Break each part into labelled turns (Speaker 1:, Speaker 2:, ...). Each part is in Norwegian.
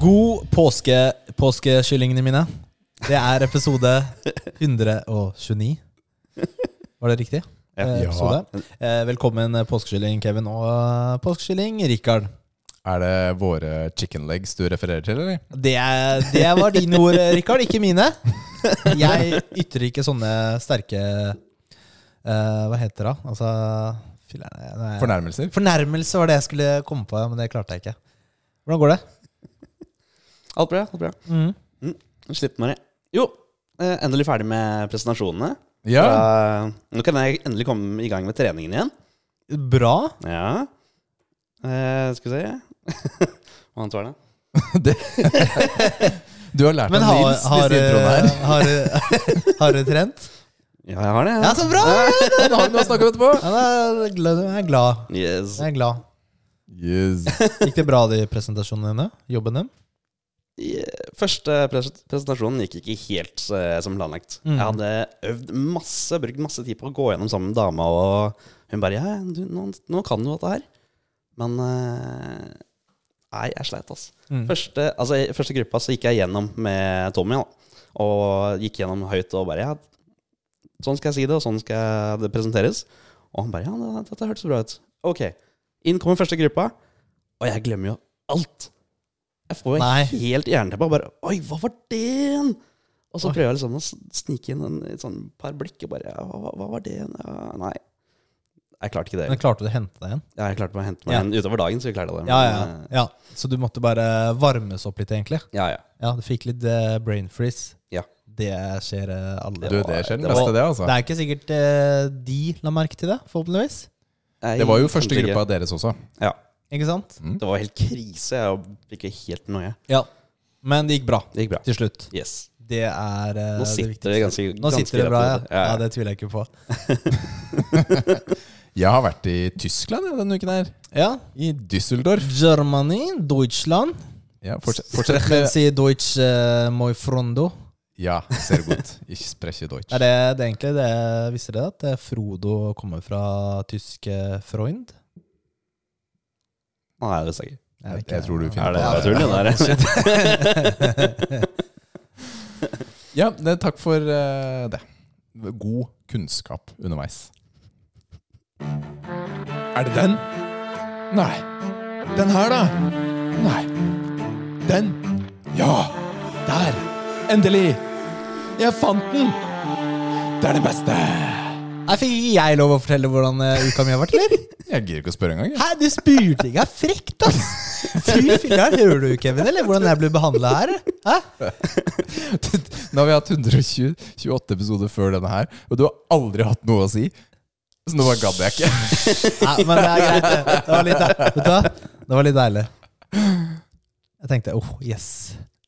Speaker 1: God påske, påskekyllingene mine. Det er episode 129. Var det riktig?
Speaker 2: Ja.
Speaker 1: Eh, episode. Eh, Velkommen eh, påskekylling Kevin og eh, påskekylling Rikard.
Speaker 2: Er det våre chicken legs du refererer til, eller?
Speaker 1: Det, er- det var dine ord, eh, Rikard, ikke mine. Jeg ytrer ikke sånne sterke eh, Hva heter det? da? Altså filler'n, nei,
Speaker 2: Fornærmelser?
Speaker 1: Fornærmelse var det jeg skulle komme på, men det klarte jeg ikke. Hvordan går det?
Speaker 3: Alt bra, alt bra. Slipp meg ned. Jo, eh, endelig ferdig med presentasjonene.
Speaker 2: Ja.
Speaker 3: Da- nå kan jeg endelig komme i gang med treningen igjen.
Speaker 1: Bra.
Speaker 3: Ja. Eh, skal vi se Hva annet var det?
Speaker 2: Du har lært
Speaker 1: Men
Speaker 2: av
Speaker 1: har,
Speaker 2: Nils
Speaker 1: har, eh,
Speaker 2: disse introene her.
Speaker 1: har, eh, har du trent?
Speaker 3: Ja, jeg har det.
Speaker 1: Ja, så bra!
Speaker 2: Han har vi noe å snakke om etterpå.
Speaker 1: Ja, da er jeg glad- jeg er glad.
Speaker 3: Yes.
Speaker 1: Jeg er glad.
Speaker 2: Yes.
Speaker 1: Gikk det bra, de presentasjonene dine? Jobben din?
Speaker 3: I- Første pres presentasjonen gikk ikke helt eh, som planlagt.
Speaker 1: Mm.
Speaker 3: Jeg hadde øvd masse, brukt masse tid på å gå gjennom sammen med dama, og hun bare Ja, du, nå, nå kan du dette her. Men eh, Nei, jeg sleit, altså.
Speaker 1: Mm.
Speaker 3: Første, altså, i første gruppa så gikk jeg gjennom med Tommy, da. Og gikk gjennom høyt og bare Ja, sånn skal jeg si det, og sånn skal det presenteres. Og han bare Ja, det- dette hørtes bra ut. Ok. Inn kommer første gruppa, og jeg glemmer jo alt. Jeg får jo
Speaker 1: Nei.
Speaker 3: helt jernteppe og bare Oi, hva var det igjen? Og så prøver jeg liksom å s- snike inn en, et sånn par blikk og bare ja, hva, hva var det igjen? Ja, nei. Jeg klarte ikke
Speaker 1: Men
Speaker 3: det.
Speaker 1: klarte du å hente deg igjen?
Speaker 3: Ja, Jeg klarte meg å hente meg
Speaker 1: Ja.
Speaker 3: igjen utover dagen, så vi klarte det.
Speaker 1: Ja, ja,
Speaker 3: men, eh,
Speaker 1: ja. Så du måtte bare varmes opp litt, egentlig?
Speaker 3: ja, ja.
Speaker 1: Ja, du fikk litt eh, brain freeze.
Speaker 3: Ja.
Speaker 1: Det skjer eh, alle.
Speaker 2: Du, det skjer den
Speaker 3: det var-
Speaker 2: beste, det,
Speaker 1: Det
Speaker 2: altså.
Speaker 1: er ikke sikkert eh, de la merke til det, forhåpentligvis.
Speaker 3: Jeg-
Speaker 2: Det var jo første
Speaker 3: kanskje ikke.
Speaker 2: gruppa deres også.
Speaker 3: Ja.
Speaker 1: Ikke sant?
Speaker 3: Det var helt krise. Jeg fikk jo helt noe.
Speaker 1: Ja. Men det gikk bra
Speaker 3: Det gikk bra.
Speaker 1: til slutt.
Speaker 3: Yes.
Speaker 1: Det er eh,
Speaker 3: Nå sitter
Speaker 1: viktigste.
Speaker 3: det ganske,
Speaker 1: Nå
Speaker 3: ganske
Speaker 1: sitter det bra, ja.
Speaker 3: rett i hodet.
Speaker 1: ja. Det tviler jeg ikke på.
Speaker 2: Jeg har vært i Tyskland jeg, denne uken her.
Speaker 1: Ja.
Speaker 2: I Düsseldorf.
Speaker 1: Germany, Deutschland.
Speaker 2: Ja, fortsett, fortsett med
Speaker 1: Si Deutsch eh, moi frondo.
Speaker 2: Ja, ser godt. Ich spreche Deutsch.
Speaker 1: Er det, det er egentlig det Visste dere at eh, Frodo kommer fra tysk eh, Freund?
Speaker 3: Nei, det visste jeg ikke.
Speaker 1: Er det ikke-
Speaker 2: Jeg tror du
Speaker 3: Er
Speaker 2: finner
Speaker 3: det
Speaker 2: på
Speaker 3: tull, det der?
Speaker 2: Ja, det, takk for eh, det. God kunnskap underveis. Er det den? Nei. Den her, da? Nei. Den? Ja! Der! Endelig! Jeg fant den! Det er det beste!
Speaker 1: Nei, fikk ikke jeg lov å fortelle hvordan eh, uka mi har vært, eller?
Speaker 2: Jeg gidder ikke å spørre engang. jeg.
Speaker 1: Hæ, du spurte ikke! Det er frekt, ass! Fy filler'n, hører du, Kevin, eller? Hvordan jeg blir behandla her? Hæ?
Speaker 2: Nå har vi hatt 128 episoder før denne her, og du har aldri hatt noe å si. Så nå bare gadd jeg ikke.
Speaker 1: Nei, men det er greit. det. Det var litt, deil- vet du hva? Det var litt deilig. Jeg tenkte oh, yes.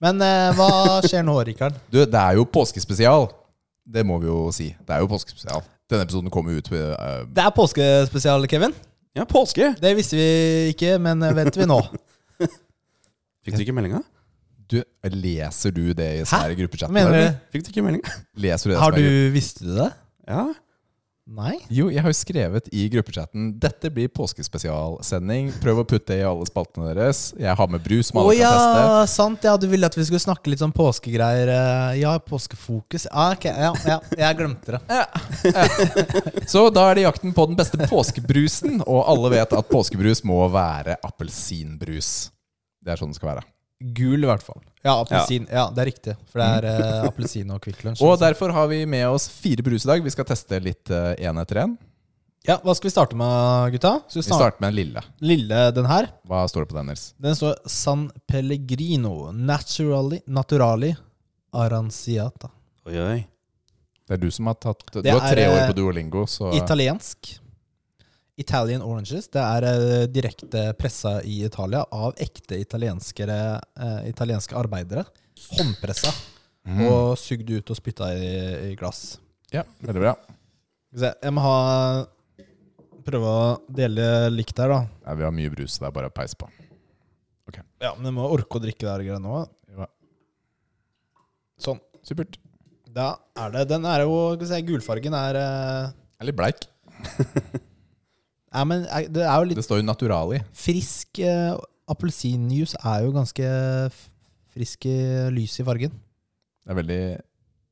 Speaker 1: Men eh, hva skjer nå, Rikard?
Speaker 2: Du, det er jo påskespesial. Det må vi jo si. Det er jo påskespesial. Denne episoden kommer ut eh,
Speaker 1: Det er påskespesial, Kevin.
Speaker 3: Ja, påske!
Speaker 1: Det visste vi ikke, men eh, vet vi nå.
Speaker 3: Fikk du ikke meldinga?
Speaker 2: du, Leser du det i som
Speaker 1: Hæ?
Speaker 2: er i
Speaker 1: Hva
Speaker 2: gruppechatten?
Speaker 1: mener
Speaker 2: eller?
Speaker 1: du?
Speaker 3: Fikk du ikke meldinga?
Speaker 2: Leser du det
Speaker 1: Har
Speaker 2: som er i gruppe-
Speaker 1: du Visste du det?
Speaker 3: Ja.
Speaker 1: Nei?
Speaker 2: Jo, jeg har jo skrevet i gruppechatten Dette blir påskespesialsending. Prøv å putte det i alle spaltene deres. Jeg har med
Speaker 1: Å
Speaker 2: brus som alle
Speaker 1: ja,
Speaker 2: kan teste.
Speaker 1: sant. Ja, du ville at vi skulle snakke litt sånn påskegreier. eh, Ja, påskefokus. Ah, ok, ja, ja, jeg glemte det.
Speaker 2: Så da er det jakten på den beste påskebrusen. Og alle vet at påskebrus må være appelsinbrus. Det er sånn det skal være.
Speaker 1: Gul, i hvert fall. Ja, appelsin. Ja, det er riktig. For det er eh, appelsin og Kvikk Lunsj.
Speaker 2: Og derfor har vi med oss fire brus i dag. Vi skal teste litt én etter én.
Speaker 1: Ja, hva skal vi starte med, gutta? Skal vi
Speaker 2: Vi
Speaker 1: starte
Speaker 2: starter med en lille.
Speaker 1: lille den her?
Speaker 2: Hva står det på den, Nils?
Speaker 1: Den står San Pellegrino Naturally, naturali Aranciata.
Speaker 3: Oi, oi.
Speaker 2: Det er du som har tatt Du
Speaker 1: Det
Speaker 2: har
Speaker 1: er,
Speaker 2: tre år
Speaker 1: eh,
Speaker 2: på Duolingo, så
Speaker 1: Italiensk. Italian oranges. Det er eh, direkte pressa i Italia av ekte italienskere, eh, italienske arbeidere. Håndpressa.
Speaker 2: Mm.
Speaker 1: Og sugd ut og spytta i, i glass.
Speaker 2: Ja, veldig bra.
Speaker 1: Skal vi se, Jeg må ha Prøve å dele likt her, da.
Speaker 2: Ja, vi har mye brus, så det er bare å peise på.
Speaker 1: Ja, Men jeg må orke å drikke det her greiene nå.
Speaker 2: Ja,
Speaker 1: Sånn.
Speaker 2: Supert.
Speaker 1: Da er det Den er jo skal vi se, Gulfargen er eh,
Speaker 2: Jeg er litt bleik.
Speaker 1: Ja, men er- det er jo litt
Speaker 2: Det står jo naturali.
Speaker 1: frisk eh, Appelsinjuice er jo ganske f- frisk i lys i fargen.
Speaker 2: Det er veldig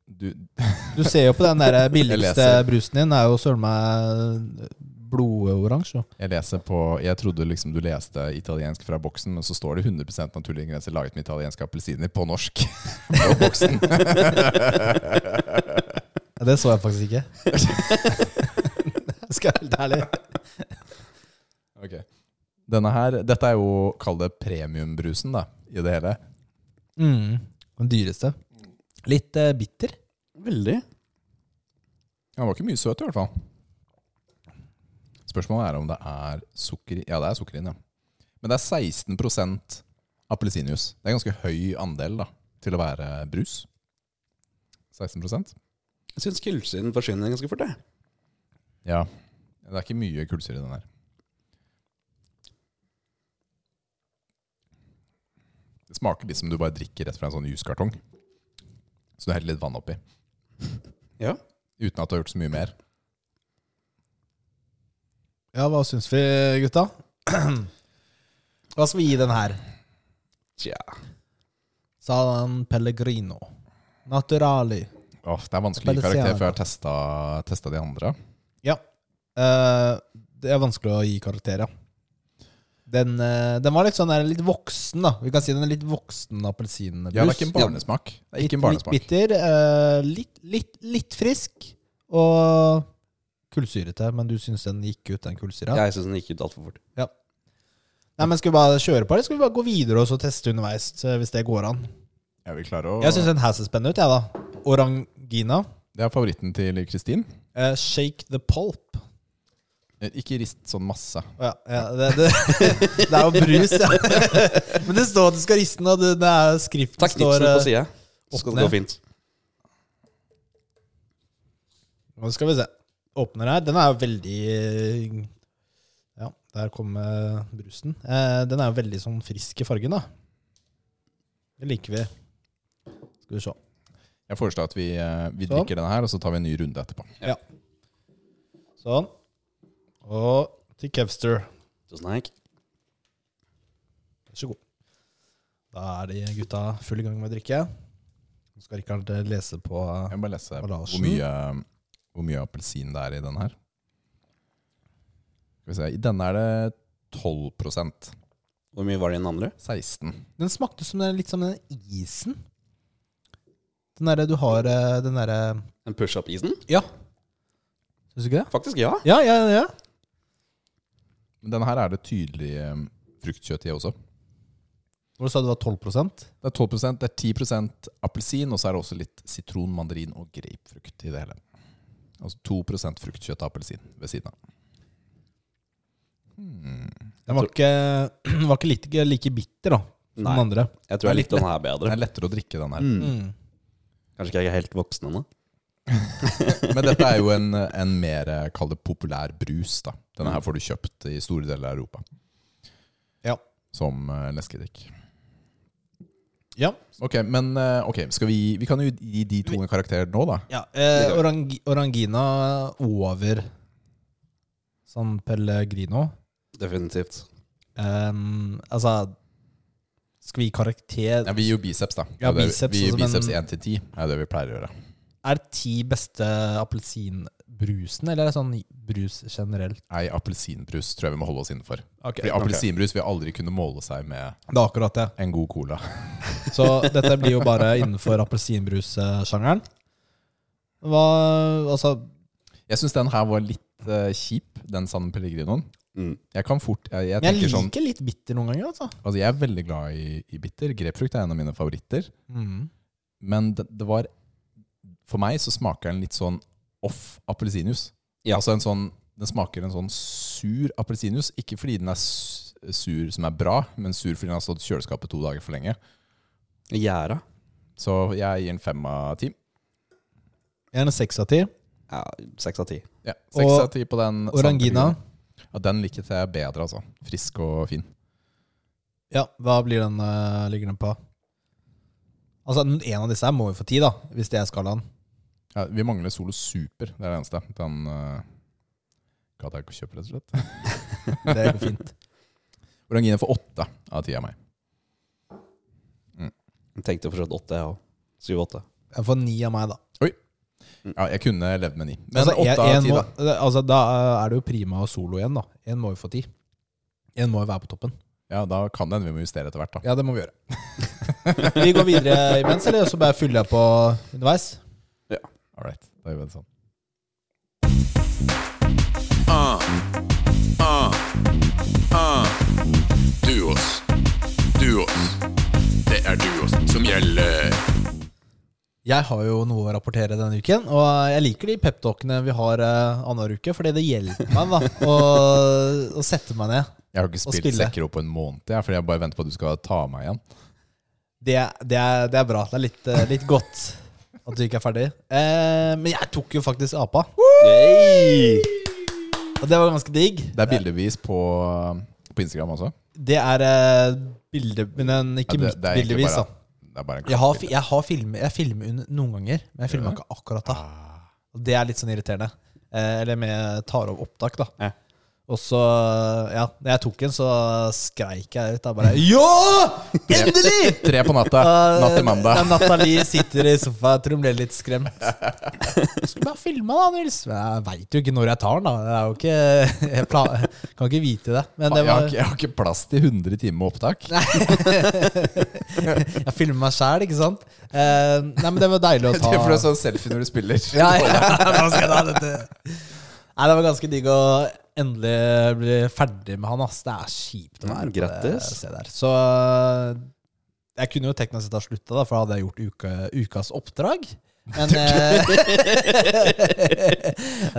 Speaker 2: du,
Speaker 1: Du ser jo på den der
Speaker 2: Jeg
Speaker 1: billigste
Speaker 2: leser.
Speaker 1: brusen din, er jo søren meg blodoransje. jo.
Speaker 2: Jeg leser på Jeg trodde liksom du leste italiensk fra boksen, men så står det 100 naturlige ingredienser laget med italienske appelsiner på norsk. på boksen.
Speaker 1: Ja, Det så jeg faktisk ikke. Jeg Skal være helt ærlig.
Speaker 2: Ok. Denne her Dette er jo Kall det premiumbrusen, da, i det hele.
Speaker 1: Mm. Den dyreste. Litt eh, bitter.
Speaker 3: Veldig.
Speaker 2: Den var ikke mye søt, i hvert fall. Spørsmålet er om det er sukker i- Ja, det er sukker i den, ja. Men det er 16 appelsinjuice. Det er en ganske høy andel da, til å være brus. 16
Speaker 3: Jeg syns kullsyren forsvinner ganske fort. Jeg.
Speaker 2: Ja. Det er ikke mye kullsyre i den her. Det smaker litt som du bare drikker rett fra en sånn juskartong. Så du heller litt vann oppi.
Speaker 3: Ja.
Speaker 2: Uten at du har gjort så mye mer.
Speaker 1: Ja, hva syns vi, gutta? Hva skal vi gi den her?
Speaker 3: Tja.
Speaker 1: Salan Pellegrino. Naturali.
Speaker 2: Åh, det er vanskelig karakter, for jeg har testa, testa de andre.
Speaker 1: Ja. Eh, det er vanskelig å gi karakter, ja. Den, eh, den var litt sånn der, litt voksen, da. Vi kan si den er litt voksen appelsinbrus.
Speaker 2: Ja, det er ikke en barnesmak. Det er ikke en barnesmak.
Speaker 1: Litt bitter, eh, litt, litt, litt frisk, og kullsyrete. Men du syns den gikk ut, den kullsyra?
Speaker 3: Jeg syns den gikk ut altfor fort.
Speaker 1: Nei, men Skal vi bare kjøre på, eller skal vi bare gå videre og så teste underveis? eh, Hvis det går an.
Speaker 2: Jeg vil klare å...
Speaker 1: Jeg syns den her ser spennende ut, jeg, da. Orangina.
Speaker 2: Det er favoritten til Kristin.
Speaker 1: Eh, shake the pulp.
Speaker 2: Eh, Ikke rist sånn masse.
Speaker 1: Å Ja, ja, det, det, det er jo brus, ja. Men det står at du skal riste den, og det, det er skriften
Speaker 3: Takk,
Speaker 1: står
Speaker 3: Nipsen på
Speaker 1: eh,
Speaker 3: sida. Så skal det
Speaker 1: åpne.
Speaker 3: gå fint.
Speaker 1: Nå skal vi se. Åpner her. Den er jo veldig eh, Ja, der kom eh, brusen. Eh, den er jo veldig sånn frisk i fargen, da. Det liker vi. Skal vi se.
Speaker 2: Jeg foreslår at vi, eh, vi
Speaker 1: Sånn.
Speaker 2: drikker denne her, og så tar vi en ny runde etterpå.
Speaker 1: Ja. Sånn. Og til Kevster.
Speaker 3: Tusen takk.
Speaker 1: Vær så god. Da er de gutta full i gang med å drikke. Nå skal Rikard eh, lese på
Speaker 2: Jeg må bare lese hvor
Speaker 1: Emballasjen.
Speaker 2: mye, eh, hvor mye appelsin det er i den her. Skal vi se. I denne er det 12
Speaker 3: Hvor mye var det i den andre?
Speaker 2: 16
Speaker 1: Den smakte som den, litt som den isen. Den derre du har eh, Den derre
Speaker 3: Den push-up-isen?
Speaker 1: Ja. Syns du ikke det?
Speaker 3: Faktisk, ja.
Speaker 1: Ja, ja, ja.
Speaker 2: Men denne her er det tydelig eh, fruktkjøtt i også.
Speaker 1: Hvor sa du det var 12
Speaker 2: Det er 12 det er 10 appelsin, og så er det også litt sitron, mandarin og grapefrukt i det hele. Altså 2 fruktkjøtt og appelsin ved siden av.
Speaker 1: Den var ikke, den var ikke litt, ikke like bitter da som
Speaker 3: Nei.
Speaker 1: den andre.
Speaker 3: Jeg tror jeg likte den her bedre.
Speaker 2: Den er lettere å drikke, den her.
Speaker 1: Mm.
Speaker 3: Kanskje ikke jeg er helt voksen ennå.
Speaker 2: Men dette er jo en, en mer eh, kall det populær brus. da. Denne her får du kjøpt i store deler av Europa
Speaker 1: Ja.
Speaker 2: som eh, leskedrikk.
Speaker 1: ja.
Speaker 2: Ok, men eh, ok, skal vi, vi kan jo gi de to en karakter nå, da.
Speaker 1: ja. Eh, orangi, orangina over San Pellegrino.
Speaker 3: Definitivt.
Speaker 1: Ehm, altså Skal vi gi karakter
Speaker 2: Ja, vi gir jo biceps, da.
Speaker 1: Ja,
Speaker 2: Det er-
Speaker 1: biceps
Speaker 2: vi gir
Speaker 1: også, men-
Speaker 2: biceps 1 til 10. er det vi pleier å gjøre.
Speaker 1: Er ti beste appelsinbrusen, eller er det sånn brus generelt?
Speaker 2: Nei, appelsinbrus tror jeg vi må holde oss innenfor.
Speaker 1: Ok,
Speaker 2: Fordi appelsinbrus vil aldri kunne måle seg med
Speaker 1: Det er akkurat det.
Speaker 2: en god cola.
Speaker 1: Så dette blir jo bare innenfor appelsinbrussjangeren. Hva Altså
Speaker 2: Jeg syns den her var litt eh, kjip, den San Pellegrinoen.
Speaker 3: Mm.
Speaker 2: Jeg kan fort Jeg, jeg
Speaker 1: Jeg
Speaker 2: tenker
Speaker 1: liker
Speaker 2: sånn
Speaker 1: litt bitter noen ganger, altså.
Speaker 2: Altså, jeg er veldig glad i, i bitter. Grepfrukt er en av mine favoritter.
Speaker 1: Mm.
Speaker 2: Men det, det var For meg så smaker den litt sånn off appelsinjuice.
Speaker 3: Ja.
Speaker 2: Altså en sånn Den smaker en sånn sur appelsinjuice. Ikke fordi den er s- sur som er bra, men sur fordi den har stått i kjøleskapet to dager for lenge.
Speaker 3: Gjæra.
Speaker 2: Så jeg gir den fem av ti.
Speaker 1: Gjerne seks av ti.
Speaker 3: Ja, seks av ti.
Speaker 2: Ja, seks
Speaker 1: Og
Speaker 2: av ti på den.
Speaker 1: Orangina.
Speaker 2: sandpapirgula. Ja, den liket jeg bedre, altså. Frisk og fin.
Speaker 1: Ja, hva blir den, eh, ligger den på? Altså, En av disse her må jo få ti, da, hvis det er skalaen.
Speaker 2: Ja, vi mangler Solo Super, det er det eneste. Den uh, gadd jeg ikke å kjøpe, rett og slett.
Speaker 1: Det går fint.
Speaker 2: Orangina får åtte av ti av meg.
Speaker 3: Jeg tenkte for så vidt åtte, jeg òg. Syv-åtte.
Speaker 1: Jeg får ni av meg, da.
Speaker 2: Ja, jeg kunne levd med ni. Men
Speaker 1: altså,
Speaker 2: åtte
Speaker 1: en-
Speaker 2: av
Speaker 1: en
Speaker 2: ti,
Speaker 1: må,
Speaker 2: da.
Speaker 1: da. Altså, da eh, er det jo prima og solo igjen, da. Én må jo få ti. Én må jo være på toppen.
Speaker 2: Ja, da kan det hende vi må justere etter hvert, da.
Speaker 1: Ja, det må vi gjøre. vi går videre imens, eller så bare fyller jeg på underveis?
Speaker 2: All right, da gjør vi det sånn.
Speaker 4: Ah. Duos. Duos. Det er duos som gjelder.
Speaker 1: Jeg har jo noe å rapportere denne uken, og jeg liker de peptalkene vi har eh, annenhver uke, fordi det hjelper meg da, å, å sette meg ned.
Speaker 2: Jeg har ikke spilt
Speaker 1: spille.
Speaker 2: Sekiro på en måned, jeg, fordi jeg bare venter på at du skal ta meg igjen.
Speaker 1: Det, er- det, er, det er bra. Det er litt, eh, litt godt at du ikke er ferdig. Eh, men jeg tok jo faktisk apa, og det var ganske digg.
Speaker 2: Det er bildevis på, på Instagram også.
Speaker 1: Det er eh, bilde... Men eh, ikke
Speaker 2: Ja,
Speaker 1: mitt
Speaker 2: egentlig
Speaker 1: bildevis,
Speaker 2: bare,
Speaker 1: da.
Speaker 2: det er bare en
Speaker 1: Jeg har,
Speaker 2: klapp-
Speaker 1: fi- jeg har filmet, jeg filmer un- noen ganger, men jeg filmer
Speaker 2: Gjør du? Ah.
Speaker 1: ikke akkurat da. Og det er litt sånn irriterende. Eh, eller med tar over opptak, da.
Speaker 3: Ja.
Speaker 1: Og så, ja, når jeg tok en, så skreik jeg ut. Da bare Ja! Endelig!
Speaker 2: Tre på natta. Natt til mandag.
Speaker 1: Eh, Nathalie sitter i sofaen, tror hun ble litt skremt. Skulle bare filma, da, Nils. Men jeg veit jo ikke når jeg tar den, da. Det er jo ikke, jeg pla kan ikke vite det. Men det
Speaker 2: Jeg har,
Speaker 1: var,
Speaker 2: ikke, jeg har ikke plass til 100 timer med opptak.
Speaker 1: jeg filmer meg sjæl, ikke sant? Eh, nei, men det var deilig å
Speaker 2: Det
Speaker 1: ta.
Speaker 2: er for en sånn selfie når du spiller.
Speaker 1: Ja, ja. Nå skal jeg ta dette. Nei, det var ganske digg å endelig bli ferdig med han, ass. Det er kjipt å
Speaker 3: Ja,
Speaker 1: være på det
Speaker 3: grattis.
Speaker 1: stedet der. Så eh, jeg kunne jo teknisk sett ha slutta, da, for da hadde jeg gjort uka, ukas oppdrag. Men eh,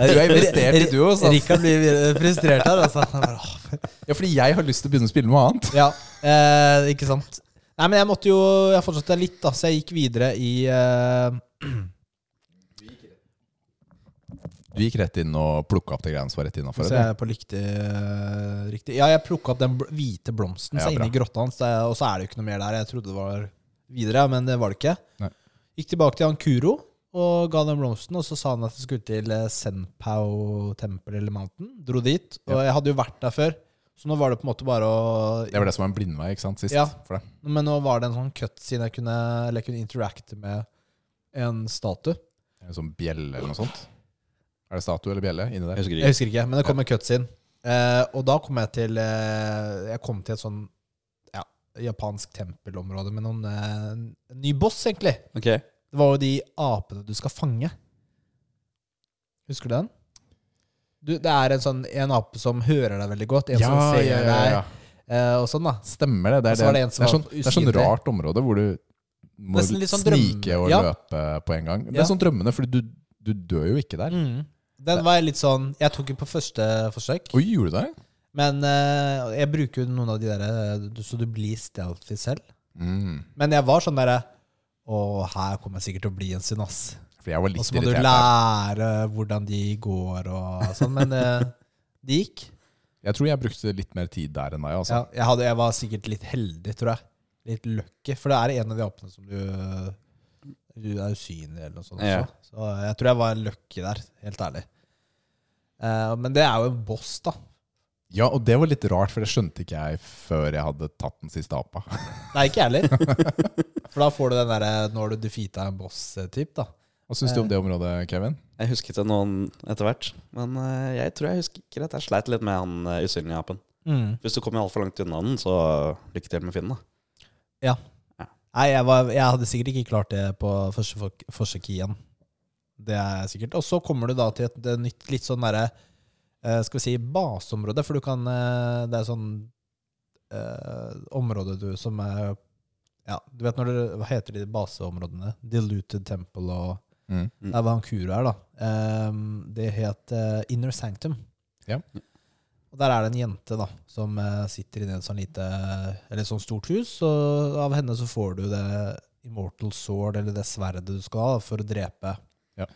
Speaker 2: Du er investert i duo, sant?
Speaker 1: Rikard blir frustrert her, altså. Han bare, «Åh,
Speaker 2: Ja, fordi jeg har lyst til å begynne å spille noe annet.
Speaker 1: ja, eh, ikke sant. Nei, men jeg måtte jo Jeg fortsatte litt, da, så jeg gikk videre i eh,
Speaker 2: Du gikk rett inn og plukka opp det greiene som var rett innafor.
Speaker 1: Så jeg er på lykte, riktig Ja, jeg plukka opp den bl- hvite blomsten
Speaker 2: Ja,
Speaker 1: som er
Speaker 2: bra.
Speaker 1: inni grotta hans, det er- og så er det jo ikke noe mer der. Jeg trodde det var videre, men det var det ikke.
Speaker 2: Nei.
Speaker 1: Gikk tilbake til han Kuro og ga den blomsten, og så sa han at jeg skulle til eh, Senpao Temple eller Mountain. Dro dit. Og jeg hadde jo vært der før, så nå var det på en måte bare å
Speaker 2: Det var det som var en blindvei ikke sant, sist.
Speaker 1: Ja.
Speaker 2: For deg.
Speaker 1: men nå var det en sånn cutscene jeg kunne, eller jeg kunne interacte med en statue.
Speaker 2: En sånn bjelle eller noe sånt. Er det statue eller bjelle inni der?
Speaker 3: Jeg husker
Speaker 1: Jeg
Speaker 3: ikke.
Speaker 1: husker ikke, men det kom en cutscene. Eh, og da kom jeg til eh, Jeg kom til et sånn ja, japansk tempelområde med noen eh, en ny boss, egentlig.
Speaker 3: Ok.
Speaker 1: Det var jo de apene du skal fange. Husker du den? Du, det er en sånn En ape som hører deg veldig godt, en som ser deg, eh, og sånn, da.
Speaker 2: Stemmer det. Det
Speaker 1: Og så
Speaker 2: er,
Speaker 1: var det
Speaker 2: det,
Speaker 1: en
Speaker 2: det,
Speaker 1: som
Speaker 2: er
Speaker 1: var
Speaker 2: sånn, det er sånn
Speaker 1: usynlig.
Speaker 2: rart område hvor du må
Speaker 1: Nesten litt sånn
Speaker 2: snike
Speaker 1: drømme-
Speaker 2: og
Speaker 1: ja.
Speaker 2: løpe på en gang. Det
Speaker 1: Ja.
Speaker 2: er sånn drømmende, fordi du, du dør jo ikke der.
Speaker 1: Mm. Den var jeg litt sånn Jeg tok den på første forsøk.
Speaker 2: Oi, gjorde du det?
Speaker 1: Men eh, jeg bruker jo noen av de der eh, så du blir stealthy selv.
Speaker 2: Mm.
Speaker 1: Men jeg var sånn derre Å, her kommer jeg sikkert til å bli en synd, ass.
Speaker 2: Fordi jeg var
Speaker 1: Og
Speaker 2: litt
Speaker 1: så må du
Speaker 2: irritert. der.
Speaker 1: lære hvordan de går og sånn. Men eh, det gikk.
Speaker 2: Jeg tror jeg brukte litt mer tid der enn deg. Altså.
Speaker 1: Ja, jeg, hadde, jeg var sikkert litt heldig, tror jeg. Litt lucky. For det er en av de apene som du Du er usynlig eller noe sånt.
Speaker 3: Ja.
Speaker 1: Også. Så jeg tror jeg var lucky der, helt ærlig. Eh, men det er jo en boss, da.
Speaker 2: Ja, og det var litt rart, for det skjønte ikke jeg før jeg hadde tatt den siste apa.
Speaker 1: Nei, ikke jeg heller. For da får du den derre 'nå har du defeata en boss'-typ, da.
Speaker 2: Hva syns du om det området, Kevin?
Speaker 3: Jeg husket det noen etter hvert. Men eh, jeg tror jeg husker at jeg sleit litt med han eh, usynlige apen.
Speaker 2: Mm.
Speaker 3: Hvis du kommer altfor langt unna den, så lykke til med finnen, da.
Speaker 1: Nei, jeg, var, jeg hadde sikkert ikke klart det på første fok- forsøk igjen. Det er sikkert. Og så kommer du da til et, det nytt, litt sånn derre eh, Skal vi si baseområde, for du kan eh, Det er sånn eh, område du som er Ja, du vet når det Hva heter de baseområdene? Diluted Temple og
Speaker 2: Mm.
Speaker 1: Ehm, Det er hva han Kuro er, da. Eh, det het eh, Inner Sanctum. Ja. Og der er det en jente da, som eh, sitter i en sånn lite, eller et sånt stort hus, og av henne så får du det immortal sword, eller det sverdet du skal ha da, for å drepe
Speaker 2: Ja.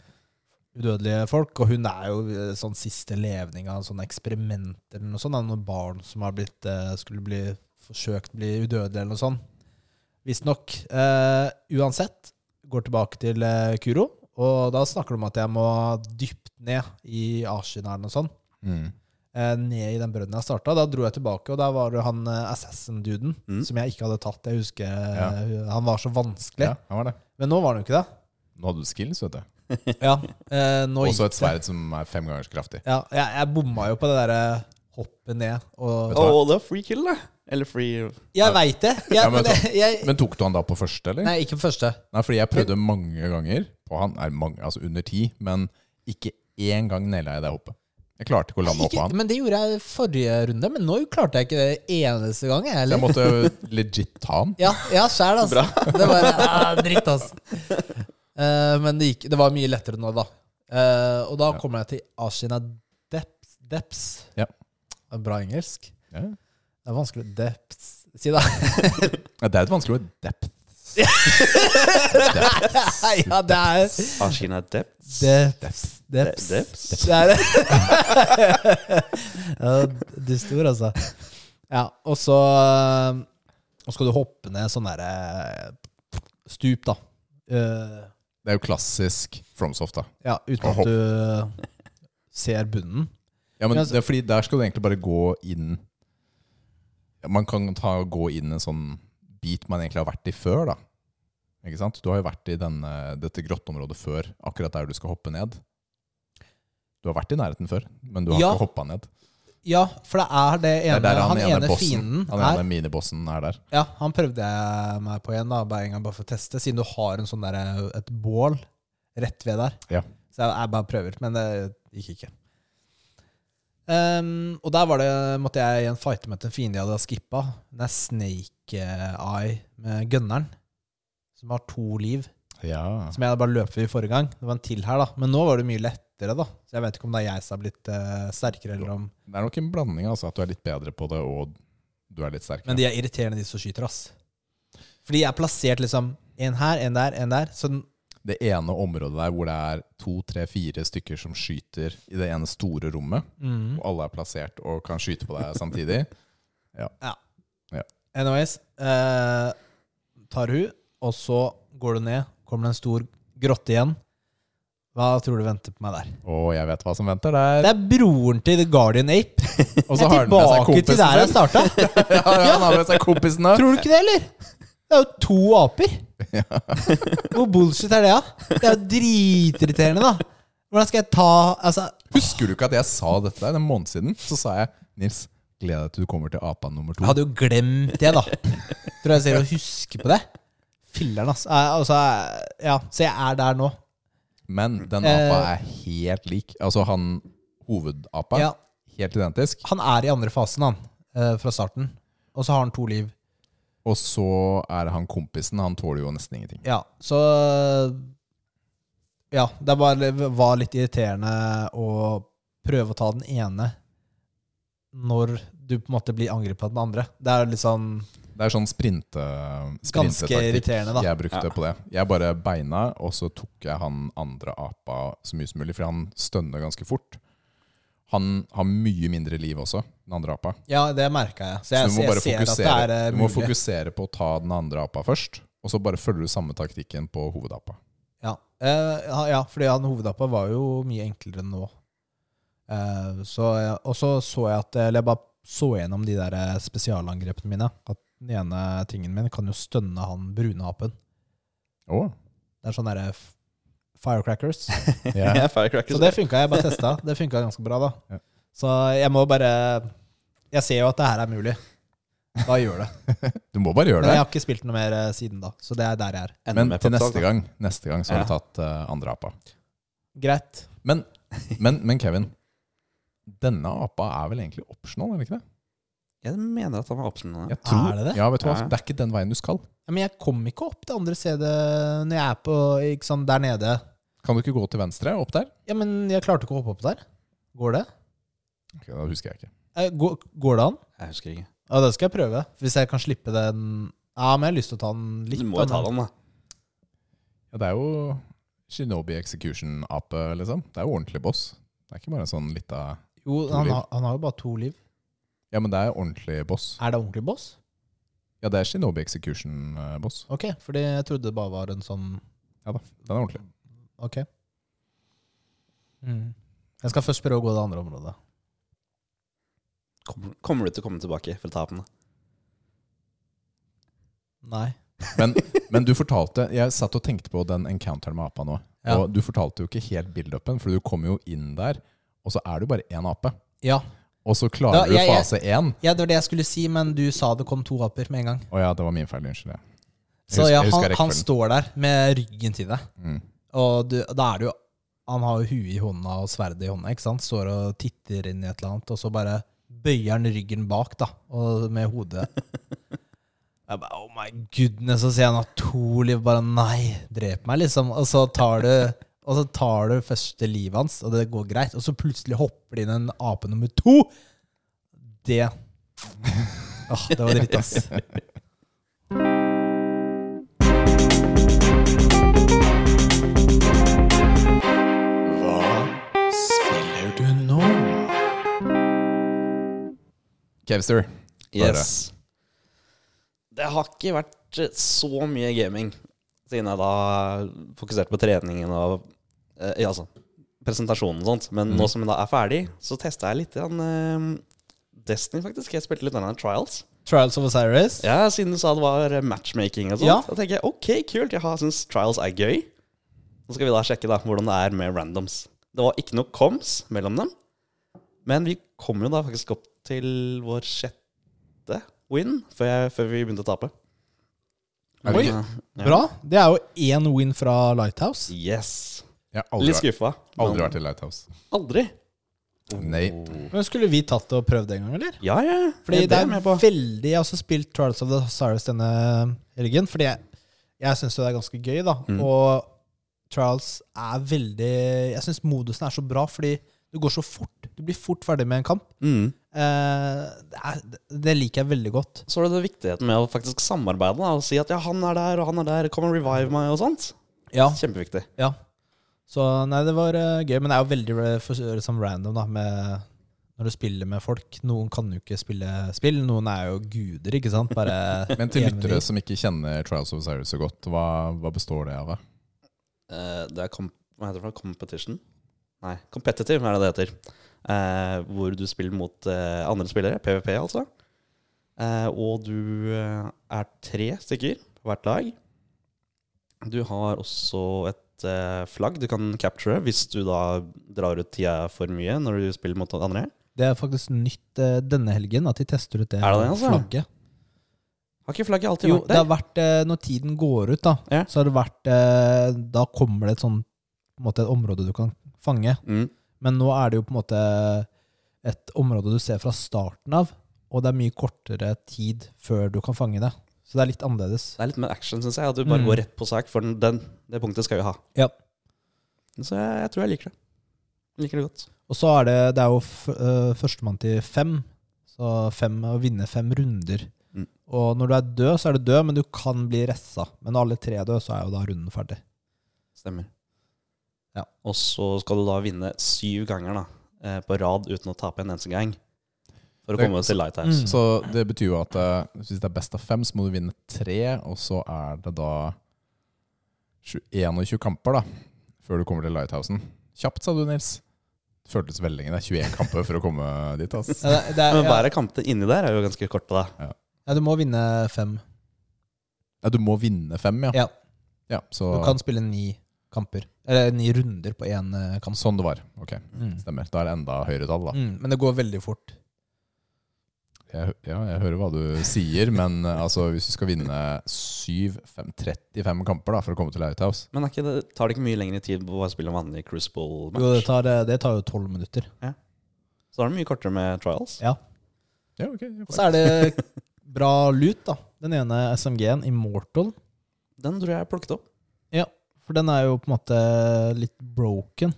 Speaker 1: udødelige folk, og hun er jo eh, sånn siste levning av en sånn eksperiment, eller noe sånt, da, noen barn som har blitt, eh, skulle bli forsøkt bli udødelige, eller noe sånt. Visstnok. Eh, uansett, går tilbake til eh, Kuro, og da snakker de om at jeg må dypt ned i Ashinaren og sånn
Speaker 2: Mm.
Speaker 1: eh, ned i den brønnen jeg starta. Da dro jeg tilbake, og der var det han eh, assassin-duden
Speaker 2: Mm.
Speaker 1: som jeg ikke hadde tatt. Jeg husker eh, Han var så vanskelig.
Speaker 2: Ja, han var det.
Speaker 1: Men nå var han jo ikke det.
Speaker 2: Nå hadde du skills, vet du.
Speaker 1: Ja, eh, nå
Speaker 2: Også
Speaker 1: gikk
Speaker 2: et
Speaker 1: det.
Speaker 2: sverd som er fem ganger så kraftig.
Speaker 1: Ja, jeg, jeg bomma jo på det derre hoppet ned og
Speaker 2: du hva?
Speaker 3: Og det er free kill, da. Eller free
Speaker 1: Jeg veit det! Jeg,
Speaker 2: Ja, men
Speaker 1: men jeg,
Speaker 2: ta- Men tok du han da på første, eller?
Speaker 1: nei, ikke på første.
Speaker 2: Nei, fordi jeg prøvde mange ganger på han, er mange, altså under ti, men ikke én gang naila jeg det hoppet. Jeg klarte ikke å lande oppå
Speaker 1: Ikke,
Speaker 2: han.
Speaker 1: men det gjorde jeg forrige runde, men nå klarte jeg ikke det eneste gang. Jeg,
Speaker 2: Så jeg
Speaker 1: heller.
Speaker 2: måtte legit ta han.
Speaker 1: Ja, ja sjæl, altså. Det var ah, dritt, altså. Eh, men det, gikk, det var mye lettere nå, da. Eh, og da kommer jeg til Ashina Depths. Depths.
Speaker 2: Ja.
Speaker 1: Det er Bra engelsk.
Speaker 2: Ja.
Speaker 1: Det er vanskelig å Depths si, da.
Speaker 2: Ja, Det er et vanskelig ord. Depth.
Speaker 1: ja, det er
Speaker 3: Ashina Depths.
Speaker 1: Depths. Depths.
Speaker 3: Depths.
Speaker 1: Det er det. ja, dust ord, altså. Ja, og så eh, Og skal du hoppe ned sånn derre stup, da. Eh,
Speaker 2: Det er jo klassisk Fromsoft, da.
Speaker 1: Ja, uten at du eh, ser bunnen.
Speaker 2: Ja, men
Speaker 1: Ja, altså-
Speaker 2: det er fordi Der skal du egentlig bare gå inn ja, Man kan ta gå inn en sånn bit man egentlig har vært i før. da Ikke sant? Du har jo vært i denne, dette grotteområdet før, akkurat der du skal hoppe ned. Du har vært i nærheten før, men du har
Speaker 1: Ja.
Speaker 2: ikke hoppa ned.
Speaker 1: Ja, for det er det
Speaker 2: Det
Speaker 1: ene
Speaker 2: er der
Speaker 1: han, ene,
Speaker 2: bossen,
Speaker 1: fienden
Speaker 2: han
Speaker 1: er.
Speaker 2: ene minibossen er der.
Speaker 1: Ja, han prøvde jeg meg på igjen, da, bare en gang bare for å teste, siden du har en sånn der, et bål rett ved der.
Speaker 2: Ja.
Speaker 1: Så jeg, jeg bare prøver, men det gikk ikke. Ehm, og der var det, måtte jeg igjen fighte med en fiende jeg hadde skippa. Det er Snake Eye med gunneren, som har to liv.
Speaker 2: Ja.
Speaker 1: Som jeg bare løp i forrige gang. Det var en til her, da. Men nå var det mye lettere, da. Så jeg vet ikke om det er jeg som har blitt eh, sterkere, eller om
Speaker 2: Det er nok en blanding, altså. At du er litt bedre på det, og du er litt sterkere.
Speaker 1: Men de er irriterende, de som skyter, ass. Fordi jeg er plassert liksom en her, en der, en der. Så den-
Speaker 2: det ene området der hvor det er to, tre, fire stykker som skyter i det ene store rommet,
Speaker 1: mm.
Speaker 2: og alle er plassert og kan skyte på deg samtidig
Speaker 1: ja.
Speaker 2: Ja.
Speaker 1: Anyways, eh, tar hun, og så går du ned. Kommer det en stor grotte igjen. Hva tror du venter på meg der?
Speaker 2: Og jeg vet hva som venter
Speaker 1: Det
Speaker 2: der.
Speaker 1: er broren til The Guardian Ape.
Speaker 2: Og
Speaker 1: Jeg
Speaker 2: så
Speaker 1: er
Speaker 2: har han med seg
Speaker 1: tilbake til
Speaker 2: kompisen
Speaker 1: der jeg
Speaker 2: sin.
Speaker 1: starta.
Speaker 2: ja, ja, han har med seg kompisen da.
Speaker 1: Tror du ikke det, eller? Det er jo to aper. Hvor bullshit er det, da? Det er jo dritirriterende, da. Hvordan skal jeg ta Altså,
Speaker 2: Husker du ikke at jeg sa dette der en måned siden? Så sa jeg Nils, gleder deg til du kommer til apa nummer to.
Speaker 1: jeg hadde jo glemt det, da. Tror jeg ser å huske på det. Filler'n, ass. Eh, Altså, eh, ja, så jeg er der nå.
Speaker 2: Men den
Speaker 1: Eh.
Speaker 2: apa er helt lik. Altså han hovedapa.
Speaker 1: Ja.
Speaker 2: Helt identisk.
Speaker 1: Han er i andre fasen, han, eh, fra starten. Og så har han to liv.
Speaker 2: Og så er han kompisen. Han tåler jo nesten ingenting.
Speaker 1: Ja, så Ja, det bare var litt irriterende å prøve å ta den ene når du på en måte blir angrepet av den andre. Det er litt sånn
Speaker 2: Det er sånn sprinte,
Speaker 1: Ganske
Speaker 2: sprintetaktikk
Speaker 1: irriterende, da.
Speaker 2: Jeg brukte på det. Jeg bare beina, og så tok jeg han andre apa så mye som mulig, for han stønner ganske fort. Han har mye mindre liv også, den andre apa.
Speaker 1: Ja, det merka jeg. Så
Speaker 2: Så
Speaker 1: jeg,
Speaker 2: du må bare
Speaker 1: jeg ser at det
Speaker 2: fokusere,
Speaker 1: er eh,
Speaker 2: du må
Speaker 1: mulig.
Speaker 2: fokusere på å ta den andre apa først, og så bare følger du samme taktikken på hovedapa.
Speaker 1: Ja. Eh, ja, ja, fordi han hovedappa var jo mye enklere enn nå. Eh, så, jeg- og så så jeg at Eller jeg bare så gjennom de der eh, spesialangrepene mine. At den ene tingen min kan jo stønne han brune apen.
Speaker 2: Å,
Speaker 1: Det er sånn derre f- firecrackers.
Speaker 2: ja.
Speaker 3: Ja, Firecrackers.
Speaker 1: Så det funka, jeg bare testa. Det funka ganske bra, da.
Speaker 2: Ja.
Speaker 1: Så jeg må bare Jeg ser jo at det her er mulig. Da gjør det.
Speaker 2: Du må bare gjøre
Speaker 1: Men jeg
Speaker 2: det.
Speaker 1: har ikke spilt noe mer eh, siden da, så det er der jeg er.
Speaker 3: Enda
Speaker 2: Men
Speaker 3: mer
Speaker 2: til
Speaker 3: peptalk,
Speaker 2: neste
Speaker 3: da.
Speaker 2: gang, neste gang så har du
Speaker 3: Ja.
Speaker 2: tatt eh, andre apa.
Speaker 1: Greit.
Speaker 2: Men, men, men Kevin, denne apa er vel egentlig optional, er det ikke det?
Speaker 3: Jeg mener at han var optional. Ja.
Speaker 2: Jeg tror,
Speaker 1: Er det det?
Speaker 2: Ja, vet du hva?
Speaker 3: Ja.
Speaker 2: Det er ikke den veien du skal.
Speaker 1: Ja, Men jeg kom ikke opp det andre stedet når jeg er på ikke sånn, der nede.
Speaker 2: Kan du ikke gå til venstre, opp der?
Speaker 1: Ja, men jeg klarte ikke å hoppe opp der. Går det?
Speaker 2: Ok, Da husker jeg ikke.
Speaker 1: Eh, Går, går det an?
Speaker 3: Jeg husker ikke.
Speaker 1: Ja, det skal jeg prøve. Hvis jeg kan slippe den Ja, men jeg har lyst til å ta den litt.
Speaker 3: Du må
Speaker 1: da,
Speaker 3: jo ta
Speaker 1: men-
Speaker 3: den, da.
Speaker 2: Ja, det er jo Shinobi Execution-ape, liksom. Det er jo ordentlig boss. Det er ikke bare en sånn lita
Speaker 1: Jo,
Speaker 2: To
Speaker 1: han,
Speaker 2: liv.
Speaker 1: har- han har jo bare to liv.
Speaker 2: Ja, men det er ordentlig boss.
Speaker 1: Er det ordentlig boss?
Speaker 2: Ja, det er Shinobi Execution-boss.
Speaker 1: Ok, fordi jeg trodde det bare var en sånn
Speaker 2: Ja da, den er ordentlig.
Speaker 1: Ok. Mm. Jeg skal først prøve å gå det andre området.
Speaker 3: Kommer, kommer du til å komme tilbake for å ta den? da?
Speaker 1: Nei.
Speaker 2: Men, men du fortalte Jeg satt og tenkte på den encounteren med apa nå.
Speaker 1: Ja.
Speaker 2: Og du fortalte jo ikke helt build-upen, for du kom jo inn der, og så er du bare én ape.
Speaker 1: Ja.
Speaker 2: Og så klarer
Speaker 1: Da, jeg-
Speaker 2: du
Speaker 1: jeg-
Speaker 2: fase én.
Speaker 1: ja, det var det jeg skulle si, men du sa det kom to aper med en gang.
Speaker 2: Å ja, det var min feil. Unnskyld. Jeg.
Speaker 1: Så
Speaker 2: husker-
Speaker 1: ja,
Speaker 2: jeg husker
Speaker 1: han, han
Speaker 2: rekkefølgen.
Speaker 1: står der med ryggen til deg,
Speaker 2: Mm.
Speaker 1: og du, da er det jo Han har jo huet i hånda og sverdet i hånda, ikke sant? Står og titter inn i et eller annet, og så bare bøyer han ryggen bak, da, og med hodet. Jeg bare, oh my goodness, og så sier han at to liv, bare nei, drep meg, liksom. Og så tar du og så tar du første livet hans, og det går greit. Og så plutselig hopper det inn en ape nummer to. Det Åh, Det var dritt, ass.
Speaker 4: Hva spiller du nå?
Speaker 2: Kevster. Bare.
Speaker 3: Yes. Det har ikke vært eh, så mye gaming siden jeg da fokuserte på treningen og eh, ja, altså, presentasjonen og sånt. Men nå som jeg da er ferdig, så testa jeg litt grann, eh, Destiny, faktisk. Jeg spilte litt grann Trials.
Speaker 1: Trials of Osiris.
Speaker 3: Ja, Siden du sa det var matchmaking og sånt.
Speaker 1: Ja.
Speaker 3: Da tenker jeg ok, kult. Jeg har- syns Trials er gøy. Så skal vi da sjekke da hvordan det er med randoms. Det var ikke noe coms mellom dem. Men vi kom jo da faktisk opp til vår sjette win før, jeg, før vi begynte å tape. eh,
Speaker 2: Er det
Speaker 1: Oi.
Speaker 3: Ja.
Speaker 1: Bra. Det er jo én win fra Lighthouse.
Speaker 3: Yes.
Speaker 2: Jeg har aldri,
Speaker 3: Litt
Speaker 2: vært-
Speaker 3: skuffa.
Speaker 2: aldri
Speaker 3: men-
Speaker 2: vært i Lighthouse.
Speaker 3: Aldri.
Speaker 1: Oh.
Speaker 2: Nei.
Speaker 1: Men Skulle vi tatt det og prøvd det en gang, eller?
Speaker 3: Ja, ja.
Speaker 1: Fordi det
Speaker 3: er jeg
Speaker 1: er
Speaker 3: med på.
Speaker 1: veldig Jeg har også spilt Trials of the Cyrus denne helgen, fordi jeg, jeg syns jo det er ganske gøy, da.
Speaker 3: Mm.
Speaker 1: Og Trials er veldig Jeg syns modusen er så bra, fordi du går så fort. Du blir fort ferdig med en kamp.
Speaker 3: Mm.
Speaker 1: Eh, det, er, det liker jeg veldig godt.
Speaker 3: Så er det det viktigheten med å faktisk samarbeide da, og si at ja, han er der, og han er der, kom og revive meg, og sånt.
Speaker 1: Ja,
Speaker 3: Kjempeviktig.
Speaker 1: Ja. Så nei, det var eh, gøy. Men det er jo veldig eh, for, liksom, random da, med, når du spiller med folk. Noen kan jo ikke spille spill, noen er jo guder, ikke sant? Bare
Speaker 2: Men til
Speaker 1: enig.
Speaker 2: lyttere som ikke kjenner Trials of Cyrus så godt, hva, hva består det av? da?
Speaker 3: Eh, det er kom hva heter det for noe? Competition? Nei, competitive er det det heter. Eh, hvor du spiller mot eh, andre spillere, PVP altså. Eh, og du eh, er tre stykker på hvert lag. Du har også et eh, flagg du kan capture hvis du da drar ut tida for mye når du spiller mot andre.
Speaker 1: Det er faktisk nytt eh, denne helgen at de tester ut det,
Speaker 3: Er det det, altså?
Speaker 1: flagget.
Speaker 3: Har ikke flagget alltid
Speaker 1: Jo,
Speaker 3: vært
Speaker 1: det
Speaker 3: der?
Speaker 1: har vært, eh, når tiden går ut, da,
Speaker 3: Ja.
Speaker 1: så har det vært eh, Da kommer det et sånn på en måte et område du kan fange.
Speaker 3: Mm.
Speaker 1: Men nå er det jo på en måte et område du ser fra starten av, og det er mye kortere tid før du kan fange det. Så det er litt annerledes.
Speaker 3: Det er litt mer action, syns jeg. At du bare
Speaker 1: Mm.
Speaker 3: går rett på sak, for den, den, det punktet skal vi ha.
Speaker 1: Ja.
Speaker 3: Så jeg, jeg tror jeg liker det. Liker det godt.
Speaker 1: Og så er det, det er jo f øh, førstemann til fem. Så fem, å vinne fem runder.
Speaker 3: Mm.
Speaker 1: Og når du er død, så er du død, men du kan bli ressa. Men når alle tre er døde, så er jo da runden ferdig.
Speaker 3: Stemmer.
Speaker 1: Ja.
Speaker 3: Og så skal du da vinne syv ganger da, eh, på rad uten å tape en eneste gang. For å
Speaker 2: Det-
Speaker 3: komme oss til Lighthouse.
Speaker 1: Mm.
Speaker 2: Så det betyr jo at eh, hvis det er best av fem, så må du vinne tre, og så er det da 21 kamper da, før du kommer til Lighthousen. Kjapt, sa du, Nils. Det føltes veldig lenge. Det er 21 kamper for å komme dit. ass.
Speaker 1: Ja, det, det er,
Speaker 3: Men
Speaker 1: ja.
Speaker 3: hver av kampene inni der er jo ganske korte, da.
Speaker 1: ja, du må vinne fem.
Speaker 2: Nei, du må vinne fem, ja.
Speaker 1: Ja.
Speaker 2: Ja, så,
Speaker 1: Du kan spille ni kamper. Eller ni runder på én øh, kamp.
Speaker 2: Sånn det var. Ok,
Speaker 1: Mm.
Speaker 2: stemmer. Da er det enda høyere tall, da.
Speaker 1: Mm, men det går veldig fort.
Speaker 2: Jeg, hø- ja, jeg hører hva du sier, men eh, altså, hvis du skal vinne 7, 5, 35 kamper da, for å komme til Lighthouse
Speaker 3: Men er ikke det, tar det ikke mye lengre tid på å spille en vanlig Crucible-match?
Speaker 1: Jo, det tar, øh, det tar jo tolv minutter.
Speaker 3: Så da er det mye kortere med trials.
Speaker 1: Ja.
Speaker 2: ja, ok, jeg
Speaker 1: Og
Speaker 2: får-
Speaker 1: så er det bra lut, da. Den ene SMG-en, Immortal.
Speaker 3: Den tror jeg jeg plukket opp.
Speaker 1: For den er jo på en måte litt broken.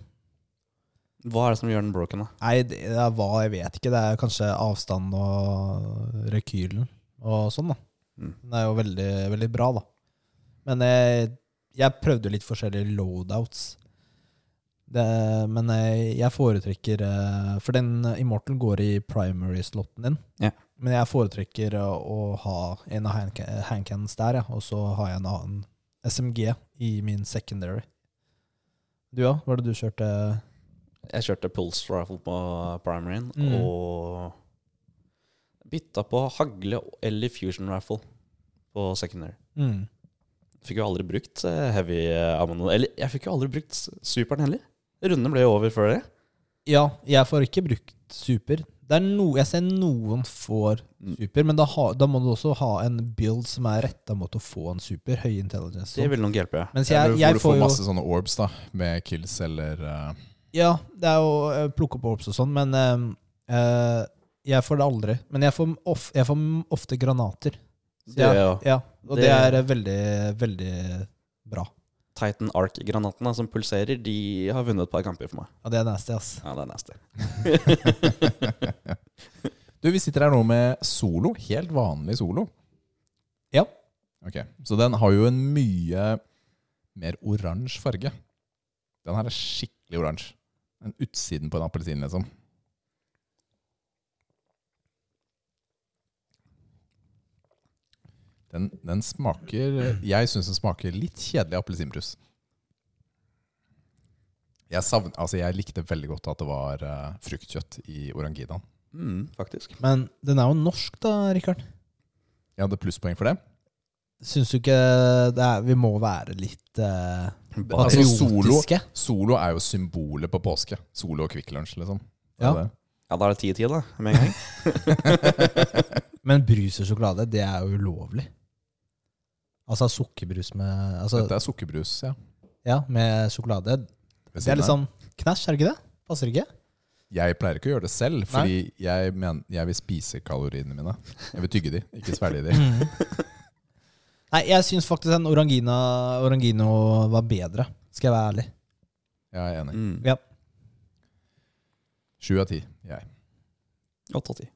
Speaker 3: Hva er det som gjør den broken, da?
Speaker 1: Nei, det er hva jeg vet ikke. Det er kanskje avstand og rekylen og sånn, da.
Speaker 3: Mm.
Speaker 1: Den er jo veldig, veldig bra, da. Men jeg, jeg prøvde jo litt forskjellige loadouts. Det, men jeg, jeg foretrekker eh, For den Immortal går i primary-slotten din.
Speaker 3: Ja.
Speaker 1: Men jeg foretrekker å å ha en av handca- handcannons der, ja. og så har jeg en annen SMG i min secondary. Du òg? Hva var det du kjørte?
Speaker 3: Jeg kjørte pulse rifle på primaryen
Speaker 1: Mm.
Speaker 3: og bytta på hagle eller fusion rifle på secondary.
Speaker 1: Mm.
Speaker 3: Fikk jo aldri brukt eh, heavy eh, ammo. Eller jeg fikk jo aldri brukt s- superen heller. Runden ble jo over før det.
Speaker 1: Ja, jeg får ikke brukt super. Det er no, jeg ser noen får
Speaker 3: Mm.
Speaker 1: super, men da, ha, da må du også ha en build som er retta mot å få en super. Høy intelligence.
Speaker 3: Det
Speaker 1: Sånn.
Speaker 3: ville nok hjelpe.
Speaker 1: Mens
Speaker 2: Eller
Speaker 1: jeg,
Speaker 2: hvor
Speaker 1: jeg
Speaker 2: du får
Speaker 1: får jo
Speaker 2: masse sånne orbs da med kills eller eh,
Speaker 1: Ja, det er jo eh, plukke opp orbs og sånn, men eh, eh, jeg får det aldri. Men jeg får, of, jeg får ofte granater. Så
Speaker 3: Det er
Speaker 1: jeg-
Speaker 3: jo
Speaker 1: ja, og det,
Speaker 3: Det-
Speaker 1: er eh, veldig, veldig bra.
Speaker 3: Titan Arc-granatene som pulserer, de har vunnet et par kamper for meg.
Speaker 1: Ja, det er nasty, ass.
Speaker 3: Ja, det er nasty.
Speaker 2: Du, vi sitter her nå med solo. Helt vanlig solo.
Speaker 1: Ja.
Speaker 2: Ok, Så den har jo en mye mer oransje farge. Den her er skikkelig oransje. Den utsiden på en appelsin, liksom. Den, den smaker Jeg syns den smaker litt kjedelig appelsinbrus. Jeg, savn, altså jeg likte veldig godt at det var eh, fruktkjøtt i orangidaen.
Speaker 3: Mm, faktisk.
Speaker 1: Men den er jo norsk, da, Rikard.
Speaker 2: Jeg hadde plusspoeng for det.
Speaker 1: Syns du ikke det er, vi må være litt eh,
Speaker 2: Altså, solo-
Speaker 1: patriotiske?
Speaker 2: Solo er jo symbolet på påske. Solo og Kvikk Lunsj, liksom.
Speaker 1: Ja.
Speaker 2: Det er det.
Speaker 3: Ja, da er det ti i ti, da, med en gang.
Speaker 1: Men brus og sjokolade, det er jo ulovlig. Altså sukkerbrus med altså,
Speaker 2: Dette er sukkerbrus, ja.
Speaker 1: Ja, med sjokolade.
Speaker 2: Ved
Speaker 1: Det er
Speaker 2: siden
Speaker 1: litt
Speaker 2: her.
Speaker 1: sånn knæsj, er det ikke det? Passer ikke?
Speaker 2: Jeg pleier ikke å gjøre det selv, fordi jeg, men, jeg vil spise kaloriene mine. Jeg vil tygge de, ikke svelge de. Mhm.
Speaker 1: Nei, jeg syns faktisk den orangina, orangino var bedre, skal jeg være ærlig.
Speaker 2: Jeg er enig.
Speaker 3: Mm.
Speaker 1: Ja.
Speaker 2: Sju av ti. Jeg.
Speaker 3: Åtte av ti.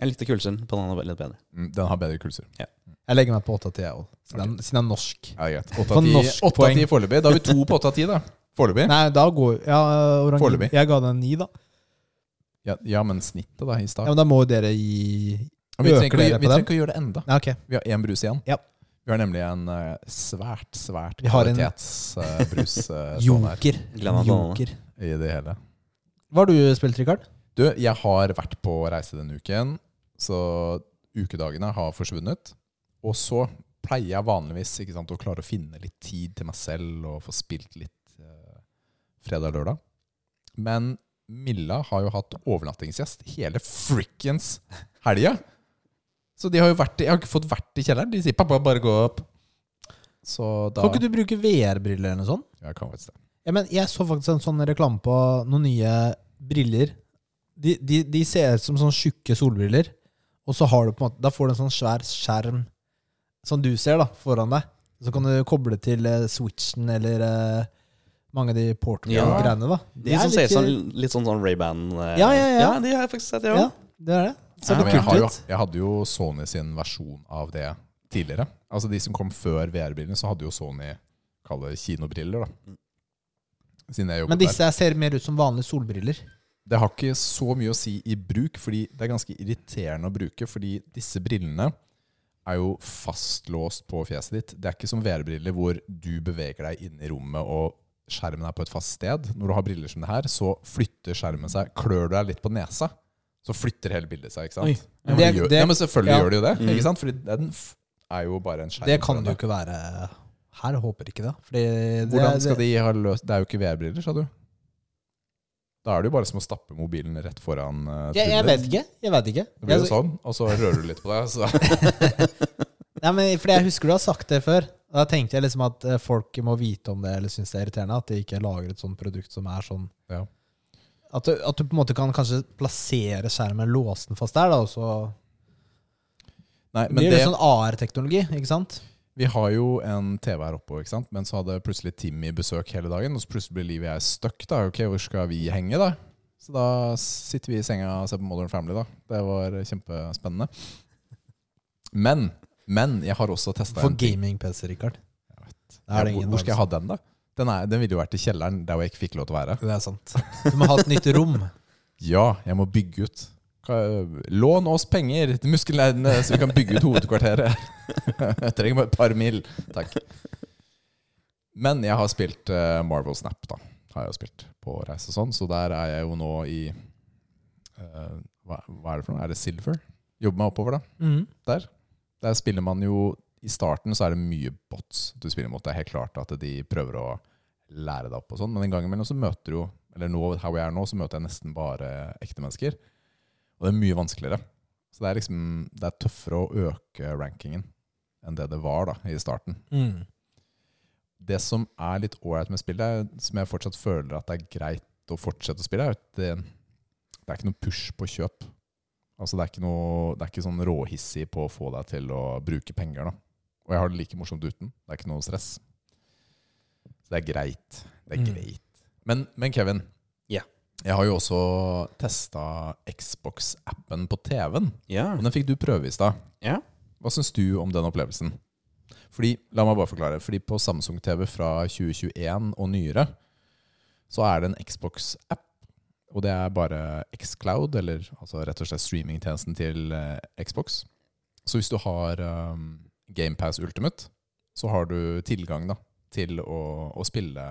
Speaker 3: Jeg likte kulsen på den andre litt bedre.
Speaker 2: Mm, Den har bedre kulser.
Speaker 1: Jeg legger meg på 8 av 10, jeg òg, siden den er norsk.
Speaker 2: Ja, greit. Åtte
Speaker 1: For
Speaker 2: av ti-
Speaker 1: norsk
Speaker 2: åtte av
Speaker 1: poeng.
Speaker 2: ti foreløpig. Da har vi to på åtte av ti, da. Foreløpig.
Speaker 1: Nei, da går ja, orangino-
Speaker 2: Foreløpig.
Speaker 1: Jeg ga den en 9, da.
Speaker 2: Ja, ja, men snittet, da, i
Speaker 1: Ja,
Speaker 2: stad.
Speaker 1: men da må jo dere gi
Speaker 2: vi trenger
Speaker 1: øker
Speaker 2: ikke å
Speaker 1: dere
Speaker 2: gjøre- vi
Speaker 1: på
Speaker 2: trenger
Speaker 1: den?
Speaker 2: ikke å gjøre det enda.
Speaker 1: Nei, ok.
Speaker 2: Vi har én brus igjen.
Speaker 1: Ja.
Speaker 2: Vi har nemlig en eh, svært, svært
Speaker 1: Vi har en-
Speaker 2: kvalitetsbrus uh, stående her
Speaker 1: Joker.
Speaker 3: Glem at den andre.
Speaker 1: Joker.
Speaker 2: i det hele.
Speaker 1: Hva har du spilt, Rikard?
Speaker 2: Du, jeg har vært på reise denne uken, så ukedagene har forsvunnet. Og så pleier jeg vanligvis ikke sant, å klare å finne litt tid til meg selv og få spilt litt eh, fredag og lørdag. Men Milla har jo hatt overnattingsgjest hele frikkens helga. Så de har jo vært, i- jeg har ikke fått vært i kjelleren. De sier 'pappa, bare gå opp'. Så da
Speaker 1: Kan ikke du bruke VR-briller eller noe sånt?
Speaker 2: Jeg kan faktisk det.
Speaker 1: Ja, men jeg så faktisk en sånn reklame på noen nye briller. De, de, de ser ut som sånn tjukke solbriller, og så har du på en måte, da får du en sånn svær skjerm som du ser da, foran deg. Så kan du koble til eh, switchen eller eh, mange av de
Speaker 3: Ja.
Speaker 1: portable-greiene. da.
Speaker 3: De som ser ut som litt sånn, sånn Ray-Ban eh,
Speaker 1: Ja, ja, ja.
Speaker 3: de har jeg faktisk sett, jeg
Speaker 1: Ja,
Speaker 3: òg.
Speaker 1: det er det. Ser
Speaker 2: Ja,
Speaker 1: litt
Speaker 2: men jeg,
Speaker 1: kult
Speaker 2: har jo,
Speaker 1: ut.
Speaker 2: jeg hadde jo Sony sin versjon av det tidligere. Altså De som kom før VR-brillene, så hadde jo Sony kall det kinobriller. da Siden
Speaker 1: Men
Speaker 2: jeg jobbet der.
Speaker 1: disse ser mer ut som vanlige solbriller.
Speaker 2: Det har ikke så mye å si i bruk, fordi det er ganske irriterende å bruke. Fordi disse brillene er jo fastlåst på fjeset ditt. Det er ikke som VR-briller hvor du beveger deg inn i rommet og skjermen er på et fast sted. Når du har briller som det her, så flytter skjermen seg. Klør du deg litt på nesa, så flytter hele bildet seg. ikke sant?
Speaker 1: Oi.
Speaker 2: Ja, men,
Speaker 1: Det-
Speaker 2: det gjør,
Speaker 1: det-
Speaker 2: ja, men selvfølgelig
Speaker 1: ja. Mm.
Speaker 2: gjør det jo det. ikke sant? Fordi den f- er jo bare en skjerm.
Speaker 1: Det
Speaker 2: foran
Speaker 1: kan det jo
Speaker 2: deg.
Speaker 1: ikke være her. Håper ikke det. Fordi det
Speaker 2: Hvordan skal de ha løst Det er jo ikke VR-briller, sa du. Da er det jo bare som å stappe mobilen rett foran uh,
Speaker 1: Jeg, jeg vet ikke. Jeg vet ikke.
Speaker 2: Det blir jo
Speaker 1: Jeg-
Speaker 2: sånn, og så rører du litt på deg. Så.
Speaker 1: Nei, men fordi Jeg husker du har sagt det før. Og Da tenkte jeg liksom at eh, folk må vite om det eller synes det er irriterende. At de ikke lager et sånt produkt som er sånn
Speaker 2: Ja.
Speaker 1: at, du, at du på en måte kan kanskje plassere skjermen, låse den fast der, da, og så
Speaker 2: Nei,
Speaker 1: Det
Speaker 2: men
Speaker 1: blir
Speaker 2: det,
Speaker 1: liksom- det sånn AR-teknologi, ikke sant?
Speaker 2: Vi har jo en TV her oppe, ikke sant? men så hadde plutselig Timmy besøk hele dagen. Og så plutselig blir Liv og jeg stuck. Da. Ok, hvor skal vi henge, da? Så da sitter vi i senga og ser på Modern Family, da. Det var kjempespennende. Men, men jeg har også testa
Speaker 1: For gaming-PC, Rikard. Da er det
Speaker 2: hvor,
Speaker 1: ingen
Speaker 2: hvor skal
Speaker 1: dag
Speaker 2: jeg ha den, da? Den, er, den ville jo vært i kjelleren, der hvor jeg ikke fikk lov til å være.
Speaker 1: som- Det er sant. Du må ha et nytt rom.
Speaker 2: Ja, jeg må bygge ut. Ka- Lån oss penger til muskelnerdene, så vi kan bygge ut hovedkvarteret. Jeg trenger bare et par mil. Takk. Men jeg har spilt eh, Marvel Snap, da. Har jeg jo spilt på reise og sånn, så der er jeg jo nå i eh, hva, hva er det for noe? Er det Silver? Jobber meg oppover, da.
Speaker 1: Mm.
Speaker 2: der. Der spiller man jo I starten så er det mye bots du spiller mot. Det er helt klart at de prøver å lære deg opp og sånn, men en gang imellom så møter du jo Eller nå, her hvor jeg er nå, så møter jeg nesten bare ekte mennesker. Og det er mye vanskeligere. Så det er liksom Det er tøffere å øke rankingen enn det det var da i starten.
Speaker 1: Mm.
Speaker 2: Det som er litt ålreit med spillet, er- som jeg fortsatt føler at det er greit å fortsette å spille, er at det, det er ikke noe push på kjøp. Altså det er ikke, noe, det er ikke sånn råhissig på å få deg til å bruke penger. da. Og jeg har det like morsomt uten. Det er ikke noe stress. Så det er greit. Det er
Speaker 1: Mm.
Speaker 2: greit. Men, men Kevin,
Speaker 3: Ja.
Speaker 2: jeg har jo også testa Xbox-appen på TV-en.
Speaker 3: Ja.
Speaker 2: Og den fikk du prøve i stad.
Speaker 3: Ja.
Speaker 2: Hva syns du om den opplevelsen? Fordi, La meg bare forklare. Fordi på Samsung TV fra 2021 og nyere, så er det en Xbox-app. Og det er bare Xcloud, eller altså rett og slett streamingtjenesten til eh, Xbox. Så hvis du har um, GamePass Ultimate, så har du tilgang da, til å, å spille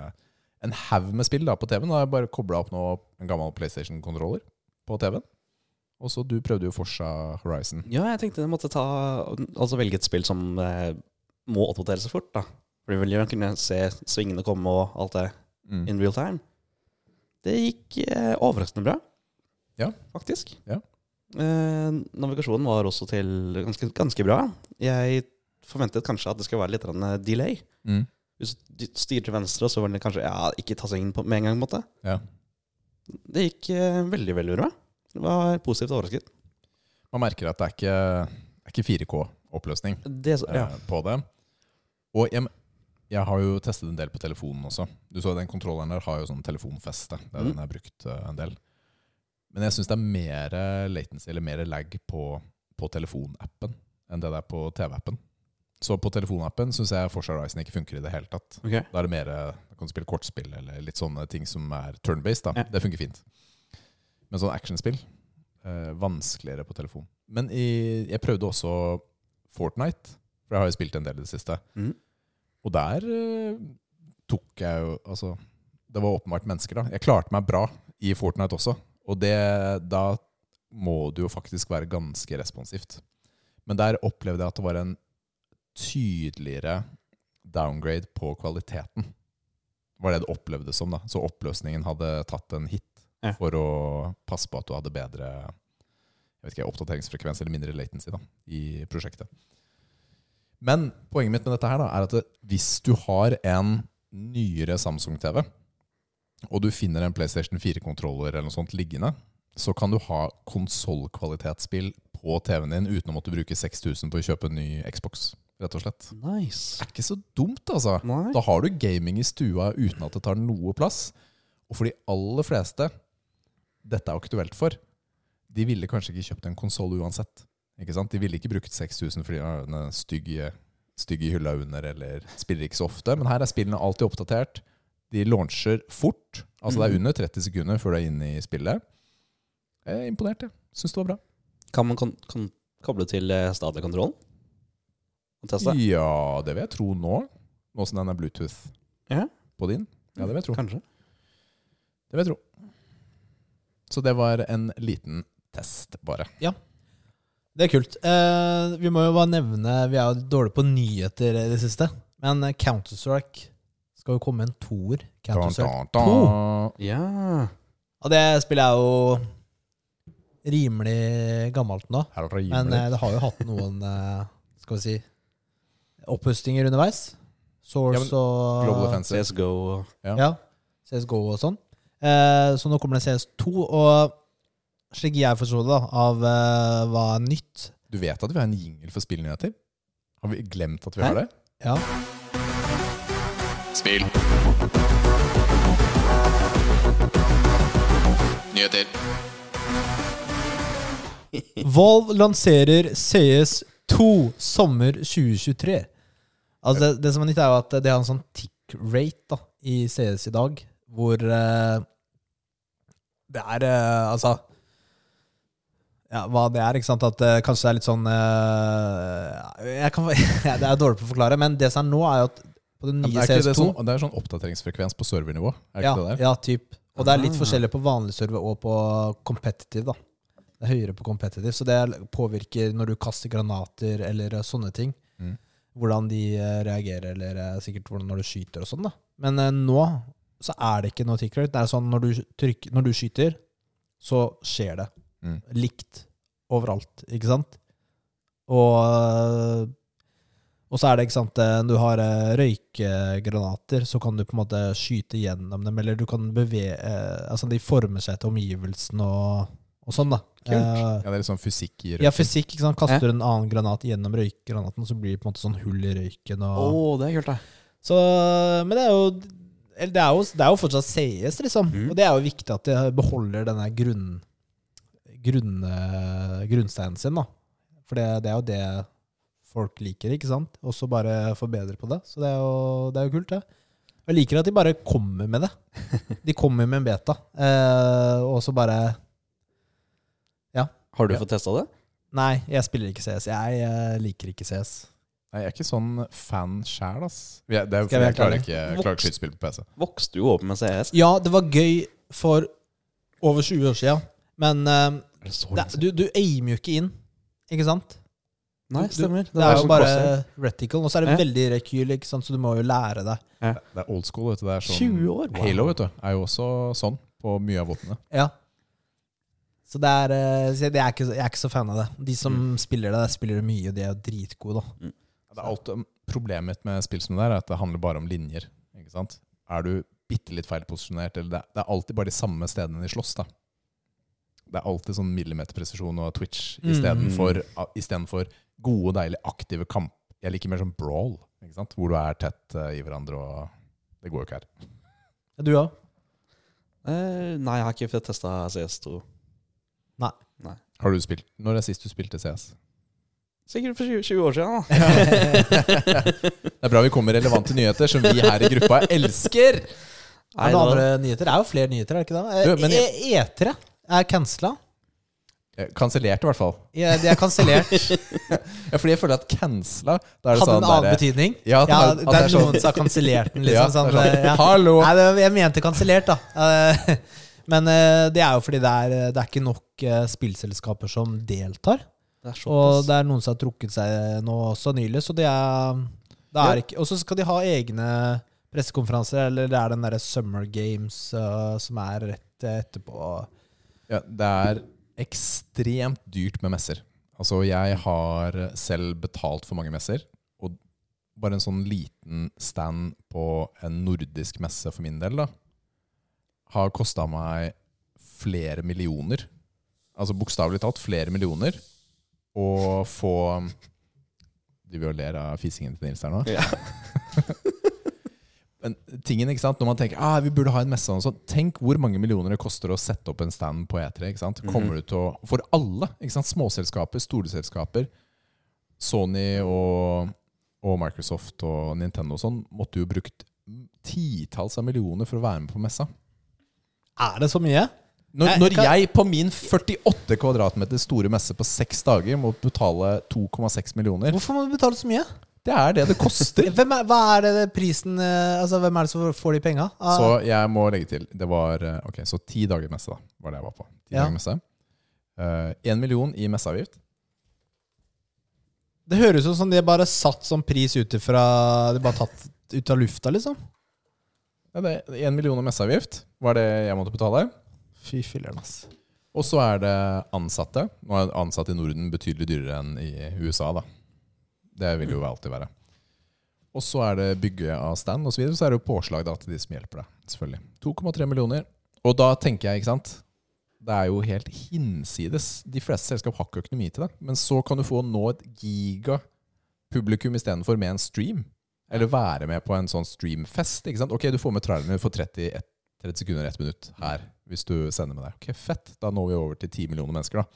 Speaker 2: en haug med spill da, på TV-en. Da har jeg bare kobla opp nå en gammel PlayStation-kontroller på TV-en. Og så du prøvde jo Forsa Horizon.
Speaker 3: ja, jeg tenkte jeg måtte ta, altså velge et spill som eh, må oppdatere seg fort. da. For du vil jo kunne se svingene komme og alt det
Speaker 2: Mm.
Speaker 3: in real time. Det gikk eh, overraskende bra,
Speaker 2: Ja.
Speaker 3: faktisk.
Speaker 2: Ja.
Speaker 3: Eh, navigasjonen var også til ganske, ganske bra. Jeg forventet kanskje at det skulle være litt grann, eh, delay.
Speaker 2: Mm.
Speaker 3: Hvis du styrer til venstre, så vil den kanskje ja, ikke ta seg inn på, med en gang. på en måte.
Speaker 2: Ja.
Speaker 3: Det gikk eh, veldig, veldig bra. Det var positivt overrasket.
Speaker 2: Man merker at det er ikke, det er ikke 4K-oppløsning
Speaker 3: Det, så- ja.
Speaker 2: eh, på det. Og jeg, jeg har jo testet en del på telefonen også. Du så den kontrolleren der har jo sånn telefonfeste. Det er
Speaker 3: Mhm.
Speaker 2: den jeg har brukt eh, en del. Men jeg syns det er mer latency, eller mer lag, på, på telefonappen enn det det er på TV-appen. Så på telefonappen syns jeg Forsa Horizon ikke funker i det hele tatt.
Speaker 3: Ok.
Speaker 2: Da er det mer eh, Da kan du spille kortspill eller litt sånne ting som er turn-based. da
Speaker 3: Ja.
Speaker 2: Det funker fint. Men sånn actionspill eh, vanskeligere på telefon. Men i, jeg prøvde også Fortnite, for jeg har jo spilt en del i det siste.
Speaker 3: Mhm.
Speaker 2: Og der eh, tok jeg jo Altså, det var åpenbart mennesker, da. Jeg klarte meg bra i Fortnite også, og det, da må du jo faktisk være ganske responsivt. Men der opplevde jeg at det var en tydeligere downgrade på kvaliteten. Var det det opplevdes som, da. Så oppløsningen hadde tatt en hit
Speaker 3: Ja.
Speaker 2: for å passe på at du hadde bedre jeg vet ikke, oppdateringsfrekvens eller mindre latency da, i prosjektet. Men poenget mitt med dette her da, er at det, hvis du har en nyere Samsung-TV, og du finner en PlayStation 4-kontroller eller noe sånt liggende, så kan du ha konsollkvalitetsspill på TV-en din uten å måtte bruke 6000 på å kjøpe en ny Xbox, rett og slett.
Speaker 3: Nice.
Speaker 2: Det er ikke så dumt, altså.
Speaker 3: Nei.
Speaker 2: Da har du gaming i stua uten at det tar noe plass. Og for de aller fleste dette er aktuelt for, de ville kanskje ikke kjøpt en konsoll uansett. Ikke sant? De ville ikke brukt 6000 fordi ja, den er stygg i- stygg i hylla under, eller spiller ikke så ofte. Men her er spillene alltid oppdatert. De launcher fort. Altså det er under 30 sekunder før du er inne i spillet. Jeg er imponert, jeg. Syns det var bra.
Speaker 3: Kan man kon kon koble til eh, stadionkontrollen? Og teste?
Speaker 2: Ja, det vil jeg tro nå. Nå som den er Bluetooth
Speaker 3: Ja.
Speaker 2: på din. Ja, det vil jeg tro.
Speaker 3: Kanskje.
Speaker 2: Det vil jeg tro. Så det var en liten test, bare.
Speaker 1: Det er kult. Eh, vi må jo bare nevne Vi er jo dårlige på nyheter i det siste. Men eh, Counter-Strike skal jo komme en toer. Counter-Strike. To.
Speaker 3: Ja.
Speaker 1: Og det spillet er jo rimelig gammelt nå.
Speaker 2: Her er det
Speaker 1: Men
Speaker 2: rimelig.
Speaker 1: eh, det har jo hatt noen eh, Skal vi si opphustinger underveis. Source
Speaker 2: Ja, men
Speaker 1: og
Speaker 2: Global Offensive.
Speaker 3: CSGO.
Speaker 1: Ja, CSGO og sånn. Eh, så nå kommer det CS2, og slik jeg forsto det, da, av eh, hva er nytt
Speaker 2: Du vet at vi har en jingle for spillnyheter? Har vi glemt at vi har
Speaker 3: Hæ?
Speaker 2: det?
Speaker 1: Ja.
Speaker 4: Spill. Nyheter.
Speaker 1: Valve lanserer CS2 sommer 2023. Altså det, det som er nytt, er jo at det har en sånn tick rate da, i CS i dag, hvor eh, det er eh, Altså ja, hva det er, ikke sant? At det kanskje det er litt sånn eh, jeg kan, Det er dårlig på å forklare, men det som er nå, er jo at på den
Speaker 2: Men
Speaker 1: nye
Speaker 2: er ikke
Speaker 1: CS2
Speaker 2: det, sånn, det er sånn oppdateringsfrekvens på servernivå. Er
Speaker 1: ja,
Speaker 2: ikke det der? Ah.
Speaker 1: ja, typ. Og det er litt forskjellig på vanlig server og på competitive. da. Det er høyere på competitive, så det påvirker når du kaster granater eller eh, sånne ting.
Speaker 2: Mm.
Speaker 1: Hvordan de eh, reagerer, eller eh, sikkert hvordan når du skyter og sånn. da. Men eh, nå så er det ikke noe tick rate. Det er sånn når du, trykker, når du skyter, så skjer det.
Speaker 2: Mm.
Speaker 1: Likt overalt, ikke sant? Og eh, og så er det, ikke sant, eh, du har eh, røykegranater, så kan du på en måte skyte gjennom dem, eller du kan bevege eh, Altså, de former seg til omgivelsene og, og sånn, da.
Speaker 2: Ja,
Speaker 1: Kult.
Speaker 2: det er litt sånn fysikk i
Speaker 1: ja,
Speaker 2: røyken.
Speaker 1: fysikk, ikke sant. Kaster du en annen granat gjennom røykgranaten, så blir det på en måte sånn hull i røyken og
Speaker 3: Å, det er kult, da.
Speaker 1: Så Men det er jo eller det er, jo, det er jo fortsatt CS, liksom.
Speaker 3: Mhm.
Speaker 1: Og det er jo viktig at de beholder denne grunn, grunn, eh, grunnsteinen sin, da. For det, det er jo det folk liker, ikke sant? Og så bare forbedre på det. Så det er jo, det er jo kult, det. Og Jeg liker at de bare kommer med det. De kommer med en beta, eh, og så bare
Speaker 3: Har du fått testa det?
Speaker 1: Nei, jeg spiller ikke CS. Jeg eh, liker ikke CS.
Speaker 2: Nei, jeg er ikke sånn fan sjæl, ass. Jeg, det
Speaker 1: Skal
Speaker 2: er, fordi
Speaker 1: jeg
Speaker 2: jeg
Speaker 1: være
Speaker 2: klarer ikke jeg klarer ikke skytespill på PC.
Speaker 3: Vokste du opp med CS?
Speaker 1: Ja, det var gøy for over 20 år sia, men eh,
Speaker 3: Er det så
Speaker 1: det,
Speaker 3: lenge siden?
Speaker 1: du, du aimer jo ikke inn, ikke sant?
Speaker 3: Nei,
Speaker 1: du-
Speaker 3: stemmer.
Speaker 1: Det er jo
Speaker 3: sånn
Speaker 1: bare
Speaker 3: crosshair.
Speaker 1: reticle, og så er det veldig rekyl, ikke sant? så du må jo lære deg.
Speaker 2: Det er old school, vet du. Det er sånn
Speaker 3: 20 år, wow.
Speaker 2: Halo vet du, er jo også sånn på mye av våpnene.
Speaker 1: Ja. Så det er, eh, så jeg, det er ikke, så- jeg er ikke så fan av det. De som spiller det, spiller det mye, og de er jo dritgode, da.
Speaker 2: Det er alt, um, problemet mitt med spill som det der er at det handler bare om linjer. Ikke sant? Er du bitte litt feilposisjonert, eller det er, det er alltid bare de samme stedene de slåss, da. Det er alltid sånn millimeterpresisjon og twitch istedenfor istedenfor gode, deilige, aktive kamp. Jeg liker mer sånn brawl, ikke sant? hvor du er tett eh, i hverandre og Det går jo ikke her.
Speaker 1: Ja, Du òg?
Speaker 3: Eh, Nei, jeg har ikke fått testa CS2.
Speaker 2: Har du spilt, Når er sist du spilte CS?
Speaker 3: Sikkert for 20, 20 år siden, da.
Speaker 2: Det er bra vi kommer med relevante nyheter, som vi her i gruppa elsker!
Speaker 1: Er det noen andre nyheter? Det er jo flere nyheter, er det ikke det? Eh,
Speaker 2: Du, men-
Speaker 1: E- E3 er cancela.
Speaker 2: Eh, Kansellert, i hvert fall.
Speaker 1: Ja, De er kansellert.
Speaker 2: Ja, fordi jeg føler at cancela da er det
Speaker 1: Hadde en
Speaker 2: sånn
Speaker 1: annen
Speaker 2: derre-
Speaker 1: betydning.
Speaker 2: Ja, at det
Speaker 1: Ja,
Speaker 2: har-
Speaker 1: det
Speaker 2: at det
Speaker 1: er
Speaker 2: er sånn-
Speaker 1: noen som har kansellert den,
Speaker 2: Ja,
Speaker 1: liksom. Sånn,
Speaker 2: det er sånn,
Speaker 1: eh, ja.
Speaker 2: Hallo!
Speaker 1: Nei, det- jeg mente kansellert, da. Eh, Men eh, det er jo fordi det er, det er ikke nok eh, spillselskaper som deltar.
Speaker 3: Det er
Speaker 1: Og
Speaker 3: såpass.
Speaker 1: det er noen som har trukket seg nå også nylig, så det er, det er ikke Og så skal de ha egne pressekonferanser, eller det er den derre Summer Games eh, som er rett eh, etterpå.
Speaker 2: Ja, det er ekstremt dyrt med messer. Altså, jeg har selv betalt for mange messer. Og bare en sånn liten stand på en nordisk messe for min del, da, har kosta meg flere millioner. Altså bokstavelig talt flere millioner. Å få Du vil jo ler av fisingen til Nils her nå.
Speaker 3: Ja.
Speaker 2: Men tingen, ikke sant, Når man tenker ah, vi burde ha en messe og sånn, Tenk hvor mange millioner det koster å sette opp en stand på E3. ikke sant? Kommer du til å, For alle. ikke sant, Småselskaper, storselskaper. Sony og, og Microsoft og Nintendo og sånn måtte jo brukt titalls av millioner for å være med på messa.
Speaker 1: Er det så mye?
Speaker 2: Når,
Speaker 1: Nei,
Speaker 2: når
Speaker 1: kan-
Speaker 2: jeg på min 48 kvadratmeter store messe på seks dager må betale 2,6 millioner
Speaker 1: Hvorfor må du betale så mye?
Speaker 2: Det er det det koster!
Speaker 1: Hvem er, hva er det prisen eh, Altså, hvem er det som får de penga? Ah,
Speaker 2: Så jeg må legge til Det var eh, ok, så ti dager messe, da. Var det jeg var på. Ti
Speaker 1: Ja.
Speaker 2: dager messe. Én million i messeavgift.
Speaker 1: Det høres ut som de bare satt som pris ut ifra De bare tatt ut av lufta, liksom.
Speaker 2: Én million i messeavgift var det jeg måtte betale.
Speaker 1: Fy filler'n, ass.
Speaker 2: Og så er det ansatte. Nå er ansatte i Norden betydelig dyrere enn i USA, da. Det vil jo alltid være. Og så er det bygge av stand osv. Så, videre, så er det jo påslag da, til de som hjelper deg. selvfølgelig. 2,3 millioner. Og da tenker jeg, ikke sant Det er jo helt hinsides. De fleste selskap har ikke økonomi til det. Men så kan du få nå et giga publikum istedenfor med en stream. Eller være med på en sånn streamfest. ikke sant? Ok, du får med traileren du får 30, ett- 30 sekunder, 1 minutt her, hvis du sender med deg. Ok, fett. Da når vi over til 10 millioner mennesker, da.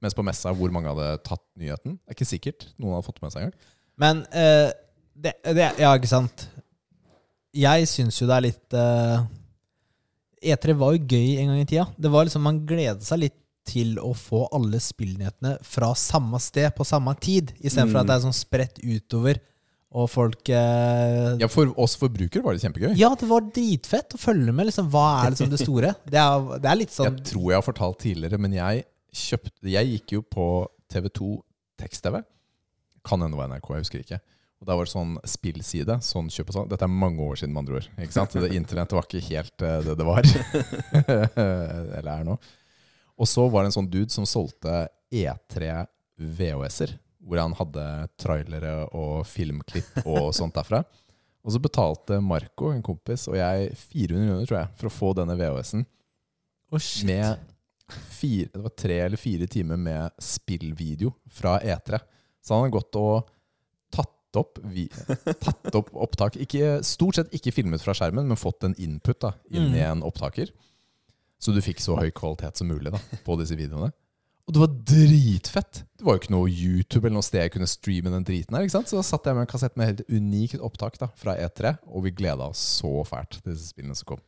Speaker 2: Mens på messa, hvor mange hadde tatt nyheten? Det er ikke sikkert. Noen hadde fått med seg engang.
Speaker 1: Men eh, det, det Ja, ikke sant. Jeg syns jo det er litt eh, E3 var jo gøy en gang i tida. Det var liksom Man gledet seg litt til å få alle spillnyhetene fra samme sted på samme tid, istedenfor at det er sånn spredt utover, og folk eh,
Speaker 2: Ja, for oss forbrukere var det kjempegøy.
Speaker 1: Ja, det var dritfett å følge med. liksom Hva er liksom det store? Det er, det er litt sånn
Speaker 2: Jeg tror jeg har fortalt tidligere, men jeg kjøpte Jeg gikk jo på TV2 tekst-TV. Kan hende det var NRK, jeg husker ikke. Og Der var det sånn spillside. sånn kjøp og salg. Dette er mange år siden, med andre ord. ikke sant? Det- Internettet var ikke helt eh, det det var. Eller er nå. Og så var det en sånn dude som solgte E E3 VHS-er. Hvor han hadde trailere og filmklipp og sånt derfra. Og så betalte Marco, en kompis, og jeg 400 kroner, tror jeg, for å få denne VHS-en
Speaker 1: Å, shit.
Speaker 2: med fire, det var tre eller fire timer med spillvideo fra E3. Så han har gått og tatt opp, vi, tatt opp opptak. Ikke, stort sett ikke filmet fra skjermen, men fått en input da, inn i en opptaker. Så du fikk så høy kvalitet som mulig da, på disse videoene. Og det var dritfett! Det var jo ikke noe YouTube eller noe sted jeg kunne streame den driten her. ikke sant? Så da satt jeg med en kassett med helt unikt opptak da, fra E3, og vi gleda oss så fælt til disse spillene som kom.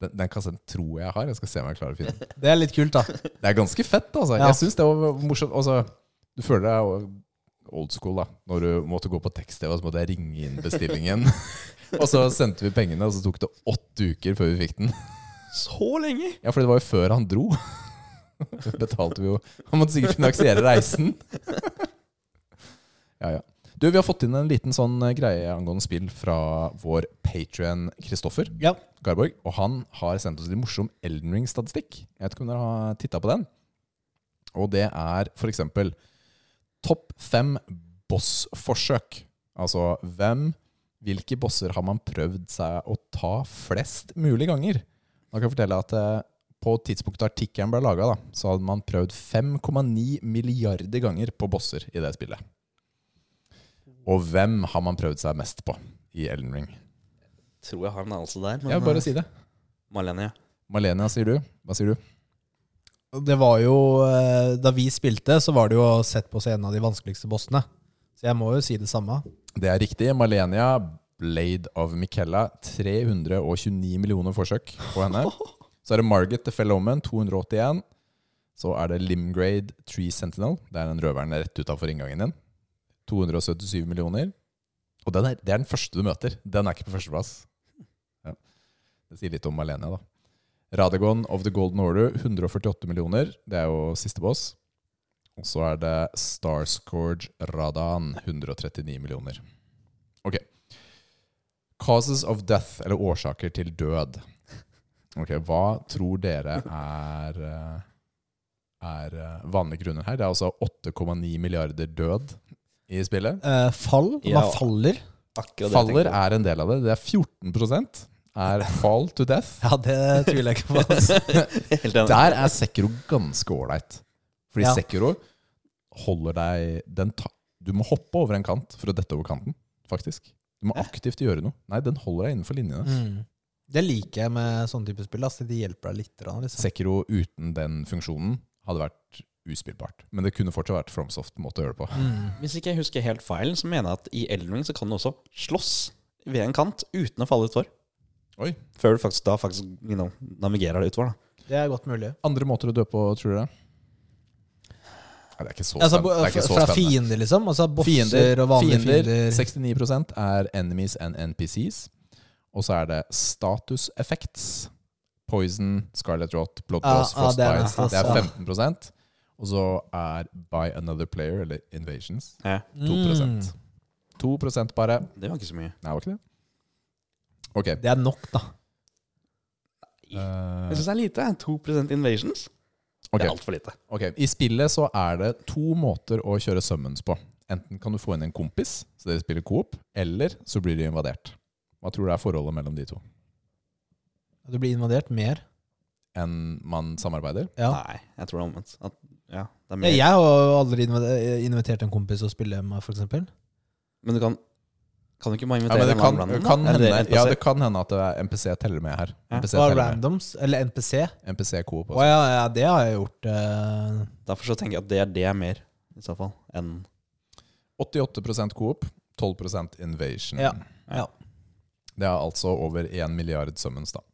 Speaker 2: Den, den kassetten tror jeg jeg har. Jeg skal se om jeg klarer å finne den.
Speaker 1: Det er litt kult, da.
Speaker 2: Det er ganske fett, altså.
Speaker 1: Ja.
Speaker 2: Jeg syns det var morsomt. Altså, du føler deg jo old school da, når du måtte gå på tekst-TV, og så måtte jeg ringe inn bestillingen. og så sendte vi pengene, og så tok det åtte uker før vi fikk den.
Speaker 3: Så lenge!
Speaker 2: Ja, for det var jo før han dro. Så Betalte vi jo Han måtte sikkert finansiere reisen. ja, ja. Du, Vi har fått inn en liten sånn eh, greie angående spill fra vår Patrion Kristoffer.
Speaker 1: Ja.
Speaker 2: Garborg, og han har sendt oss litt morsom Elden Ring-statistikk. Jeg vet ikke om dere har titta på den. Og det er f.eks. topp fem bossforsøk. Altså hvem Hvilke bosser har man prøvd seg å ta flest mulig ganger? Da kan jeg fortelle at eh, på tidspunktet artikkelen ble laga, så hadde man prøvd 5,9 milliarder ganger på bosser i det spillet. Og hvem har man prøvd seg mest på i Elden Ring?
Speaker 3: Tror jeg har en anelse der, men
Speaker 2: Ja, bare si det.
Speaker 3: Malene, ja.
Speaker 2: Malenia, sier du? Hva sier du?
Speaker 1: Det var jo eh, Da vi spilte, så var det jo sett på som en av de vanskeligste bossene. Så jeg må jo si det samme.
Speaker 2: Det er riktig. Malenia, Blade of Michaela. 329 millioner forsøk på henne. Så er det Margaret the Fellow Woman, 281. Så er det Limgrade Tree Sentinel. Det er den røveren rett utafor inngangen din. 277 millioner. Og den er, det er den første du møter. Den er ikke på førsteplass. Ja. Det sier litt om Malenia, da. Radagon of the Golden Order, 148 millioner. Det er jo siste boss. Og så er det Starscourge Radan, 139 millioner. Ok. Causes of death, eller årsaker til død. Ok, Hva tror dere er eh, er eh, vanlige grunner her? Det er altså 8,9 milliarder død i spillet.
Speaker 1: Eh, fall.
Speaker 3: Ja.
Speaker 1: Man faller.
Speaker 3: Akkurat
Speaker 2: Faller
Speaker 3: det jeg tenkte.
Speaker 2: er en del av det. Det er 14 er fall to death.
Speaker 1: Ja, det tviler jeg ikke på. altså.
Speaker 3: Helt enig.
Speaker 2: Der er Sekiro ganske ålreit. Fordi
Speaker 1: Ja.
Speaker 2: Sekiro holder deg den ta Du må hoppe over en kant for å dette over kanten, faktisk. Du må aktivt gjøre noe. Nei, den holder deg innenfor linjene.
Speaker 1: Mm. Det liker jeg med sånne type spill. Altså. De hjelper deg litt. grann, Liksom.
Speaker 2: Sekiro uten den funksjonen hadde vært uspillbart. Men det kunne fortsatt vært FromSoft-måte å gjøre det på.
Speaker 1: Mm.
Speaker 3: Hvis ikke jeg husker helt feil, så mener jeg at i Elden Ring så kan du også slåss ved en kant uten å falle utfor.
Speaker 2: Oi.
Speaker 3: Før du faktisk da faktisk you know, navigerer deg utfor. da.
Speaker 1: Det er godt mulig.
Speaker 2: Andre måter å dø på, tror dere? Nei, det er ikke så
Speaker 1: Altså,
Speaker 2: spennende. Det er ikke så
Speaker 1: fra
Speaker 2: spennende.
Speaker 1: fiender, liksom? Altså bosser og vanlige fiender.
Speaker 2: 69 er enemies and NPCs. Og så er det status effects. Poison, Scarlet Rot, Blood
Speaker 1: Ja,
Speaker 2: Loss,
Speaker 1: ja, Ah, det Altså. er
Speaker 2: Frostbite.
Speaker 1: nesten
Speaker 2: det er
Speaker 1: så.
Speaker 2: 15 Og så er By Another Player, eller Invasions,
Speaker 3: Ja,
Speaker 1: Mm.
Speaker 2: 2 2 bare.
Speaker 3: det var ikke så mye.
Speaker 2: Nei, var ikke det? Ok.
Speaker 1: Det er nok, da.
Speaker 2: eh,
Speaker 3: Jeg syns det er lite. 2 invasions.
Speaker 2: ok.
Speaker 3: Det er altfor lite.
Speaker 2: Ok, I spillet så er det to måter å kjøre summons på. Enten kan du få inn en kompis, så dere spiller coop, eller så blir de invadert. Hva tror du er forholdet mellom de to?
Speaker 1: Du blir invadert mer.
Speaker 2: Enn man samarbeider?
Speaker 1: Ja.
Speaker 3: Nei, jeg tror det er omvendt. At, ja, det
Speaker 1: Ja,
Speaker 3: er mer.
Speaker 1: eh, jeg har jo aldri invitert en kompis å spille med, for eksempel.
Speaker 3: Men du kan Kan du ikke bare
Speaker 2: Ja,
Speaker 3: invitere
Speaker 2: men det
Speaker 3: en
Speaker 2: kan,
Speaker 3: annen random,
Speaker 2: kan
Speaker 3: da? Eller
Speaker 2: hende,
Speaker 3: NPC?
Speaker 2: ja, det kan hende at det er MPC teller med her.
Speaker 3: Ja.
Speaker 2: MPC
Speaker 1: Og
Speaker 2: teller med.
Speaker 1: randoms, eller NPC.
Speaker 2: MPC Coop.
Speaker 1: Å
Speaker 2: også.
Speaker 1: ja, ja, det har jeg gjort. eh,
Speaker 3: Derfor så tenker jeg at det er det er mer, i så fall, enn
Speaker 2: 88 Coop, 12 Invasion.
Speaker 1: Ja. ja.
Speaker 2: Det er altså over 1 milliard summons, da.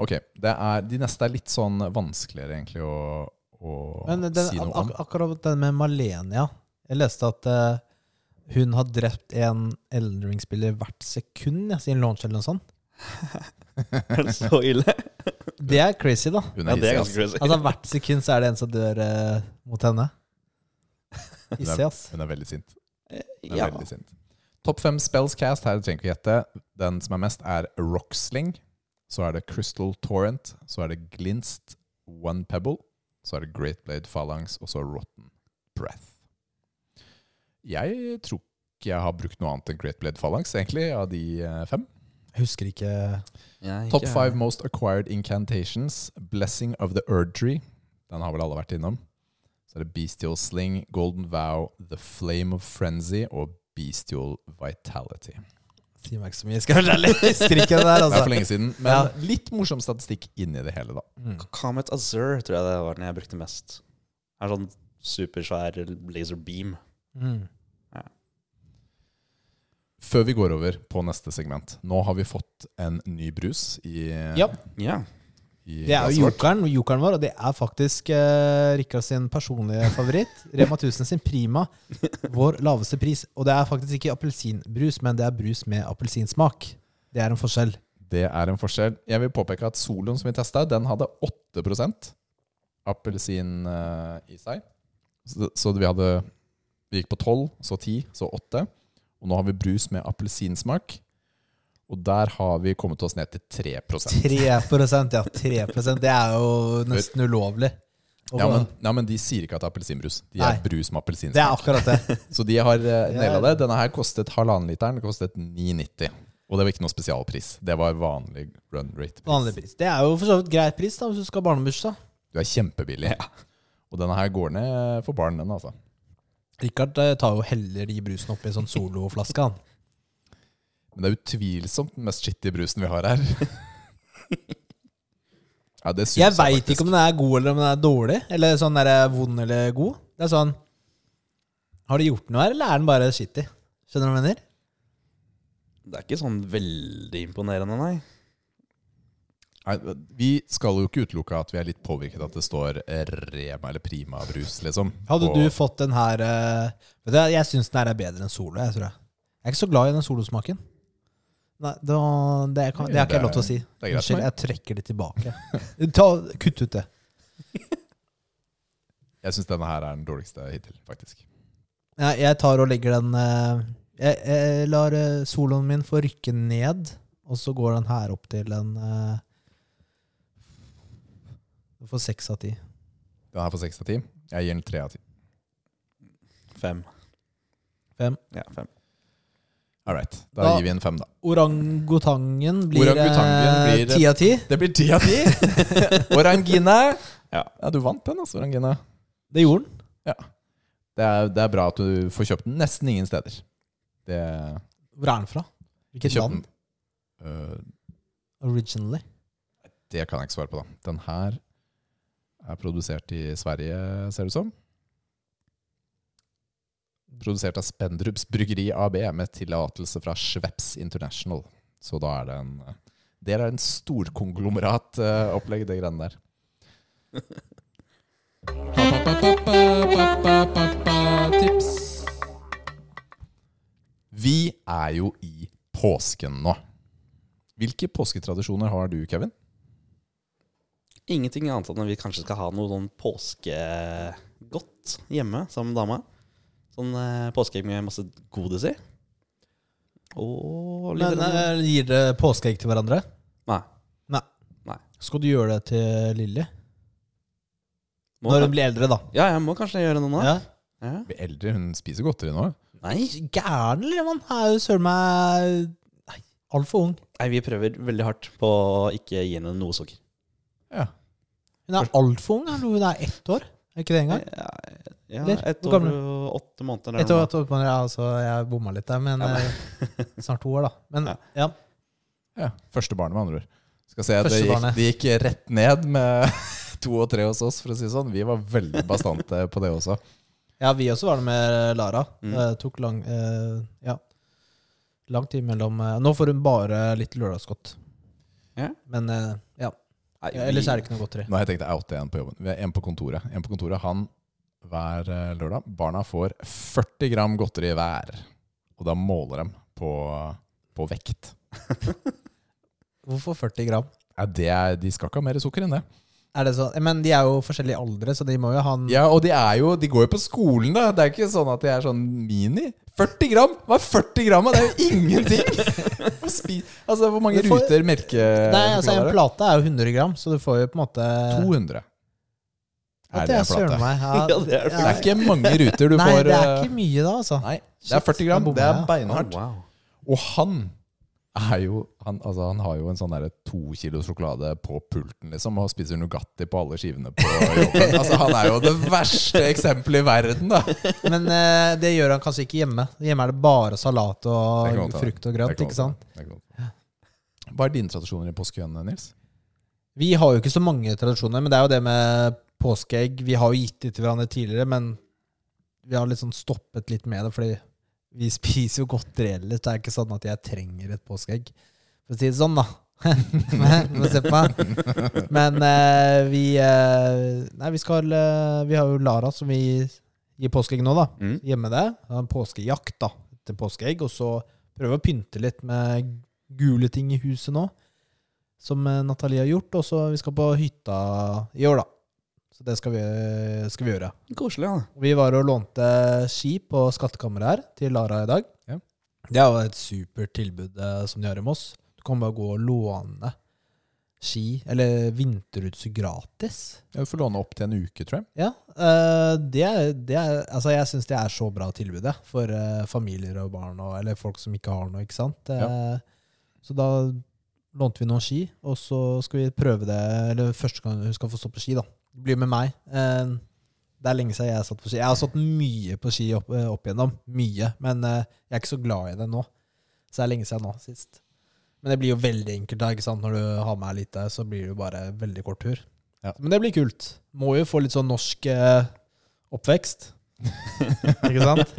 Speaker 2: Ok, det er, De neste er litt sånn vanskeligere egentlig å, å
Speaker 1: Men den,
Speaker 2: si noe om.
Speaker 1: ak akkurat den med Malenia Jeg leste at eh, hun har drept en Elden Ring-spiller hvert sekund ja, siden launch eller noe sånt.
Speaker 3: Er det så ille?
Speaker 1: Det er crazy, da.
Speaker 2: Hun hissig,
Speaker 3: Ja, det er
Speaker 2: ass.
Speaker 3: ganske crazy.
Speaker 1: Altså Hvert sekund så er det en som dør eh, mot henne. Hissig, ass.
Speaker 2: Hun er veldig sint. Hun er
Speaker 3: Ja.
Speaker 2: veldig sint. Topp fem spells cast, her trenger vi ikke gjette. Den som er mest, er Rocksling. Så er det Crystal Torrent. Så er det Glinst One Pebble. Så er det Great Blade Phalanx, og så Rotten Breath. Jeg tror ikke jeg har brukt noe annet enn Great Blade Phalanx, egentlig, av de eh, fem.
Speaker 1: Jeg husker ikke
Speaker 3: Jeg er
Speaker 2: Top
Speaker 3: ikke-
Speaker 2: five most acquired incantations. Blessing of the Urdry. Den har vel alle vært innom. Så er det Bestial Sling, Golden Vow, The Flame of Frenzy og Bestial Vitality.
Speaker 1: Sier meg ikke så mye. Jeg skal være ærlig. Jeg Husker ikke det der,
Speaker 2: Det er for
Speaker 1: altså.
Speaker 2: lenge siden, men
Speaker 1: Ja.
Speaker 2: litt morsom statistikk inni det hele, da.
Speaker 1: Mm.
Speaker 3: Comet Azure tror jeg det var den jeg brukte mest. Er sånn supersvær laser beam.
Speaker 1: Mm.
Speaker 2: Før vi går over på neste segment. Nå har vi fått en ny brus i,
Speaker 1: Ja.
Speaker 3: Ja.
Speaker 2: i
Speaker 1: Det er
Speaker 2: glasset
Speaker 1: jo
Speaker 2: vårt.
Speaker 1: jokeren, jokeren vår, og det er faktisk uh, Rikard sin personlige favoritt. Rema 1000 sin Prima, vår laveste pris. Og det er faktisk ikke appelsinbrus, men det er brus med appelsinsmak. Det er en forskjell.
Speaker 2: Det er en forskjell. Jeg vil påpeke at soloen som vi testa, den hadde 8 appelsin eh, i seg. Så, så vi hadde Vi gikk på 12, så 10, så 8. Og nå har vi brus med appelsinsmak. Og der har vi kommet oss ned til 3
Speaker 1: 3 ja. 3 Det er jo nesten ulovlig. Og
Speaker 2: ja men, ja, men de sier ikke at det er appelsinbrus. De er
Speaker 1: Nei.
Speaker 2: brus
Speaker 1: det er
Speaker 2: med appelsinsmak.
Speaker 1: akkurat det.
Speaker 2: Så de har uh, naila det. Denne her kostet halvannen literen. Det kostet 9,90. Og det var ikke noe spesialpris. Det var vanlig run rate.
Speaker 1: Vanlig pris. Det er jo for så vidt greit pris da, hvis du skal ha barnebursdag.
Speaker 2: Du er kjempebillig. Og denne her går ned for barn, den, altså.
Speaker 1: Rikard eh, tar jo heller de brusene oppi en sånn soloflaske, han.
Speaker 2: Men det er utvilsomt den mest skittige brusen vi har her. ja, det syns
Speaker 1: Jeg veit ikke om den er god eller om den er dårlig. Eller sånn der, eh, vond eller god. Det er sånn Har du gjort noe her, eller er den bare shitty? Skjønner du hva jeg mener?
Speaker 3: Det er ikke sånn veldig imponerende, nei.
Speaker 2: Nei, Vi skal jo ikke utelukke at vi er litt påvirket at det står Rema eller Prima brus, liksom.
Speaker 1: Hadde
Speaker 2: Og-
Speaker 1: du fått den her eh, vet du, Jeg syns den her er bedre enn Solo. Jeg tror jeg. jeg er ikke så glad i den solosmaken. Nei, det, var- det, kan, det har ikke jeg lov til å si.
Speaker 2: er greit for
Speaker 1: Unnskyld,
Speaker 2: meg.
Speaker 1: jeg trekker det tilbake. Ta, kutt ut det.
Speaker 2: Jeg syns denne her er den dårligste hittil, faktisk.
Speaker 1: Jeg, jeg tar og legger den eh, jeg, jeg lar eh, soloen min få rykke ned, og så går den her opp til en eh, Du får seks av ti.
Speaker 2: Den her får seks av ti. Jeg gir den tre av ti.
Speaker 3: Fem.
Speaker 1: Fem.
Speaker 3: Ja, fem.
Speaker 2: All right. Da,
Speaker 1: Da-
Speaker 2: gir vi en fem, da.
Speaker 1: Orangutangen blir eh,
Speaker 2: Orangutangen blir-
Speaker 1: ti av ti.
Speaker 2: Det blir ti av ti! Orangina!
Speaker 3: Ja.
Speaker 2: du vant den, altså, Orangina.
Speaker 1: Det gjorde den.
Speaker 2: Det er, det er bra at du får kjøpt den nesten ingen steder. Det
Speaker 1: Hvor er den fra? Hvilket
Speaker 2: Kjøpt
Speaker 1: land?
Speaker 2: den. Øh,
Speaker 1: Originally.
Speaker 2: Det kan jeg ikke svare på, da. Den her er produsert i Sverige, ser det ut som. Produsert av Spendrups Bryggeri AB med tillatelse fra Schweppes International. Så da er det en Det er en storkonglomerat eh, opplegg, det greiene der. Tips. Vi er jo i påsken nå. Hvilke påsketradisjoner har du, Kevin?
Speaker 3: Ingenting annet enn at vi kanskje skal ha noe sånn påskegodt hjemme sammen med dama. Sånn eh, påskeegg med masse godis i. Og
Speaker 1: Men
Speaker 3: litt
Speaker 1: eh, gir dere påskeegg til hverandre?
Speaker 3: Nei.
Speaker 1: Nei.
Speaker 3: Nei.
Speaker 1: Skal du gjøre det til Lilly?
Speaker 3: Må
Speaker 1: Når
Speaker 3: kan-
Speaker 1: hun blir eldre, da.
Speaker 3: Ja, jeg må kanskje gjøre noe nå.
Speaker 1: Ja.
Speaker 3: Ja.
Speaker 2: Blir eldre, hun spiser godteri nå.
Speaker 3: Nei.
Speaker 1: Gæren, eller? Man er jo søren meg nei, altfor ung.
Speaker 3: Nei, vi prøver veldig hardt på å ikke gi henne noe sukker.
Speaker 2: Ja.
Speaker 1: Hun er altfor ung. er Hun Hun er ett år. Er ikke det engang?
Speaker 3: Jeg, Ja,
Speaker 1: Eller?
Speaker 3: ett
Speaker 1: Hvor
Speaker 3: år
Speaker 1: gammel?
Speaker 3: og åtte måneder. eller
Speaker 1: Jeg tror
Speaker 3: noe.
Speaker 1: at ja, altså, jeg bomma litt der, men
Speaker 3: Ja, men-
Speaker 1: eh, snart to år, da. Men
Speaker 3: Ja.
Speaker 1: ja.
Speaker 2: Ja, Første barnet, med andre ord. Skal si at det
Speaker 1: Første
Speaker 2: gikk,
Speaker 1: barnet.
Speaker 2: det gikk rett ned med to og tre hos oss, for å si det sånn. Vi var veldig bastante på det også.
Speaker 1: ja, vi også var det med Lara.
Speaker 3: Mm.
Speaker 1: Eh, tok lang eh, Ja. Lang tid mellom eh, Nå får hun bare litt lørdagsgodt.
Speaker 3: Ja.
Speaker 1: Men eh, ja.
Speaker 3: Nei, vi-
Speaker 1: Ellers er det ikke noe godteri.
Speaker 2: Nå har jeg tenkt å oute en på jobben. Vi har en på kontoret. En på kontoret, Han hver eh, lørdag Barna får 40 gram godteri hver. Og da måler de på, på vekt.
Speaker 1: Hvorfor 40 gram?
Speaker 2: Ja, det er, de skal ikke ha mer sukker enn det.
Speaker 1: Er det sånn? Men de er jo forskjellige aldre, så de må jo ha en
Speaker 2: Ja, Og de, er jo, de går jo på skolen, da. Det er ikke sånn at de er sånn mini. 40 gram! Hva er 40 gram? da? Det er jo ingenting! Hva spi- altså, hvor mange
Speaker 1: Du får-
Speaker 2: ruter melke...
Speaker 1: Nei, altså En
Speaker 2: sjokolader er det?
Speaker 1: plate er jo 100 gram, så du får jo på en måte
Speaker 2: 200.
Speaker 1: At
Speaker 2: Er det
Speaker 1: jeg
Speaker 2: en plate?
Speaker 1: søren meg, ja.
Speaker 3: Ja, det er
Speaker 2: Det er ikke mange ruter du
Speaker 1: Nei,
Speaker 2: får
Speaker 1: det er
Speaker 2: eh,
Speaker 1: ikke mye da, altså.
Speaker 2: Nei, det er 40
Speaker 1: da
Speaker 2: gram.
Speaker 1: bommer
Speaker 2: Det er
Speaker 1: jeg.
Speaker 3: Oh,
Speaker 2: beinhardt.
Speaker 3: wow.
Speaker 2: Og han er jo han, altså, han har jo en sånn derre to kilo sjokolade på pulten, liksom, og spiser Nugatti på alle skivene på jobben. Altså, han er jo det verste eksempelet i verden, da.
Speaker 1: Men eh, det gjør han kanskje ikke hjemme. Hjemme er det bare salat
Speaker 2: Det kan
Speaker 1: og
Speaker 2: godt hende.
Speaker 1: frukt og
Speaker 2: Det
Speaker 1: grønt.
Speaker 2: kan
Speaker 1: ikke sant?
Speaker 2: godt hende. Det kan godt hende. Hva er dine tradisjoner i påsken, Nils?
Speaker 1: Vi har jo ikke så mange tradisjoner, men det er jo det med påskeegg. Vi har jo gitt det til hverandre tidligere, men vi har liksom stoppet litt med det, fordi vi spiser jo godteri ellers. Det er ikke sånn at jeg trenger et påskeegg, for å si det sånn, da. Må se på meg. Men eh, vi eh, Nei, vi skal eh, Vi har jo Lara, som vi gir påskeegg nå, da.
Speaker 3: Mm.
Speaker 1: hjemme det. Ha en påskejakt da, etter påskeegg. Og så prøve å pynte litt med gule ting i huset nå, som eh, Natalie har gjort. Og så vi skal på hytta i år, da. Så det skal vi, skal vi gjøre.
Speaker 3: Koselig, ja.
Speaker 1: Og Vi var og lånte ski på skattkammeret her til Lara i dag.
Speaker 2: Ja.
Speaker 1: Det er jo et supert tilbud eh, som de har i Moss. Du kan bare gå og låne ski, eller vinterutstyr gratis.
Speaker 2: Du får låne opp til en uke, tror jeg.
Speaker 1: Ja, eh, det, er- det er, altså jeg syns det er så bra tilbud det, for eh, familier og barn, og, eller folk som ikke har noe. ikke sant? Eh, Så da lånte vi noen ski, og så skal vi prøve det eller første gang hun skal få stå på ski. da. Bli med meg. Eh, Det er lenge siden jeg har satt på ski. Jeg har satt mye på ski opp, eh, opp igjennom, mye, men eh, jeg er ikke så glad i det nå. Så det er lenge siden nå sist. Men det blir jo veldig enkelt da, ikke sant? når du har med litt der, så blir det jo bare veldig kort tur.
Speaker 2: Ja.
Speaker 1: Men det blir kult. Må jo få litt sånn norsk eh, oppvekst. ikke sant?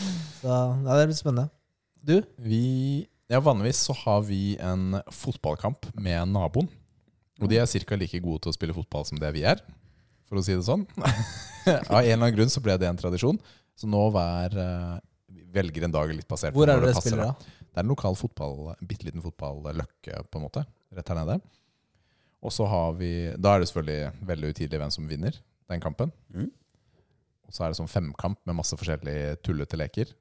Speaker 1: Så ja, det blir spennende. Du?
Speaker 2: Vi, ja, vanligvis så har vi en fotballkamp med naboen. Og de er ca. like gode til å spille fotball som det vi er, for å si det sånn. Av en eller annen grunn så ble det en tradisjon. Så nå hver eh, vi velger en dag litt basert
Speaker 1: Hvor er
Speaker 2: når
Speaker 1: det dere
Speaker 2: passer,
Speaker 1: spiller,
Speaker 2: da.
Speaker 1: da?
Speaker 2: Det er en lokal fotball, en bitte liten fotballøkke, på en måte, rett her nede. Og så har vi Da er det selvfølgelig veldig utydelig hvem som vinner den kampen.
Speaker 3: Mm.
Speaker 2: Og så er det sånn femkamp med masse forskjellige tullete leker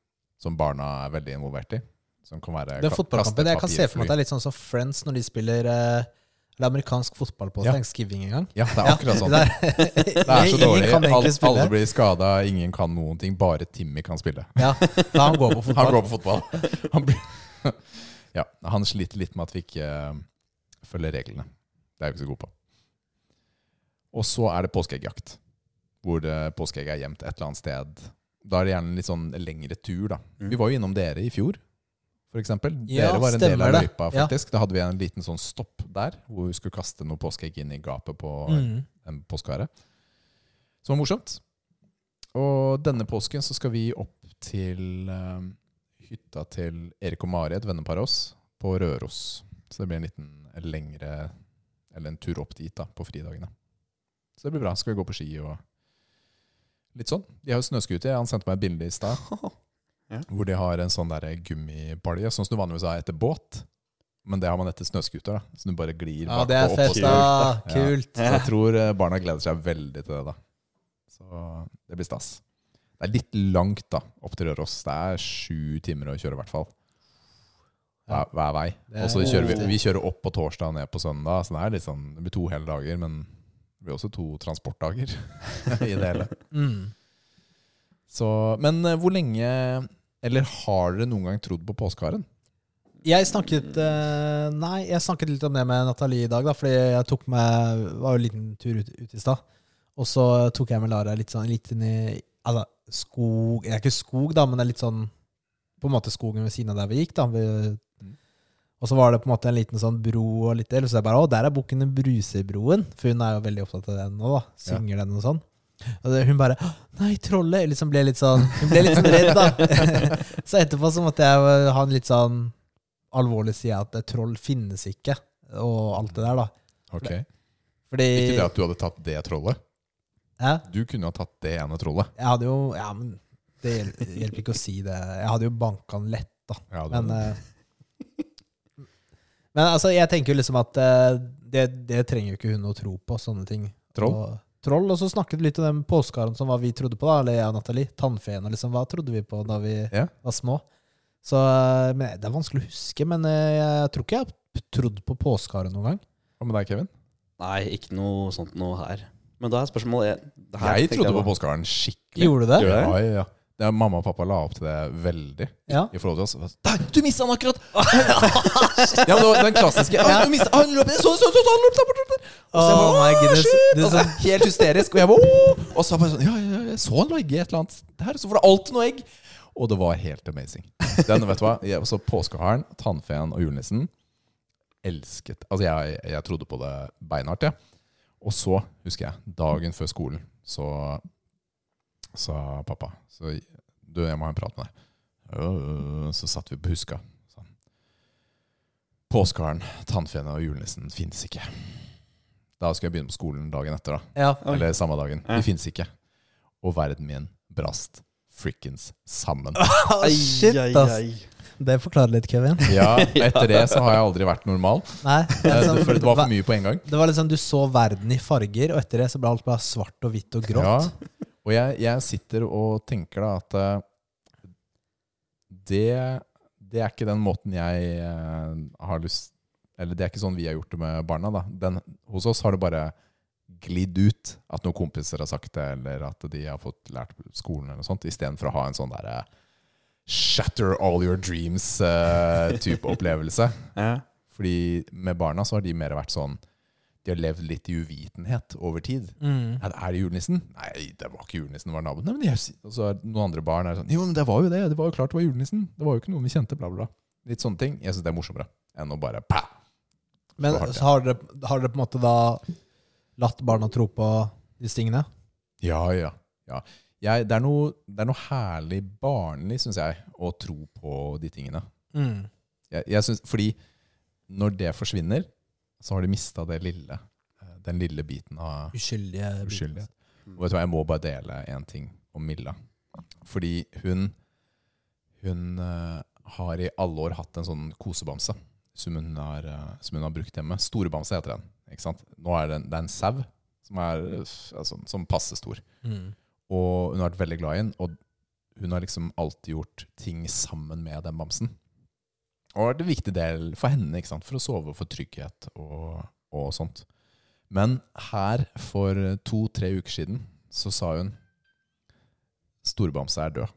Speaker 2: som barna er veldig involvert i. Som kan være
Speaker 1: Det er
Speaker 2: ka-
Speaker 1: fotballkampen. Jeg kan se for meg at
Speaker 2: plastepapirfly.
Speaker 1: det er litt sånn som Friends når de spiller eh, eller amerikansk fotball på
Speaker 2: Ja.
Speaker 1: Thanksgiving en gang.
Speaker 2: Ja, det er akkurat sånn.
Speaker 1: Det
Speaker 2: Det er så dårlig.
Speaker 1: Ingen kan
Speaker 2: Alle,
Speaker 1: egentlig spille.
Speaker 2: alle blir skada, ingen kan noen ting. Bare Timmy kan spille.
Speaker 1: Ja, da han går på
Speaker 2: Han
Speaker 1: fotball.
Speaker 2: går på fotball. Han, blir, ja, han sliter litt med at vi ikke eh, følger reglene. Det er vi ikke så gode på. Og så er det påskeeggjakt, hvor det- påskeegget er gjemt et eller annet sted. Da er det gjerne en litt sånn lengre tur, da.
Speaker 3: Mm.
Speaker 2: Vi var jo innom dere i fjor, for eksempel.
Speaker 1: Ja,
Speaker 2: dere var en del av
Speaker 1: stemmer det.
Speaker 2: løypa,
Speaker 1: Ja.
Speaker 2: faktisk. Da hadde vi en liten sånn stopp der, hvor vi skulle kaste noe påskeegg inn i gapet på
Speaker 1: Mm.
Speaker 2: en påskehare. Som var morsomt. Og denne påsken så skal vi opp til eh, hytta til Erik og Mari, et vennepar av oss, på Røros. Så det blir en liten lengre Eller en tur opp dit da, på fridagene. Så det blir bra. Skal vi gå på ski og litt sånn. De har jo snøskute. Han sendte meg et bilde i stad hvor de har en sånn der gummibalje, sånn som du vanligvis har etter båt. Men det har man etter snøskuter, da. Så du bare glir
Speaker 1: Ja, det er
Speaker 2: og
Speaker 1: fett,
Speaker 2: og
Speaker 1: da.
Speaker 2: Ja.
Speaker 1: Kult.
Speaker 2: så jeg tror eh, barna gleder seg veldig til det, da. Så det blir stas. Det er litt langt da, opp til Røros. Det er sju timer å kjøre, i hvert fall. Hver, hver vei.
Speaker 1: Det er
Speaker 2: Og så kjører vi,
Speaker 1: riktig.
Speaker 2: vi kjører opp på torsdag og ned på søndag. Så det, er litt sånn, det blir to hele dager, men det blir også to transportdager i det hele.
Speaker 1: Mm.
Speaker 2: Så, men eh, hvor lenge Eller har dere noen gang trodd på påskeharen?
Speaker 1: Jeg snakket eh, Nei, jeg snakket litt om det med Natalie i dag, da, fordi jeg tok meg Var jo en liten tur ut, ut i stad. Og så tok jeg med Lara litt sånn litt inn i altså, skog Det er ikke skog, da, men det er litt sånn på en måte skogen ved siden av der vi gikk. da. Vi, og så var det på en måte en liten sånn bro og litt del, og så er jeg bare, å, der er bukken Brusebroen, for hun er jo veldig opptatt av den nå, da. Synger den og sånn. Og det, hun bare, «Å, nei, trollet, liksom ble litt sånn, hun ble litt sånn redd da. så etterpå så måtte jeg eh, ha en litt sånn alvorlig side at eh, troll finnes ikke, og alt det der da.
Speaker 2: Ok. Eh,
Speaker 1: Fordi,
Speaker 2: Ikke det at du hadde tatt det trollet.
Speaker 1: Hæ?
Speaker 2: Du kunne ha tatt det ene trollet.
Speaker 1: Jeg hadde jo Ja, men det hjel- hjelper ikke å si det. Jeg hadde jo banka han lett, da.
Speaker 2: Ja, du
Speaker 1: Men,
Speaker 2: hadde-
Speaker 1: eh, men altså, jeg tenker jo liksom at eh, det, det trenger jo ikke hun å tro på, sånne ting.
Speaker 2: eh, Troll?
Speaker 1: Og, troll, og så snakket vi litt om den påskeharen som hva vi trodde på, da, eller jeg og Nathalie. Tannfeen og liksom, hva trodde vi på da vi
Speaker 2: Ja.
Speaker 1: var små? Så eh, men Det er vanskelig å huske, men eh, jeg tror ikke jeg har trodd på påskeharen noen gang.
Speaker 2: Hva med deg, Kevin?
Speaker 3: Nei, ikke noe sånt noe her. Men da er spørsmålet jeg, det her
Speaker 2: Jeg
Speaker 3: tenkte
Speaker 2: trodde på
Speaker 3: var-
Speaker 2: påskeharen skikkelig.
Speaker 1: Gjorde du det?
Speaker 3: Gjorde
Speaker 2: Ja,
Speaker 3: det?
Speaker 2: ja, ja. Det er Mamma og pappa la opp til det veldig.
Speaker 1: Ja.
Speaker 2: I forhold til oss. Nei, du mista han akkurat! ja, det var den klassiske. «Å, du mistet- han løp så, så, så, så, han løp der borte, borte!» Og så jeg
Speaker 1: Oh
Speaker 2: bare,
Speaker 1: my
Speaker 2: «Å,
Speaker 1: goodness. Det er
Speaker 2: shit!»
Speaker 1: sånn-
Speaker 2: Og så Helt hysterisk. Og jeg bare «Åh!» Og så bare sånn Ja, ja, ja, jeg så han legge et eller annet der. Så var det alltid noe egg. Og det var helt amazing. Den, vet du hva jeg, Så påskeharen, tannfeen og julenissen elsket Altså, jeg, jeg trodde på det beinhardt, jeg. Og så, husker jeg, dagen før skolen, så sa pappa Så du, jeg må ha en prat med deg. «Øh», Så satt vi på Huska. sa han. Påskeharen, tannfeen og julenissen fins ikke. Da skulle jeg begynne på skolen dagen etter. da
Speaker 1: Ja.
Speaker 2: Eller samme dagen. De fins ikke. Og verden min brast frikkens sammen.
Speaker 1: Ah, Shit,
Speaker 3: Ai, ai,
Speaker 1: ass.
Speaker 3: ai.
Speaker 1: Det forklarer litt, Kevin.
Speaker 2: Ja, Etter det så har jeg aldri vært normal.
Speaker 1: Nei, det
Speaker 2: Eh,
Speaker 1: er sånn-
Speaker 2: For det var for mye på en gang.
Speaker 1: Det var liksom, Du så verden i farger, og etter det så ble alt bare svart og hvitt og grått.
Speaker 2: Ja. Og jeg, jeg sitter og tenker da at eh, det, det er ikke den måten jeg eh, har lyst Eller det er ikke sånn vi har gjort det med barna. da. Den, hos oss har det bare glidd ut at noen kompiser har sagt det, eller at de har fått lært på skolen, eller noe sånt, istedenfor å ha en sånn derre Shatter all your dreams-type opplevelse.
Speaker 3: Ja.
Speaker 2: Fordi med barna så har de mer vært sånn De har levd litt i uvitenhet over tid.
Speaker 1: Mm.
Speaker 2: Ja, Er det julenissen? Nei, det var ikke julenissen, det var naboen. Nei, men jeg, sy- og så er det altså, noen andre barn er sånn Jo, men det var jo det. Det var jo klart det var julenissen. Det var jo ikke noen vi kjente, bla, bla, bla. Litt sånne ting. Jeg syns det er morsommere enn å bare pæ!
Speaker 1: Men
Speaker 2: Så hardt, ja.
Speaker 1: så har dere, har dere på en måte da latt barna tro på disse tingene?
Speaker 2: Ja, ja. ja. Jeg, det, er noe, det er noe herlig barnlig, syns jeg, å tro på de tingene.
Speaker 1: Mm.
Speaker 2: Jeg, jeg synes, fordi når det forsvinner, så har de mista det lille. eh, Den lille biten av
Speaker 1: Uskyldige.
Speaker 2: uskyldighet. Og vet du hva, jeg må bare dele en ting om Milla. Fordi hun Hun eh, har i alle år hatt en sånn kosebamse som hun har, eh, som hun har brukt hjemme. Storebamse heter den. Ikke sant? Nå er det en, det er en sau som er eh, altså, som passe stor.
Speaker 1: Mm.
Speaker 2: Og hun har vært veldig glad i den, og hun har liksom alltid gjort ting sammen med den bamsen. Og det har vært en viktig del for henne, ikke sant? for å sove, for trygghet og, og sånt. Men her, for to-tre uker siden, så sa hun Storbamse er død.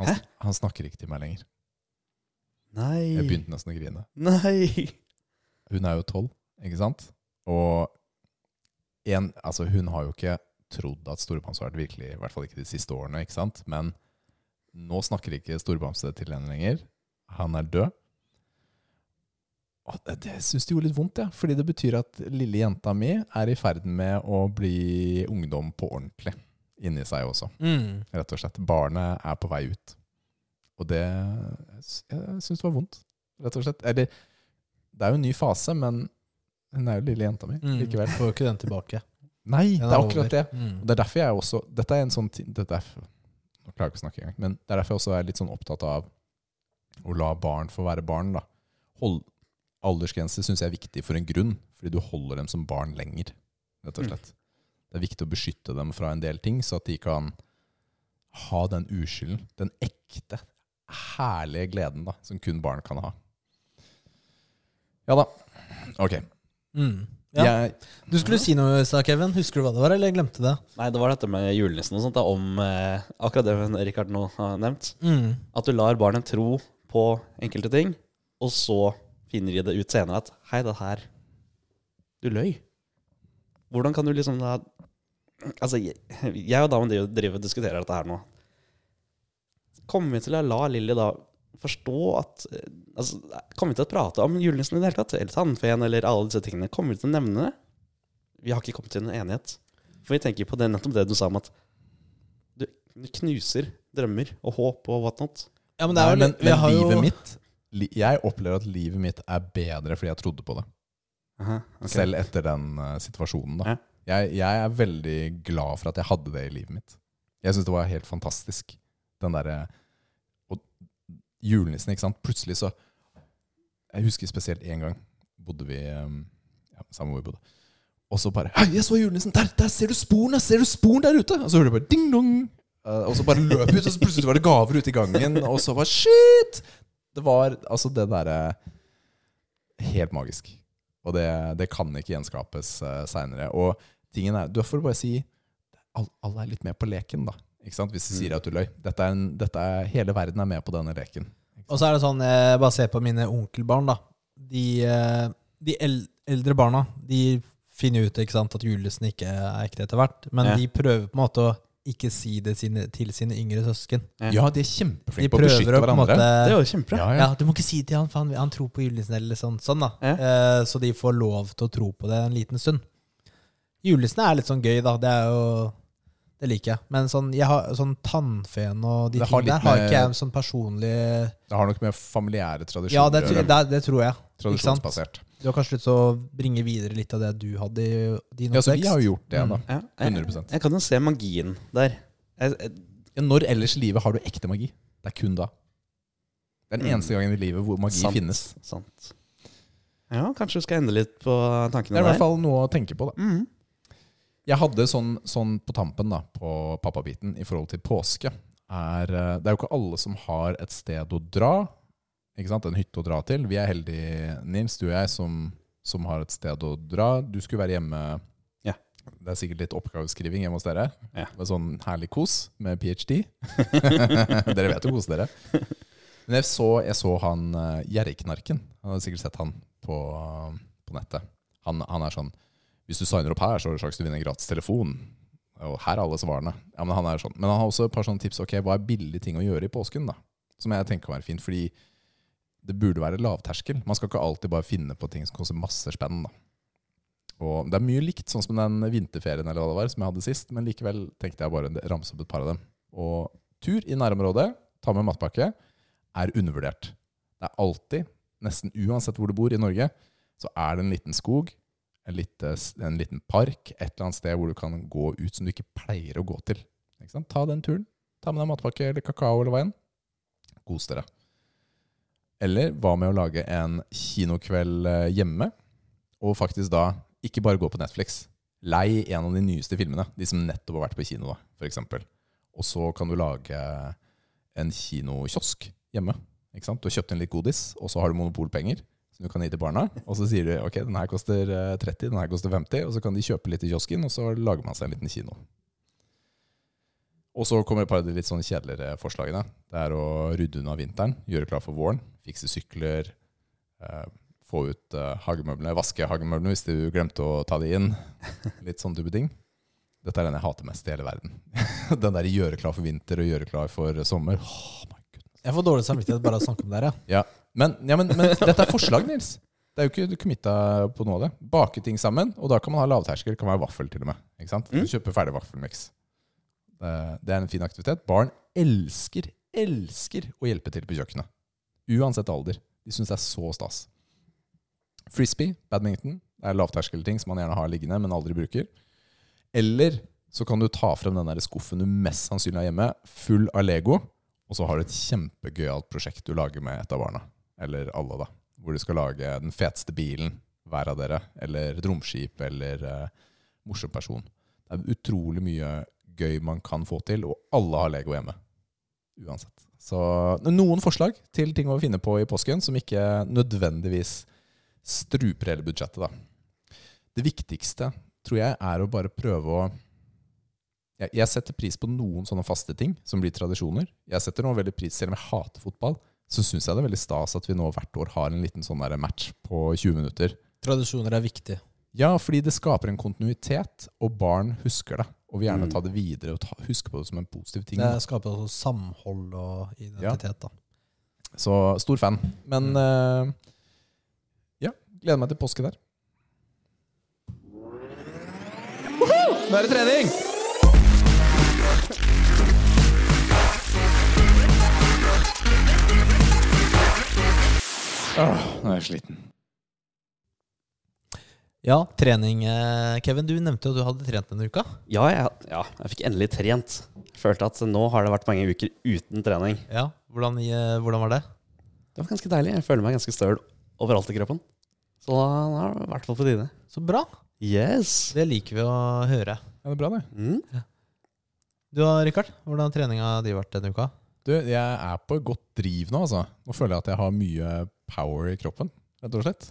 Speaker 2: Han, sn- han snakker ikke til meg lenger. Jeg
Speaker 3: Nei.
Speaker 2: begynte nesten å grine.
Speaker 3: Nei.
Speaker 2: Hun er jo tolv, ikke sant? Og en, altså hun har jo ikke trodd at Storebamse har vært virkelig, i hvert fall ikke de siste årene, ikke sant? Men nå snakker ikke Storebamse til henne lenger. Han er død. Og det, det syns det gjorde litt vondt, ja. Fordi det betyr at lille jenta mi er i ferd med å bli ungdom på ordentlig. Inni seg også,
Speaker 1: Mm.
Speaker 2: rett og slett. Barnet er på vei ut. Og det Jeg syns det var vondt, rett og slett. Eller det er jo en ny fase, men hun er jo lille jenta mi
Speaker 1: Mm.
Speaker 2: likevel.
Speaker 1: Får jo ikke den tilbake.
Speaker 2: Nei,
Speaker 1: Den
Speaker 2: det er
Speaker 1: over.
Speaker 2: akkurat det. Og
Speaker 1: Mm.
Speaker 2: det er derfor jeg også Dette er en sånn ti- dette er, Nå klarer jeg ikke å snakke engang. Men det er derfor jeg også er litt sånn opptatt av å la barn få være barn. da Hold, Aldersgrenser syns jeg er viktig for en grunn, fordi du holder dem som barn lenger. Rett og
Speaker 3: Mm.
Speaker 2: slett Det er viktig å beskytte dem fra en del ting, så at de kan ha den uskylden. Den ekte, herlige gleden da som kun barn kan ha. Ja da. Ok.
Speaker 1: Mm. Ja.
Speaker 2: Jeg,
Speaker 1: Du skulle si noe i stad, Kevin. Husker du hva det var, eller glemte det?
Speaker 3: Nei, det var dette med julenissen og sånt, da, om eh, akkurat det Rikard nå har nevnt.
Speaker 1: Mm.
Speaker 3: At du lar barnet tro på enkelte ting, og så finner de det ut senere at Hei, det her Du løy. Hvordan kan du liksom da Altså, jeg, jeg og damen driver, driver og diskuterer dette her nå. Kommer vi til å la Lilly da forstå at eh, altså, Kommer vi til å prate om julenissen i det hele tatt? Eller tannfeen, eller alle disse tingene? Kommer vi til å nevne det? Vi har ikke kommet til noen enighet. For vi tenker på det, nettopp det du sa om at du du knuser drømmer og håp og whatnot.
Speaker 1: Ja, men
Speaker 2: Nei, men,
Speaker 1: litt- vi
Speaker 2: men
Speaker 1: har jo-
Speaker 2: livet mitt li, Jeg opplever at livet mitt er bedre fordi jeg trodde på det.
Speaker 3: Aha, ok.
Speaker 2: Selv etter den eh, situasjonen. da
Speaker 3: Ja.
Speaker 2: jeg, jeg er veldig glad for at jeg hadde det i livet mitt. Jeg syns det var helt fantastisk. Den derre Og julenissen, ikke sant. Plutselig så Jeg husker spesielt én gang bodde vi um, ja, samme hvor vi bodde. Og så bare Hei, jeg så julenissen! Der, der ser du sporene! Ser du sporene der ute? Og så hører du bare ding-dong! Eh, og så bare løp jeg ut, og så plutselig var det gaver ute i gangen. Og så bare shit! Det var altså det derre Helt magisk. Og det, det kan ikke gjenskapes uh, seinere. Og tingen er, da får du bare si all- Alle er litt med på leken, da. Ikke sant? Hvis du
Speaker 5: Mm.
Speaker 2: sier at du løy. Dette er en, dette er, hele verden er med på denne leken.
Speaker 5: Og så er det sånn, eh, bare se på mine onkelbarn, da. De, eh, de el eldre barna de finner ut ikke sant, at julenissen ikke er ekte etter hvert, men
Speaker 3: Ja.
Speaker 5: de prøver på en måte å ikke si det sine, til sine yngre søsken.
Speaker 2: Ja, de er
Speaker 5: De
Speaker 2: kjempeflinke på å
Speaker 5: prøver
Speaker 2: beskytte
Speaker 5: å på en måte
Speaker 2: hverandre.
Speaker 3: Det er jo kjempebra.
Speaker 2: Ja, ja.
Speaker 5: ja, Du må ikke si det til han, for han, han tror på julenissen, eller sånn. sånn da. Eh, så de får lov til å tro på det en liten stund. Julenissen er litt sånn gøy, da. Det er jo Det liker jeg. Men sånn, jeg har, sånn tannfeen og de
Speaker 2: Det
Speaker 5: tingene
Speaker 2: har litt
Speaker 5: der har
Speaker 2: med-
Speaker 5: ikke jeg sånn personlig
Speaker 2: Det har nok med familiære tradisjoner
Speaker 5: Ja, det,
Speaker 2: å
Speaker 5: tror-
Speaker 2: gjøre.
Speaker 5: det, det tror jeg. ikke sant?
Speaker 2: Tradisjonsbasert.
Speaker 5: Du har kanskje lyst til å bringe videre litt av det du hadde i din
Speaker 2: Ja, så
Speaker 5: oppvekst?
Speaker 2: vi har jo gjort
Speaker 5: Mm.
Speaker 2: det, da.
Speaker 3: Ja, jeg,
Speaker 2: 100%.
Speaker 3: jeg kan jo se magien der. Jeg, jeg,
Speaker 2: Ja, når ellers i livet har du ekte magi? Det er kun da. Det er den
Speaker 3: Mm.
Speaker 2: eneste gangen i livet hvor magi
Speaker 3: Sant.
Speaker 2: finnes.
Speaker 3: sant. Ja, kanskje du skal endre litt på
Speaker 2: Det er
Speaker 3: tankene
Speaker 2: i
Speaker 3: der.
Speaker 2: hvert fall noe å tenke på, da.
Speaker 3: Mhm.
Speaker 2: Jeg hadde sånn, sånn på tampen da, på pappabiten i forhold til påske. Er, eh, det er jo ikke alle som har et sted å dra, ikke sant? en hytte å dra til. Vi er heldige, Nils, du og jeg, som, som har et sted å dra. Du skulle være hjemme.
Speaker 3: Ja.
Speaker 2: Det er sikkert litt oppgaveskriving hjemme hos dere.
Speaker 3: Ja.
Speaker 2: Med sånn herlig kos med ph.d. dere vet jo kose dere. Men jeg så, jeg så han eh, Gjerriknarken. Han hadde sikkert sett han på, på nettet. Han, han er sånn hvis du signer opp her, så har du sjanse til å vinne en gratis telefon. Og her er alle svarene. Ja, Men han er sånn. Men han har også et par sånne tips. Ok, Hva er billige ting å gjøre i påsken? da? Som jeg tenker kan være fint, fordi det burde være lavterskel. Man skal ikke alltid bare finne på ting som koster masse spenn. da. Og Det er mye likt, sånn som den vinterferien eller hva det var, som jeg hadde sist. Men likevel tenkte jeg bare å ramse opp et par av dem. Og tur i nærområdet, ta med matpakke, er undervurdert. Det er alltid, nesten uansett hvor du bor i Norge, så er det en liten skog en, lite, en liten park, et eller annet sted hvor du kan gå ut som du ikke pleier å gå til. Ikke sant? Ta den turen. Ta med deg matpakke eller kakao eller hva enn. Kos dere. Eller hva med å lage en kinokveld eh, hjemme, og faktisk da ikke bare gå på Netflix. Lei en av de nyeste filmene, de som nettopp har vært på kino, da, for eksempel. Og så kan du lage en kinokiosk hjemme. Ikke sant? Du har kjøpt inn litt godis, og så har du monopolpenger som du kan gi til barna. Og så sier du ok, den her koster eh, 30, den her koster 50, og så kan de kjøpe litt i kiosken, og så lager man seg en liten kino. Og så kommer et par av de litt sånn kjedeligere forslagene. Det er å rydde unna vinteren, gjøre klar for våren, fikse sykler, eh, få ut eh, hagemøblene, vaske hagemøblene hvis du glemte å ta de inn. Litt sånn type ting. Dette er den jeg hater mest i hele verden. den der gjøre klar for vinter og gjøre klar for sommer. Åh, my goodness.
Speaker 5: Jeg får dårlig samvittighet bare av å snakke om det her. Ja.
Speaker 2: Men, ja, men, men dette er forslag, Nils. Det er jo ikke du committa på noe av det. Bake ting sammen, og da kan man ha lavterskel. Det kan være vaffel til og med. Ikke sant?
Speaker 3: Mm.
Speaker 2: Kjøpe ferdig vaffelmiks. Det det er en fin aktivitet. Barn elsker, elsker å hjelpe til på kjøkkenet. Uansett alder. De syns det er så stas. Frisbee, badminton, det er lavterskelting som man gjerne har liggende, men aldri bruker. Eller så kan du ta frem den der skuffen du mest sannsynlig har hjemme, full av Lego, og så har du et kjempegøyalt prosjekt du lager med et av barna. Eller alle, da. Hvor du skal lage den feteste bilen, hver av dere. Eller et romskip, eller eh, morsom person. Det er utrolig mye gøy man kan få til, og alle har Lego hjemme. Uansett. Så noen forslag til ting å finne på i påsken som ikke nødvendigvis struper hele budsjettet, da. Det viktigste, tror jeg, er å bare prøve å jeg, jeg setter pris på noen sånne faste ting som blir tradisjoner. Jeg setter noe veldig pris, Selv om jeg hater fotball, så syns jeg det er veldig stas at vi nå hvert år har en liten sånn der match på 20 minutter.
Speaker 5: Tradisjoner er viktig.
Speaker 2: Ja, fordi det skaper en kontinuitet, og barn husker det. Og vil gjerne
Speaker 3: Mm.
Speaker 2: ta det videre og ta, huske på det som en positiv ting.
Speaker 1: Det
Speaker 2: da.
Speaker 1: skaper også samhold og identitet, da.
Speaker 2: Så stor fan. Men eh, ja, gleder meg til påske der. Woho! Nå er det trening! Åh, Ah, nå er jeg sliten.
Speaker 1: Ja, trening. eh, Kevin, du nevnte jo at du hadde trent denne uka.
Speaker 3: Ja, jeg, ja, jeg fikk endelig trent. Følte at nå har det vært mange uker uten trening.
Speaker 1: Ja, Hvordan, eh, hvordan var det?
Speaker 3: Det var ganske deilig. Jeg føler meg ganske støl overalt i kroppen. Så da da er det i hvert fall på tide.
Speaker 1: Så bra!
Speaker 3: Yes!
Speaker 1: Det liker vi å høre.
Speaker 2: Ja, det er bra, det.
Speaker 3: Mm.
Speaker 1: Du da, Rikard? Hvordan har treninga di vært denne uka?
Speaker 2: Du, jeg er på et godt driv nå, altså. Nå føler jeg at jeg har mye power i kroppen, rett og slett.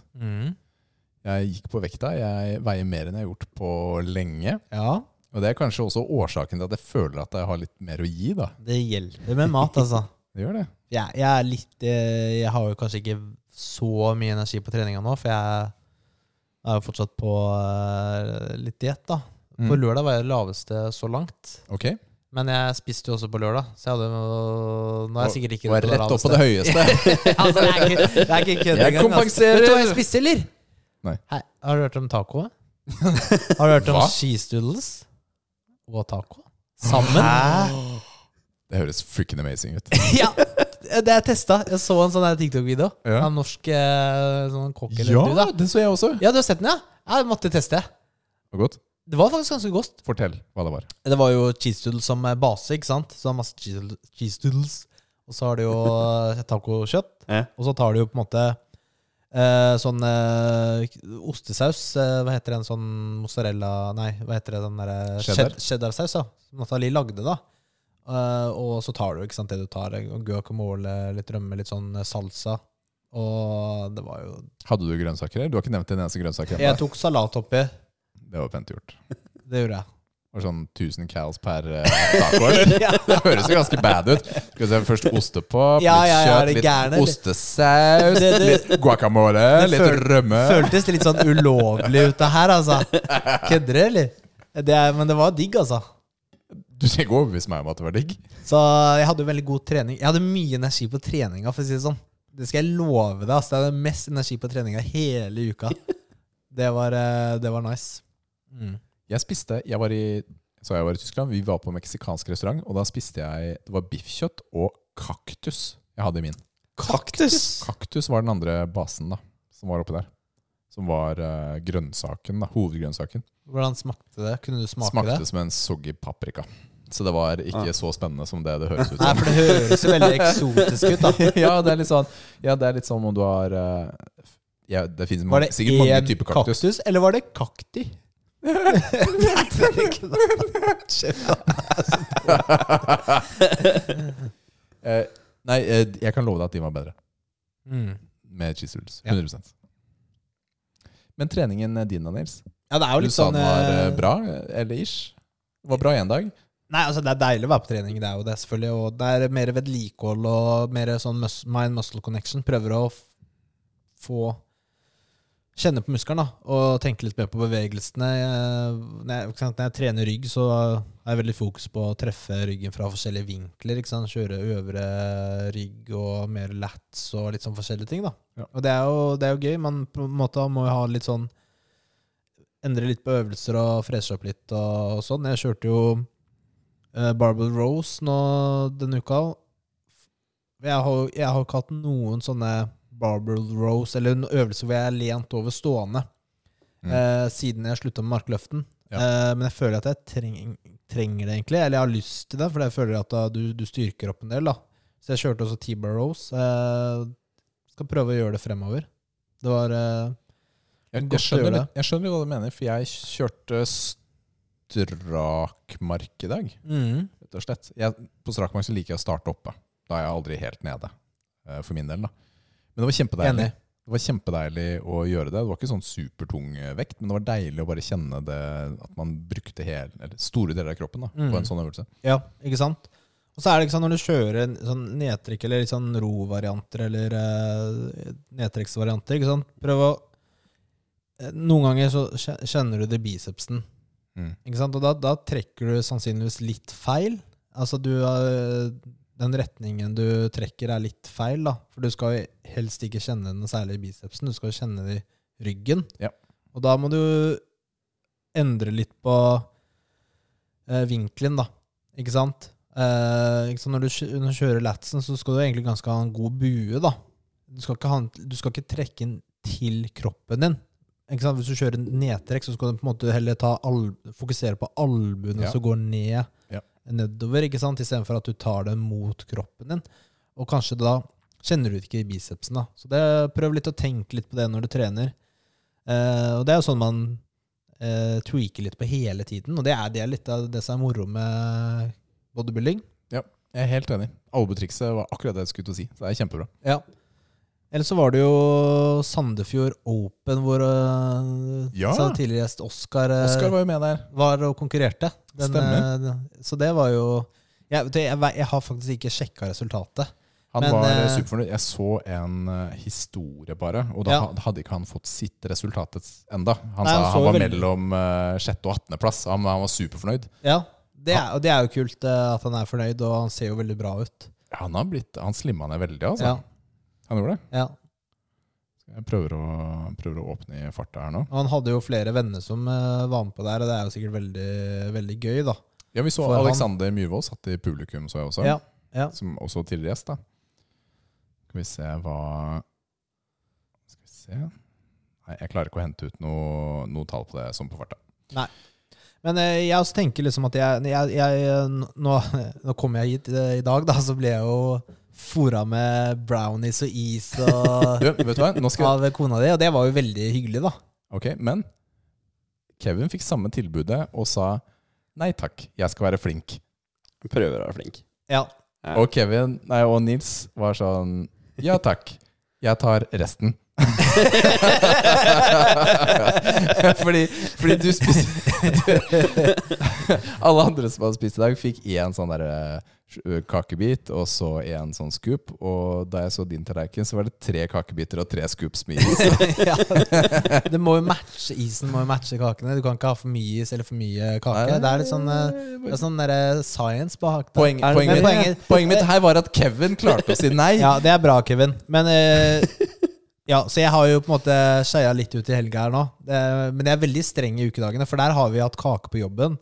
Speaker 2: Jeg gikk på vekta. Jeg veier mer enn jeg har gjort på lenge.
Speaker 1: Ja,
Speaker 2: Og det er kanskje også årsaken til at jeg føler at jeg har litt mer å gi, da.
Speaker 1: det hjelper med mat, altså.
Speaker 2: Det gjør det.
Speaker 1: Jeg, jeg er litt eh, Jeg har jo kanskje ikke så mye energi på treninga nå, for jeg er jo fortsatt på eh, litt diett, da. På
Speaker 2: Mm.
Speaker 1: lørdag var jeg det laveste så langt.
Speaker 2: Ok.
Speaker 1: Men jeg spiste jo også på lørdag, så jeg hadde jo- Nå er jeg sikkert ikke
Speaker 2: Og er rett opp på det høyeste.
Speaker 1: altså, det er ikke, det er ikke kødd
Speaker 2: Jeg
Speaker 1: engang, altså.
Speaker 2: kompenserer.
Speaker 1: Vet du hva jeg spiste, eller?
Speaker 2: Nei.
Speaker 1: Hei, har du hørt om taco? Har du hørt om
Speaker 2: Hva?
Speaker 1: cheese doodles? Og taco? Sammen?
Speaker 2: Det høres freaking amazing ut.
Speaker 1: ja! eh, Det jeg testa. Jeg så en sånn her TikTok-video.
Speaker 2: Ja.
Speaker 1: Av En norsk eh, sånn kokk eller du,
Speaker 2: Ja,
Speaker 1: da.
Speaker 2: det så jeg også.
Speaker 1: Ja, du har sett den, ja? Jeg måtte teste.
Speaker 2: Og godt.
Speaker 1: Det var faktisk ganske godt.
Speaker 2: Fortell hva det var.
Speaker 1: Det var jo cheese doodles som eh, base, ikke sant? Så det er masse cheese doodle- cheese doodles. Og så har du jo eh, tacokjøtt.
Speaker 3: Ja.
Speaker 1: Og så tar du jo på en måte eh, sånn eh, ostesaus. Eh, hva heter den sånn mozzarella Nei, hva heter det den derre
Speaker 2: Cheddar.
Speaker 1: cheddar- Cheddarsaus, ja. Som Nathalie lagde, da. Eh, og så tar du ikke sant, det du tar. eh, Guacamole, litt rømme, litt sånn eh, salsa. Og det var jo
Speaker 2: Hadde du grønnsaker her? Du har ikke nevnt en eneste grønnsak
Speaker 1: Jeg
Speaker 2: ennå.
Speaker 1: tok salat oppi.
Speaker 2: Det var pent gjort.
Speaker 1: Det gjorde jeg.
Speaker 2: Og sånn 1000 cals per eh, taco. eller? Det høres jo ganske bad ut. Skal vi se, Først ostepop,
Speaker 1: Ja,
Speaker 2: litt
Speaker 1: ja, ja, er
Speaker 2: kjøtt,
Speaker 1: det
Speaker 2: litt
Speaker 1: gæren, eller?
Speaker 2: ostesaus,
Speaker 1: Det- det-
Speaker 2: litt guacamole,
Speaker 1: Det
Speaker 2: litt
Speaker 1: føl-
Speaker 2: rømme.
Speaker 1: Føltes litt sånn ulovlig ut det her, altså. Kødder du, eller? Det er, men det var digg, altså.
Speaker 2: Du trenger ikke overbevise meg om at det var digg.
Speaker 1: Så jeg hadde jo veldig god trening. Jeg hadde mye energi på treninga, for å si det sånn. Det skal jeg love deg. Altså. Jeg hadde mest energi på treninga hele uka. Det var, eh, det var nice. Mm.
Speaker 2: Jeg spiste Jeg var i, så jeg var i Tyskland. Vi var på meksikansk restaurant, og da spiste jeg Det var biffkjøtt og kaktus jeg hadde i min.
Speaker 3: Kaktus!
Speaker 2: Kaktus var den andre basen da som var oppe der. Som var eh, grønnsaken, da, hovedgrønnsaken.
Speaker 1: Hvordan smakte det? Kunne du smake
Speaker 2: Smakte
Speaker 1: det?
Speaker 2: som en soggy paprika. Så det var ikke
Speaker 3: Ah.
Speaker 2: så spennende som det det høres ut
Speaker 1: Nei,
Speaker 2: som.
Speaker 1: for det høres jo veldig eksotisk ut, da.
Speaker 2: ja, det er litt sånn Ja, det er litt som om du har eh, ja, Det finnes
Speaker 1: Var
Speaker 2: mange,
Speaker 1: det
Speaker 2: sikkert mange
Speaker 1: én
Speaker 2: typer
Speaker 1: kaktus.
Speaker 2: kaktus.
Speaker 1: eller var det kakti? Nei, det er ikke det. Shit, da.
Speaker 2: Eh, nei, eh, jeg kan love deg at de var bedre.
Speaker 1: Mm.
Speaker 2: Med cheese rules.
Speaker 1: Ja.
Speaker 2: 100 Men treningen eh, din da, Nils?
Speaker 1: Ja, det er jo
Speaker 2: Du
Speaker 1: litt
Speaker 2: sa
Speaker 1: sånn
Speaker 2: den var eh,
Speaker 1: eh,
Speaker 2: bra, eller ish? Det var bra én dag.
Speaker 1: Nei, altså Det er deilig å være på trening, det er jo det, selvfølgelig. Og det er mer vedlikehold og mer sånn mus mind muscle connection. Prøver å f- få Kjenne på muskelen da, og tenke litt mer på bevegelsene. Jeg, når, jeg, ikke sant, når jeg trener rygg, så er jeg veldig fokus på å treffe ryggen fra forskjellige vinkler. Ikke sant? Kjøre øvre rygg og mer lats og litt sånn forskjellige ting. da.
Speaker 2: Ja.
Speaker 1: Og det er, jo, det er jo gøy, men på en måte må jeg ha litt sånn Endre litt på øvelser og freshe opp litt og, og sånn. Jeg kjørte jo uh, Barbel Rose nå denne uka. Jeg har, jeg har ikke hatt noen sånne Barbel Rose, eller en øvelse hvor jeg er lent over stående,
Speaker 2: Mm.
Speaker 1: eh, siden jeg slutta med markløften. Eh, men jeg føler at jeg treng, trenger det, egentlig. Eller jeg har lyst til det, for jeg føler at da, du, du styrker opp en del. da. Så jeg kjørte også T-Bar Rose. Eh, skal prøve å gjøre det fremover. Det var eh,
Speaker 2: Jeg,
Speaker 1: Godt å
Speaker 2: jeg, skjønner,
Speaker 1: gjøre
Speaker 2: litt- jeg skjønner hva du mener, for jeg kjørte strakmark i dag,
Speaker 1: mm,
Speaker 2: rett og slett. Jeg, på strakmark så liker jeg å starte oppe. Da er jeg aldri helt nede, eh, for min del. da. Men det var kjempedeilig.
Speaker 1: Enig.
Speaker 2: Det var kjempedeilig å gjøre det. Det var ikke sånn supertung eh, vekt, men det var deilig å bare kjenne det, at man brukte hele, eller store deler av kroppen da,
Speaker 1: Mm.
Speaker 2: på en sånn øvelse.
Speaker 1: Ja, ikke sant? Og så er det ikke sant når du kjører en sånn nedtrekk eller litt sånn rovarianter eller eh, nedtrekksvarianter, ikke sant? Prøv å eh, Noen ganger så kje- kjenner du det i bicepsen.
Speaker 2: Mm.
Speaker 1: Ikke sant? Og da, da trekker du sannsynligvis litt feil. Altså du har- Den retningen du trekker, er litt feil, da. For du skal jo helst ikke kjenne den særlig i bicepsen, du skal jo kjenne det i ryggen.
Speaker 2: Ja.
Speaker 1: Og da må du endre litt på eh, vinkelen, da. Ikke sant? Eh, ikke sant? Når, du, kjø- når du kjører latsen, så skal du egentlig ganske ha en god bue, da. Du skal ikke, ha, en- du skal ikke trekke den til kroppen din. Ikke sant? Hvis du kjører nedtrekk, så skal du på en måte heller ta al- fokusere på albuene
Speaker 2: Ja.
Speaker 1: som går ned,
Speaker 2: Ja.
Speaker 1: nedover, ikke sant? istedenfor at du tar det mot kroppen din. Og kanskje da kjenner du det ikke i bicepsen. da. Så det, prøv litt å tenke litt på det når du trener. Eh, og det er jo sånn man eh, tweaker litt på hele tiden, og det er, det er litt av det som er moro med bodybuilding.
Speaker 2: Jeg er helt enig. Albuetrikset var akkurat det jeg skulle til å si. Så det er kjempebra.
Speaker 1: Ja. Eller så var det jo Sandefjord Open, hvor øh,
Speaker 2: Ja.
Speaker 1: sa tidligere gjest Oskar, øh,
Speaker 2: Oskar var jo med der.
Speaker 1: var og konkurrerte.
Speaker 2: Stemmer.
Speaker 1: øh, så det var jo Jeg, vet du, jeg, ve- jeg har faktisk ikke sjekka resultatet.
Speaker 2: Han
Speaker 1: Men,
Speaker 2: var eh,
Speaker 1: eh,
Speaker 2: superfornøyd. Jeg så en eh, historie, bare. Og da
Speaker 1: Ja.
Speaker 2: ha- hadde ikke han fått sitt resultat et- enda. Han
Speaker 1: Nei,
Speaker 2: sa
Speaker 1: han
Speaker 2: han,
Speaker 1: så
Speaker 2: var
Speaker 1: veldig-
Speaker 2: mellom eh, sjette og attende-plass. Han, han var superfornøyd.
Speaker 1: Ja, det er, Og det er jo kult øh, at han er fornøyd, og han ser jo veldig bra ut.
Speaker 2: Han har blitt, han slimma ned veldig, altså.
Speaker 1: Ja,
Speaker 2: Han gjorde det.
Speaker 1: ja.
Speaker 2: Jeg prøver å, prøver å åpne i farta her nå.
Speaker 1: Og han hadde jo flere venner som øh, var med på der, og det er jo sikkert veldig, veldig gøy, da.
Speaker 2: Ja, Vi så
Speaker 1: For han-
Speaker 2: Alexander Myhrvold satt i publikum, så jeg også.
Speaker 1: Ja, ja.
Speaker 2: Som også tidligere gjest, da. Skal vi se hva Skal vi se Nei, jeg klarer ikke å hente ut noe, noe tall på det sånn på farta.
Speaker 1: Men eh, jeg også tenker liksom at jeg, jeg, jeg nå, nå kom jeg hit eh, i dag, da, så ble jeg jo fora med brownies og is og,
Speaker 2: Du, vet du hva? Nå skal
Speaker 1: av
Speaker 2: jeg...
Speaker 1: kona di, og det var jo veldig hyggelig, da.
Speaker 2: Ok, men Kevin fikk samme tilbudet og sa nei takk, jeg skal være flink.
Speaker 3: Prøver å være flink.
Speaker 1: Ja,
Speaker 3: Ja.
Speaker 2: Og Kevin, nei, og Nils var sånn ja takk, jeg tar resten. fordi, fordi du spiser Alle andre som hadde spist i dag, fikk én sånn der eh, kakebit og så én sånn scoop. Og da jeg så din tallerken, så var det tre kakebiter og tre scoops smilis.
Speaker 1: ja. Det må jo matche isen, må jo matche kakene. Du kan ikke ha for mye is eller for mye kake.
Speaker 2: Nei.
Speaker 1: Det er litt sånn, eh, det er sånn der, eh, science bak det.
Speaker 2: Poeng,
Speaker 3: Er det-
Speaker 2: poenget,
Speaker 1: Men
Speaker 2: mitt,
Speaker 1: poenget-
Speaker 2: poenget mitt her var at Kevin klarte å si nei.
Speaker 1: Ja, det er bra, Kevin. Men eh, Ja, så jeg har jo på en måte skeia litt ut i helga her nå. Det, men jeg er veldig streng i ukedagene, for der har vi hatt kake på jobben.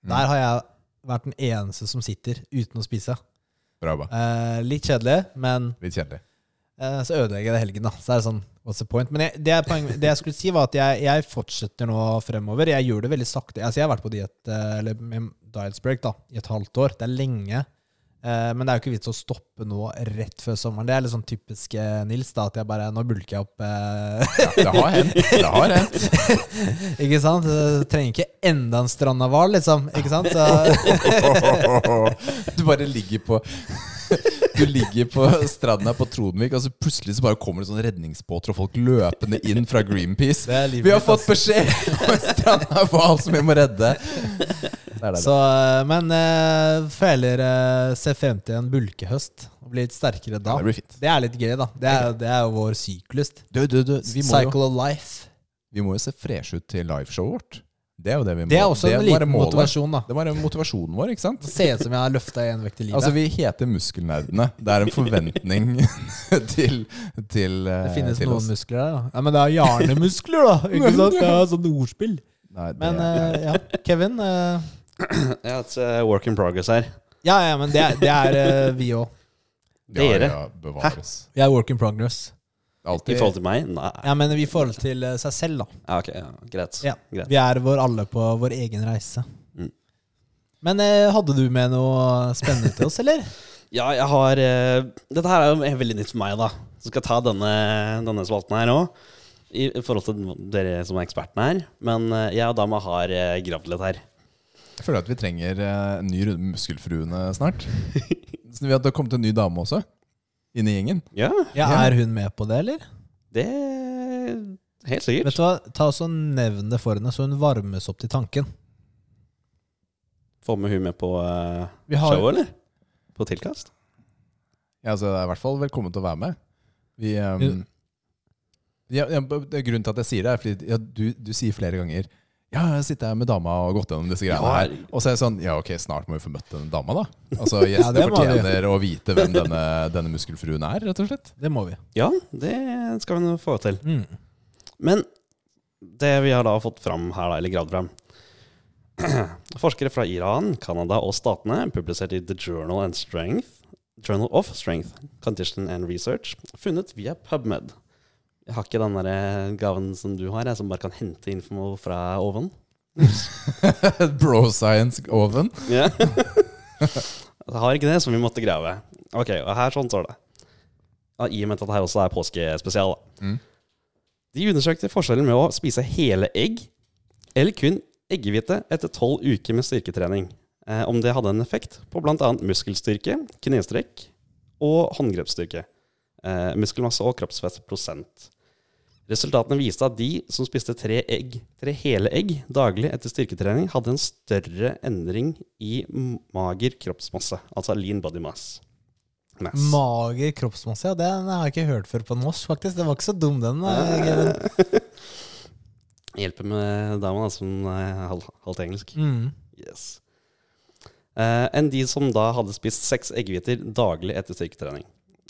Speaker 2: Mm.
Speaker 1: Der har jeg vært den eneste som sitter uten å spise.
Speaker 2: Bra, ba.
Speaker 1: Eh, litt kjedelig, men
Speaker 2: Litt kjedelig.
Speaker 1: eh, så ødelegger jeg det helgen, da. Så er det sånn, what's the point? Men jeg, det, er poenget- det jeg skulle si, var at jeg, jeg fortsetter nå fremover. Jeg gjør det veldig sakte. Altså, jeg har vært på diet, eh, eller med diets break, da, i et halvt år. Det er lenge. Eh, men det er jo ikke vits å stoppe nå rett før sommeren. Det er litt sånn typisk eh, Nils, da, at jeg bare Nå bulker jeg opp. eh,
Speaker 2: Ja, det har hendt. Det har hendt.
Speaker 1: Ikke sant? Så trenger ikke enda en strandahval, liksom. Ikke sant? Så,
Speaker 2: Du bare ligger på Du ligger på stranda på Tronvik, og så plutselig så bare kommer det sånne redningsbåter og folk løpende inn fra Greenpeace.
Speaker 1: Det er livet altså.
Speaker 2: Vi har
Speaker 1: mitt,
Speaker 2: fått beskjed om en strandahval som vi må redde. Det er det.
Speaker 1: så, men eh, føler eh, ser frem til en bulkehøst og blir litt sterkere da.
Speaker 2: Ja, det blir fint.
Speaker 1: er litt gøy, da. Det er, det er jo vår syklyst.
Speaker 2: Du, du, du, vi, må jo,
Speaker 1: Cycle of life.
Speaker 2: vi må jo se freshe ut til liveshowet vårt. Det er jo det vi må.
Speaker 1: Det er også en
Speaker 2: må være
Speaker 1: liten
Speaker 2: målet.
Speaker 1: motivasjon, da.
Speaker 2: Det var jo motivasjonen vår, ikke sant?
Speaker 1: Det ser ut som jeg har løfta én vekt i livet.
Speaker 2: Altså, vi heter Muskelnerdene. Det er en forventning til, til eh,
Speaker 1: det finnes
Speaker 2: til
Speaker 1: noen
Speaker 2: oss.
Speaker 1: muskler der, da. Ja, men det er hjernemuskler, da! Ikke sant? Det er sånn ordspill.
Speaker 2: Nei, det
Speaker 1: Men
Speaker 2: er-
Speaker 1: eh, ja, Kevin. eh,
Speaker 3: Ja, it's a eh, work in progress her.
Speaker 1: ja, ja, men det er, det er eh, vi òg.
Speaker 2: ja,
Speaker 3: Dere?
Speaker 2: ja, bevares.
Speaker 1: Vi er work in progress.
Speaker 3: I
Speaker 2: Alltid.
Speaker 3: forhold til meg? Nei.
Speaker 1: Ja, men i forhold til eh, seg selv, da.
Speaker 3: Ja, ok, ja, greit.
Speaker 1: Ja,
Speaker 3: greit.
Speaker 1: Vi er vår alle på vår egen reise.
Speaker 3: Mm.
Speaker 1: Men eh, hadde du med noe spennende til oss, eller?
Speaker 3: Ja, jeg har eh, Dette her er jo veldig nytt for meg, da. Så skal jeg ta denne, denne spalten her òg. I i forhold til dere som er ekspertene her. Men eh, jeg og dama har eh, gravd litt her.
Speaker 2: Jeg føler at vi trenger eh, en ny runde med Muskelfruene snart. Så vi har det har kommet en ny dame også, inn i gjengen.
Speaker 3: Ja,
Speaker 1: Ja,
Speaker 2: Ja.
Speaker 1: Er hun med på det, eller?
Speaker 3: det Helt sikkert.
Speaker 1: Vet du hva, Ta oss og Nevn det for henne, så hun varmes opp til tanken.
Speaker 3: Få med hun med på eh,
Speaker 1: Vi har-
Speaker 3: showet, eller? På tilkast?
Speaker 2: Ja, altså, det er i hvert fall velkommen til å være med. Vi, ehm, ja, ja, b- det er grunnen til at jeg sier det, er fordi ja, du, du sier flere ganger Ja, jeg sitter her med dama og gått gjennom disse greiene
Speaker 3: Ja.
Speaker 2: her. Og så er jeg sånn Ja, ok, snart må vi få møtt denne dama, da. Altså, Gjestene
Speaker 1: det må vi.
Speaker 2: fortjener å vite hvem denne, denne muskelfruen er, rett og slett.
Speaker 1: Det må vi.
Speaker 3: Ja, det skal vi nå få til.
Speaker 1: Mm.
Speaker 3: Men det vi har da fått fram her, da, eller gravd fram Forskere fra Iran, Canada og statene, publisert i The Journal, and Strength, Journal of Strength, Condition and Research, funnet via PubMed. Jeg har ikke den der eh, gaven som du har, jeg som bare kan hente info fra oven.
Speaker 2: Bro science oven.
Speaker 3: Ja. Jeg har ikke det, så vi måtte grave. Ok, og her sånn står det. Ja, I og med at det her også er påskespesial, da.
Speaker 2: Mm.
Speaker 3: De undersøkte forskjellen med å spise hele egg eller kun eggehvite etter tolv uker med styrketrening. Eh, om det hadde en effekt på bl.a. muskelstyrke, knestrekk og håndgrepsstyrke. Eh, muskelmasse og kroppsfettprosent. Resultatene viste at de som spiste tre, egg, tre hele egg daglig etter styrketrening, hadde en større endring i mager kroppsmasse, altså lean body mass. mass.
Speaker 1: Mager kroppsmasse, ja. Den har jeg ikke hørt før på norsk, faktisk. Den var ikke så dum, den. eh, Kevin.
Speaker 3: Hjelper med dama, da, som er halv- halvt engelsk.
Speaker 1: Mm.
Speaker 3: Yes. Eh, enn de som da hadde spist seks eggehviter daglig etter styrketrening.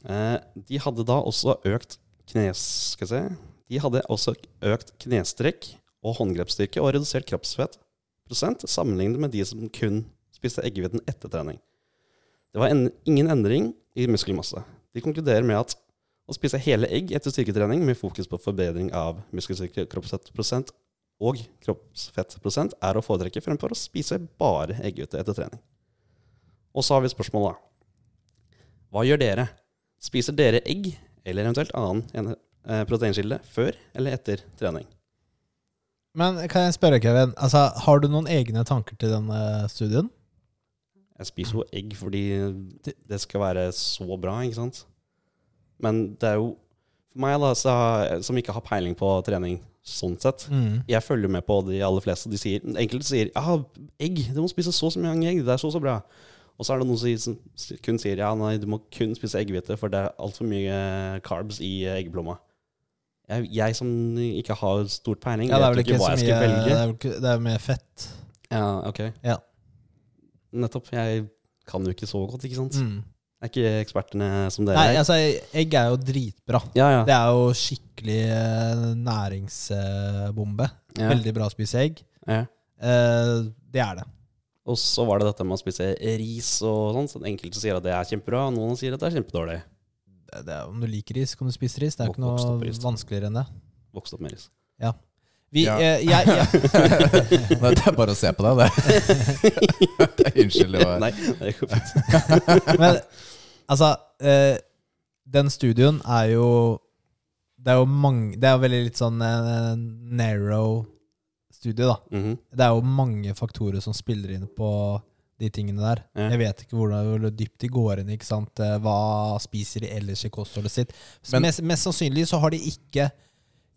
Speaker 3: Eh, de hadde da også økt knes... Skal jeg se De hadde også økt knestrekk og håndgrepsstyrke og redusert kroppsfettprosent sammenlignet med de som kun spiste eggehviten etter trening. Det var en, ingen endring i muskelmasse. De konkluderer med at å spise hele egg etter styrketrening med fokus på forbedring av muskelstyrke, kroppsfettprosent og kroppsfettprosent er å foretrekke fremfor å spise bare eggehvite etter trening. Og så har vi spørsmålet, da. Hva gjør dere? Spiser dere egg, eller eventuelt annen ene- eh, proteinskilde, før eller etter trening?
Speaker 1: Men kan jeg spørre, Kevin, altså, har du noen egne tanker til denne studien?
Speaker 3: Jeg spiser jo egg fordi det- det skal være så bra, ikke sant? Men det er jo For meg, da, så, som ikke har peiling på trening sånn sett,
Speaker 1: Mm.
Speaker 3: jeg følger med på de aller fleste. De sier, enkelte sier ja, egg, du må spise så og så mange egg, det er så og så bra. Og så er det noen som sier- som kun sier ja, nei, du må kun spise eggehvite, for det er altfor mye carbs i eh, eggeplomma. Jeg, jeg som ikke har stort peiling,
Speaker 1: Ja, det er vel
Speaker 3: vet jo
Speaker 1: ikke
Speaker 3: ikke hva
Speaker 1: så mye
Speaker 3: jeg skal
Speaker 1: Det
Speaker 3: velge.
Speaker 1: er, vel ikke- det er mer fett.
Speaker 3: Ja, ok.
Speaker 1: Ja.
Speaker 3: Nettopp. Jeg kan jo ikke så godt, ikke sant?
Speaker 1: Mm.
Speaker 3: Jeg er ikke ekspertene som dere
Speaker 1: Nei,
Speaker 3: er.
Speaker 1: altså, egg er jo dritbra.
Speaker 3: Ja, ja.
Speaker 1: Det er jo skikkelig eh, næringsbombe.
Speaker 3: ja.
Speaker 1: Veldig bra å spise egg.
Speaker 3: ja.
Speaker 1: Eh, det er det.
Speaker 3: Og så var det dette med å spise ris og sånn. Så enkelte sier at det er kjempebra, og noen sier at det er kjempedårlig.
Speaker 1: det, det er om du liker ris, kan du spise ris. Det er jo ikke
Speaker 3: Vok- vokst
Speaker 1: noe
Speaker 3: opp i ris.
Speaker 1: vanskeligere enn det.
Speaker 3: Vokst opp med ris.
Speaker 1: Vi,
Speaker 2: Ja.
Speaker 1: eh, jeg, jeg,
Speaker 2: Nei, det er bare å se på deg, det. det er unnskyld. Det var.
Speaker 3: Nei, det går fint.
Speaker 1: men altså eh, Den studioen er jo Det er jo mange Det er jo veldig litt sånn eh, narrow studie, da.
Speaker 3: Mhm.
Speaker 1: Det er jo mange faktorer som spiller inn på de tingene der.
Speaker 3: Ja.
Speaker 1: Jeg vet ikke hvordan hvor dypt de går inn. ikke sant? Eh, Hva spiser de ellers i kostholdet sitt?
Speaker 2: Men-
Speaker 1: mest, mest sannsynlig så har de ikke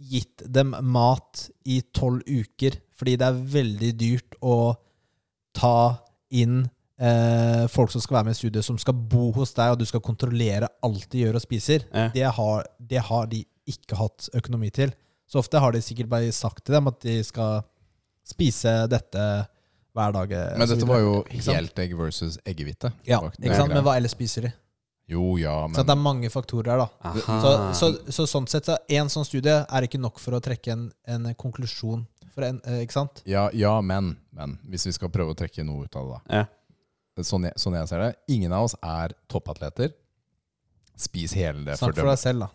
Speaker 1: gitt dem mat i tolv uker, fordi det er veldig dyrt å ta inn eh, folk som skal være med i studiet, som skal bo hos deg, og du skal kontrollere alt de gjør og spiser.
Speaker 3: Ja.
Speaker 1: Det, har, det har de ikke hatt økonomi til. Så ofte har de sikkert bare sagt til dem at de skal spise dette hver dag. eh, og
Speaker 2: Men
Speaker 1: så
Speaker 2: dette
Speaker 1: videre.
Speaker 2: var jo
Speaker 1: Ikke sant?
Speaker 2: helt egg versus eggehvite.
Speaker 1: ja,
Speaker 2: Det var ikke
Speaker 1: ikke sant?
Speaker 2: noe
Speaker 1: Men
Speaker 2: greier.
Speaker 1: hva ellers spiser de?
Speaker 2: Jo, ja,
Speaker 1: Så det
Speaker 2: men Ah.
Speaker 1: er mange faktorer her, da. Så,
Speaker 3: Aha.
Speaker 1: så, så sånn sett, så en sånn studie er ikke nok for å trekke en, en konklusjon. For en, eh, ikke sant?
Speaker 2: ja, ja, men, men. Hvis vi skal prøve å trekke noe ut av det, da.
Speaker 3: Ja.
Speaker 2: Sånn, jeg, sånn jeg ser det. Ingen av oss er toppatleter. Spis hele det
Speaker 1: Snakk for
Speaker 2: fordømte
Speaker 1: deg selv, da.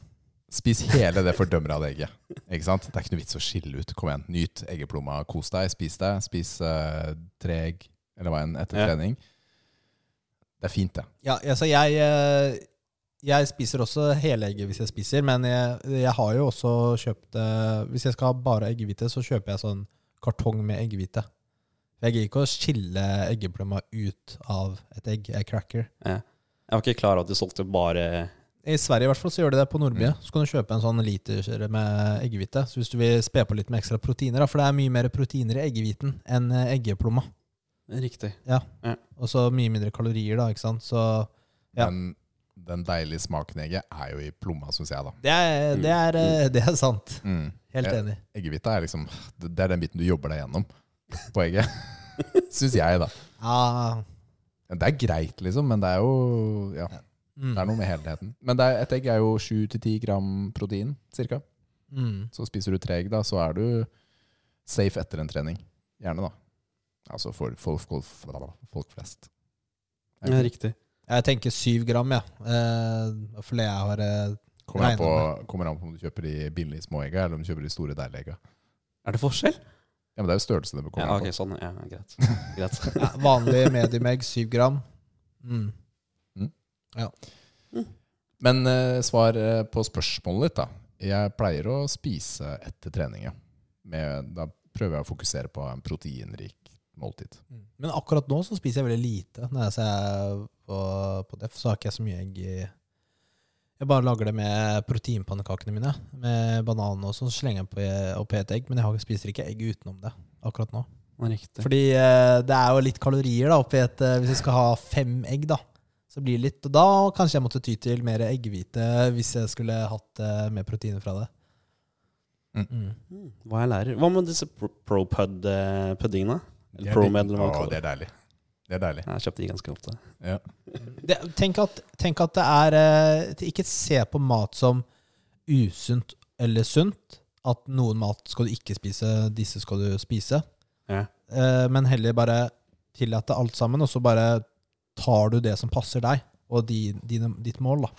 Speaker 2: Spis hele det fordømmer av det egget. Ikke sant? Det er ikke noe vits å skille ut. Kom igjen, nyt eggeplomma. Kos deg, spis deg. Spis uh, tre egg eller hva enn etter
Speaker 3: Ja.
Speaker 2: trening. Det er fint, det.
Speaker 1: Ja, altså jeg, eh, jeg spiser også hele egget hvis jeg spiser, men jeg, jeg har jo også kjøpt eh, Hvis jeg skal ha bare eggehvite, så kjøper jeg sånn kartong med eggehvite. Jeg gidder ikke å skille eggeplomma ut av et egg. Jeg cracker.
Speaker 3: Jeg var ikke klar over at du solgte bare
Speaker 1: I Sverige i hvert fall så gjør de det på Nordby. Så kan du kjøpe en sånn liter med eggehvite. Så hvis du vil spe på litt med ekstra proteiner, da, for det er mye mer proteiner i eggehviten enn eh, eggeplomma.
Speaker 3: Riktig.
Speaker 1: Og så mye mindre kalorier, da, ikke sant. Så Ja.
Speaker 2: Men den deilige smaken i egget er jo i plomma, syns jeg, da.
Speaker 1: det er, det er, eh, det er sant. Helt
Speaker 2: Ja.
Speaker 1: enig.
Speaker 2: Eggehvite er liksom Det er den biten du jobber deg gjennom på egget. Syns jeg, da.
Speaker 1: Ja,
Speaker 2: Det er greit, liksom, men det er jo Ja,
Speaker 1: mm,
Speaker 2: det er noe med helheten. Men det er, et egg er jo 7-10 gram protein, cirka.
Speaker 1: mm.
Speaker 2: Så spiser du tre egg, da, så er du safe etter en trening. Gjerne, da. Altså for folk, folk, folk flest.
Speaker 3: Ja, riktig.
Speaker 1: Jeg tenker syv gram, jeg. Ja. Eh, fordi jeg har eh,
Speaker 2: Kommer an, på,
Speaker 1: Regner
Speaker 2: kommer an på om du kjøper de billige små egga, eller om du kjøper de store deilige egga.
Speaker 3: Er det forskjell?
Speaker 2: Ja, men det er jo størrelse det kommer
Speaker 3: Ja,
Speaker 2: an
Speaker 3: ok,
Speaker 2: på.
Speaker 3: sånn. Ja, greit. greit.
Speaker 1: ja, vanlig medium-egg, syv gram. Mm.
Speaker 2: Men eh, svar eh, på spørsmålet ditt, da. Jeg pleier å spise etter trening. ja. Med, da prøver jeg å fokusere på en proteinrik måltid.
Speaker 1: Men akkurat nå så spiser jeg veldig lite. Når jeg ser på, på Def, så har ikke jeg så mye egg i Jeg bare lager det med proteinpannekakene mine. Med banan og sånn, så slenger jeg på oppi et egg. Men jeg har- spiser ikke egg utenom det akkurat nå.
Speaker 3: Ja, Riktig.
Speaker 1: Fordi eh, det er jo litt kalorier da oppi et eh, Hvis jeg skal ha fem egg, da, så blir det litt. Og da kanskje jeg måtte ty til mer eggehvite hvis jeg skulle hatt eh, mer proteiner fra det.
Speaker 2: Mm.
Speaker 1: Mm.
Speaker 3: Mm, Hva jeg lærer. Hva med disse pro- ProPud-puddingene? Eller ProMed, eller hva man
Speaker 2: Å,
Speaker 3: kaller
Speaker 2: det
Speaker 3: det.
Speaker 2: er deilig. Det er deilig.
Speaker 3: Jeg kjøpte de ganske ofte.
Speaker 2: Ja.
Speaker 1: Det, tenk, at, tenk at det er eh, Ikke se på mat som usunt eller sunt. At noen mat skal du ikke spise, disse skal du spise.
Speaker 3: Ja.
Speaker 1: Eh, men heller bare tillate alt sammen, og så bare tar du det som passer deg og di, dine, ditt mål. da.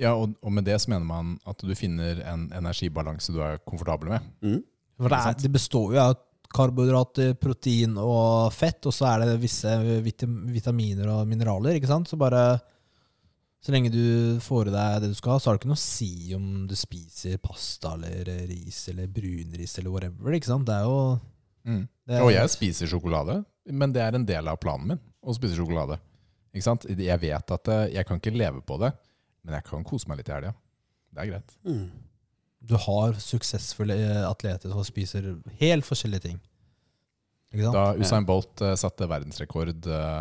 Speaker 2: Ja, og, og med det så mener man at du finner en energibalanse du er komfortabel med.
Speaker 3: Mm.
Speaker 1: For det, er, det består jo av karbohydrater, protein og fett, og så er det visse vitam- vitaminer og mineraler. ikke sant? Så bare Så lenge du får i deg det du skal ha, så har det ikke noe å si om du spiser pasta eller ris eller brunris eller whatever. ikke sant? Det er jo det er,
Speaker 2: Og jeg spiser sjokolade, men det er en del av planen min å spise sjokolade. Ikke sant? Jeg vet at eh, jeg kan ikke leve på det, men jeg kan kose meg litt i helga. Det er greit.
Speaker 3: Mm.
Speaker 1: Du har suksessfulle eh, atleter som spiser helt forskjellige ting. Ikke sant?
Speaker 2: Da Usain Bolt eh, satte verdensrekord eh,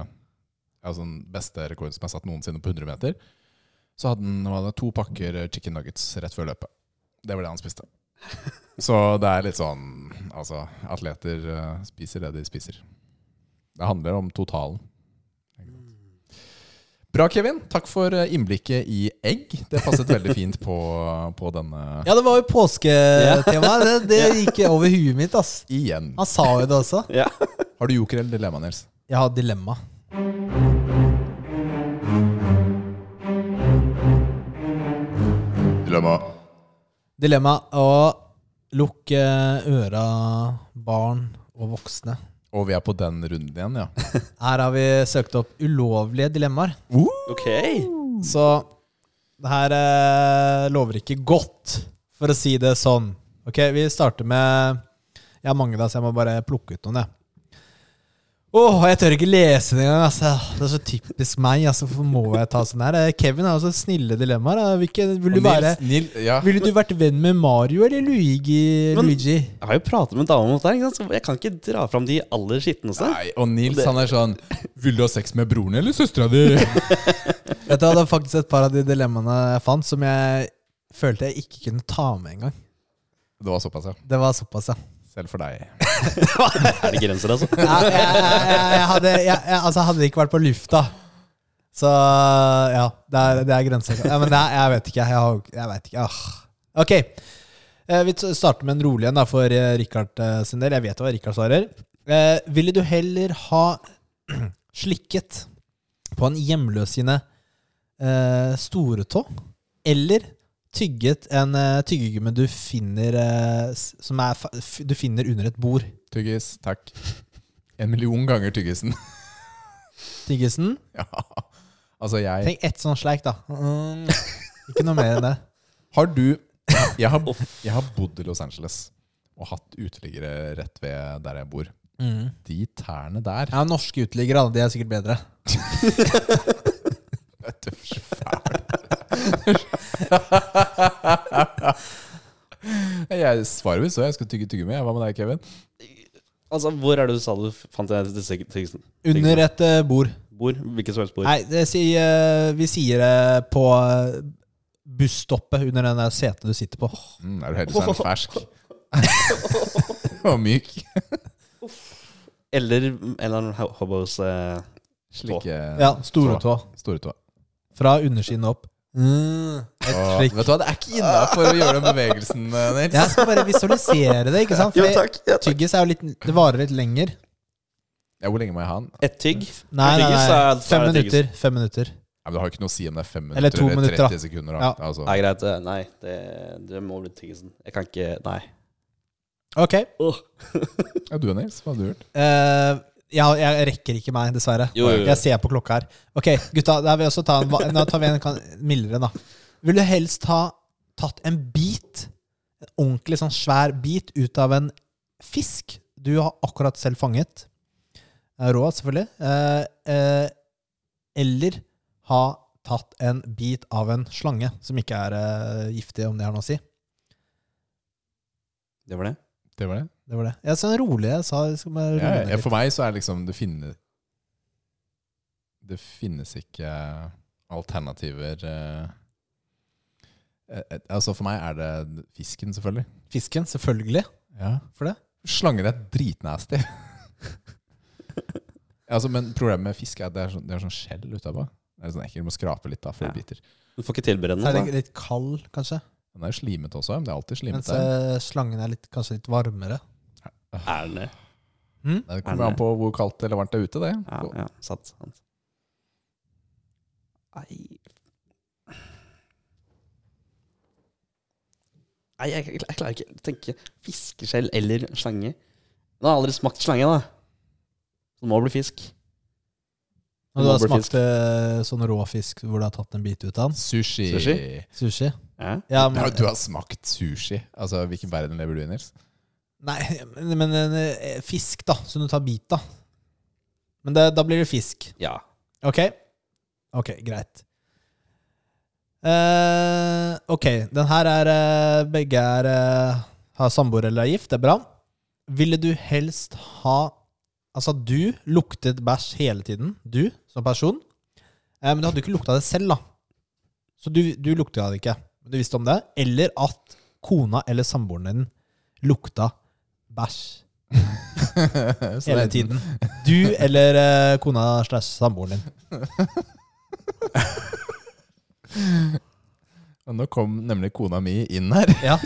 Speaker 2: Altså den beste rekorden som er satt noensinne på 100 meter, så hadde han hva var det, to pakker eh, chicken nuggets rett før løpet. Det var det han spiste. Så det er litt sånn Altså, atleter eh, spiser det de spiser. Det handler om totalen. Ikke sant? Bra, Kevin. Takk for eh, innblikket i egg. Det passet veldig fint på, på denne
Speaker 1: Ja, det var jo påsketemaet. Det, det gikk over huet mitt. ass.
Speaker 2: igjen.
Speaker 1: Han sa jo det også.
Speaker 3: Ja.
Speaker 2: Har du joker eller dilemma, Nils?
Speaker 1: Jeg har et dilemma.
Speaker 2: Dilemma.
Speaker 1: Dilemma å lukke øra barn og voksne.
Speaker 2: Og vi er på den runden igjen, ja.
Speaker 1: Her har vi søkt opp ulovlige dilemmaer.
Speaker 3: Ok.
Speaker 1: Så det her eh, lover ikke godt, for å si det sånn. Ok, vi starter med Jeg har mange, da, så jeg må bare plukke ut noen. jeg. Åh, jeg tør ikke lese det engang. Altså. Det er så typisk meg. Altså, hvorfor må jeg ta sånn her? Eh, Kevin har også snille dilemmaer. da. Hvilke,
Speaker 2: Og
Speaker 1: vil du være,
Speaker 2: Nils, Nil, ja.
Speaker 1: ville du vært venn med Mario eller Luigi?
Speaker 3: Men-
Speaker 1: Luigi?
Speaker 3: Jeg har jo pratet med dama om dette, her, ikke sant? så jeg kan ikke dra fram de aller skitneste.
Speaker 2: Nei, og Nils
Speaker 3: Det-
Speaker 2: han er sånn Vil du ha sex med broren eller søstera di?
Speaker 1: Vet du, Det var faktisk et par av de dilemmaene jeg fant, som jeg følte jeg ikke kunne ta med engang.
Speaker 2: Det var såpass, ja.
Speaker 1: Det var såpass, ja.
Speaker 2: Selv for deg.
Speaker 3: Er det grenser, altså?
Speaker 1: Jeg, jeg, jeg, jeg, hadde, jeg, jeg altså, hadde ikke vært på lufta. Så ja, det er, det er grenser. Ja, men det er, jeg vet ikke. Jeg, har, jeg vet ikke. Ah. Ok. Eh, Vi t- starter med en rolig en da, for eh, Richard eh, sin del. Jeg vet hva Richard svarer. Eh, ville du heller ha slikket på en hjemløs sine eh, store tå, eller tygget en eh, tyggegummi du finner eh, s- som er, fa- f- du finner under et bord?
Speaker 2: Tyggis, takk. En million ganger tyggisen.
Speaker 1: Tyggisen?
Speaker 2: ja. Altså, jeg
Speaker 1: Tenk ett sånn sleik, da. Mm. Ikke noe mer enn det.
Speaker 2: Har du jeg har, jeg har bodd i Los Angeles og hatt uteliggere rett ved der jeg bor.
Speaker 1: Mm.
Speaker 2: De tærne der
Speaker 1: Ja, Norske uteliggere, da. De er sikkert bedre.
Speaker 2: vet du, så fæl. Jeg svarer visst så. Jeg skal tygge tyggegummi. Hva med deg, Kevin?
Speaker 3: Altså, Hvor er det du sa du fant disse tingene?
Speaker 1: Under et eh, bord.
Speaker 3: Bord? Hvilket som helst bord?
Speaker 1: Nei, det sier, eh, vi sier det på eh, busstoppet under den der setet du sitter på.
Speaker 2: Mm, er du heldig så er den fersk? Og myk.
Speaker 3: Eller, eller ho- hobos eh,
Speaker 2: Slike
Speaker 1: Ja, stortå.
Speaker 2: store tåa.
Speaker 1: Fra underskinnet opp. Mm, et
Speaker 2: Og- Vet
Speaker 1: trick.
Speaker 2: du hva, det er ikke innafor å gjøre den bevegelsen, eh, Nils.
Speaker 1: Jeg skal bare visualisere det, ikke sant?
Speaker 3: Jo,
Speaker 1: For
Speaker 3: takk. Ja, takk.
Speaker 1: tyggis er jo litt Det varer litt lenger.
Speaker 2: Ja, hvor lenge må jeg ha den?
Speaker 3: Et tygg.
Speaker 1: Nei, nei,
Speaker 3: Tyggis
Speaker 1: nei.
Speaker 3: er- er
Speaker 1: Fem
Speaker 3: tyggis.
Speaker 1: minutter. Fem minutter.
Speaker 2: Ja, men Det har jo ikke noe å si om det er fem minutter
Speaker 1: Eller
Speaker 2: eller,
Speaker 1: to minutter,
Speaker 2: 30 sekunder. Da.
Speaker 1: Ja.
Speaker 2: Altså.
Speaker 3: Nei, greit. eh, Nei, det, det må bli tyggisen. Jeg kan ikke Nei.
Speaker 1: Ok.
Speaker 2: Ja, du Nils, hva har du gjort?
Speaker 1: Eh, jeg, jeg rekker ikke meg, dessverre.
Speaker 3: Jo, jo, jo.
Speaker 1: Jeg ser på klokka her. Ok, gutta, da vil jeg også ta en, va- nå tar vi en kan, mildere, da. Vil du helst ha tatt en bit, en ordentlig sånn svær bit, ut av en fisk du har akkurat selv fanget? Eh, Rå, selvfølgelig. Eh, eh, eller ha tatt en bit av en slange, som ikke er eh, giftig, om det har noe å si.
Speaker 3: Det var det.
Speaker 2: Det var det?
Speaker 1: Det var det. Jeg sa rolig. Jeg sa, skal bare roe
Speaker 2: Ja,
Speaker 1: ned
Speaker 2: ja,
Speaker 1: litt.
Speaker 2: for meg så er det liksom Det finnes Det finnes ikke alternativer eh, eh, eh, Altså, for meg er det fisken, selvfølgelig.
Speaker 1: Fisken, selvfølgelig.
Speaker 2: Ja.
Speaker 1: For det?
Speaker 2: Slanger er dritnasty. altså, men problemet med fisk er at det er sånn, det er sånn skjell utapå. Det er sånn ekkelt, Du må skrape litt da før
Speaker 3: Ja.
Speaker 2: du biter.
Speaker 3: Du får ikke tilberede
Speaker 1: Så er
Speaker 3: noe.
Speaker 1: det litt kald, kanskje.
Speaker 2: Den er jo slimet også, men det er alltid slimet
Speaker 1: Mens
Speaker 2: der.
Speaker 1: eh, slangen er litt, kanskje litt varmere.
Speaker 3: da. Er den det?
Speaker 2: Det kommer an på hvor kaldt eller varmt det er ute, det.
Speaker 3: Ja, ja. Sant. sant. Nei Nei, jeg, jeg, jeg klarer ikke å tenke fiskeskjell eller slange. Nå har jeg aldri smakt slange, da. Så det må bli fisk.
Speaker 1: Og du har
Speaker 3: Nobelfisk.
Speaker 1: smakt eh, sånn rå fisk hvor du har tatt en bit ut av den?
Speaker 2: Sushi.
Speaker 3: Sushi?
Speaker 1: Sushi?
Speaker 3: Ja.
Speaker 1: Ja,
Speaker 2: Du har, du har smakt sushi. Altså, Hvilken verden lever du i, Nils?
Speaker 1: Nei, men, men eh, fisk, da, som du tar bit av. Men det, da blir det fisk.
Speaker 3: ja.
Speaker 1: Ok? Ok, greit. Eh, ok, den her er eh, Begge er eh, har samboer eller er gift, det er bra. Ville du helst ha Altså, du luktet bæsj hele tiden, du som person. Eh, men du hadde jo ikke lukta det selv, da. Så du, du lukta det ikke. Men du visste om det. Eller at kona eller samboeren din lukta bæsj
Speaker 2: Så
Speaker 1: hele
Speaker 2: det-
Speaker 1: tiden. Du eller eh, kona slash samboeren din.
Speaker 2: Og nå kom nemlig kona mi inn her.
Speaker 1: Ja.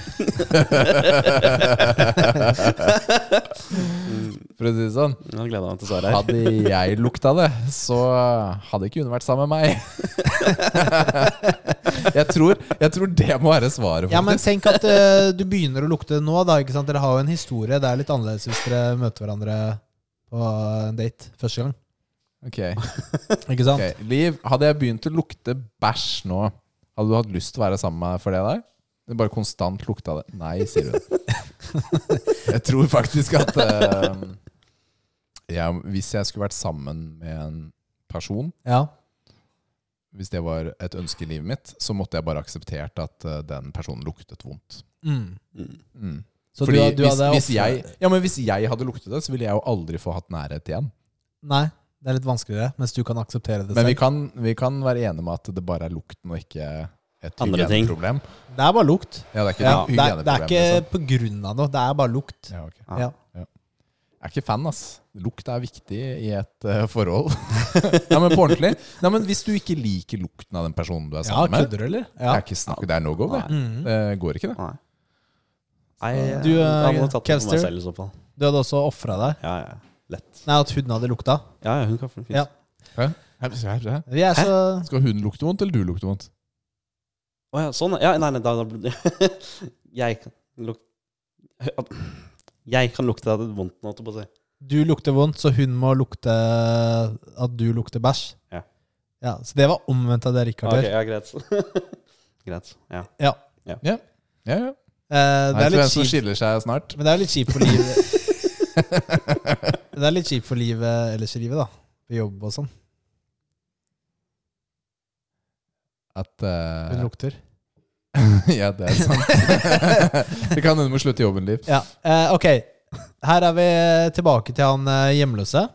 Speaker 2: For å si det sånn.
Speaker 3: Nå gleder jeg meg til svaret her.
Speaker 2: Hadde jeg lukta det, så hadde ikke hun vært sammen med meg. Jeg tror, jeg tror det må være svaret.
Speaker 1: Ja, men
Speaker 2: faktisk.
Speaker 1: tenk at eh, du begynner å lukte det nå, da. ikke sant? Dere har jo en historie. Det er litt annerledes hvis dere møter hverandre på en date første gang.
Speaker 2: Ok,
Speaker 1: Ikke sant?
Speaker 2: ok. Liv, hadde jeg begynt å lukte bæsj nå, hadde du hatt lyst til å være sammen med meg for det der? Det bare konstant lukta det. Nei, sier hun. Jeg tror faktisk at eh, jeg, hvis jeg skulle vært sammen med en person
Speaker 1: Ja.
Speaker 2: hvis det var et ønske i livet mitt, så måtte jeg bare akseptert at eh, den personen luktet vondt.
Speaker 1: Mm.
Speaker 3: Mm.
Speaker 2: Mm.
Speaker 1: Så
Speaker 2: Fordi
Speaker 1: du, du
Speaker 2: hvis,
Speaker 1: hadde
Speaker 2: hvis,
Speaker 1: ofre-
Speaker 2: jeg, ja, men hvis jeg hadde luktet det, så ville jeg jo aldri få hatt nærhet igjen.
Speaker 1: Nei, det er litt vanskeligere, mens du kan akseptere det
Speaker 2: Men vi
Speaker 1: selv.
Speaker 2: kan, vi kan være enige om at det bare er lukten og ikke et
Speaker 3: Andre ting.
Speaker 2: hygieneproblem.
Speaker 1: Det er bare lukt.
Speaker 2: Ja, det er ikke
Speaker 1: Ja,
Speaker 2: et
Speaker 1: det, er, det er
Speaker 2: hygieneproblem.
Speaker 1: ikke
Speaker 2: liksom.
Speaker 1: på grunn av noe, det er bare lukt.
Speaker 2: ja, ok.
Speaker 1: Ja.
Speaker 2: Jeg er ikke fan, ass. Lukt er viktig i et eh, forhold. Nei, men på ordentlig. Nei, men hvis du ikke liker lukten av den personen du er
Speaker 1: Ja,
Speaker 2: sammen med,
Speaker 1: kødder du, eller?
Speaker 2: det
Speaker 1: Ja.
Speaker 2: er, ikke snakk, det er no go, det.
Speaker 1: Mm.
Speaker 2: Det går ikke, det.
Speaker 3: Nei. Nei,
Speaker 1: Du,
Speaker 3: jeg hadde
Speaker 1: eh,
Speaker 3: nok tatt det på
Speaker 1: Kevster?
Speaker 3: meg selv i så fall.
Speaker 1: Du hadde også ofra deg.
Speaker 3: Ja, ja. Lett.
Speaker 1: Nei, at hun hadde lukta.
Speaker 3: Ja, ja, hun kan fint.
Speaker 1: Ja.
Speaker 2: Hæ? Hæ?
Speaker 1: Vi er
Speaker 3: Hæ?
Speaker 1: så
Speaker 2: Skal hun lukte vondt, eller du lukte vondt?
Speaker 3: Å ja, sånn. Ja, nei, nei, da, da Jeg kan lukte Jeg kan lukte at det er vondt nå, holdt jeg på å si.
Speaker 1: Du lukter vondt, så hun må lukte at du lukter bæsj.
Speaker 3: Ja.
Speaker 1: Ja, så det var omvendt av det Rikard
Speaker 3: Ok,
Speaker 1: gjør.
Speaker 3: ja, greit. greit. Ja.
Speaker 1: Ja.
Speaker 2: Ja, ja.
Speaker 1: Eh, det
Speaker 2: Nei,
Speaker 1: er
Speaker 2: for
Speaker 1: litt
Speaker 2: en som
Speaker 1: kjipt.
Speaker 2: skiller seg snart.
Speaker 1: Men det er litt kjipt for livet. det er litt kjipt for livet ellers i livet, da. På jobb og sånn.
Speaker 2: At eh,
Speaker 1: Hun lukter.
Speaker 2: Ja, det er sant. det kan hende du må slutte i jobben, Liv.
Speaker 1: Ja, eh, ok. Her er vi tilbake til han eh, hjemløse.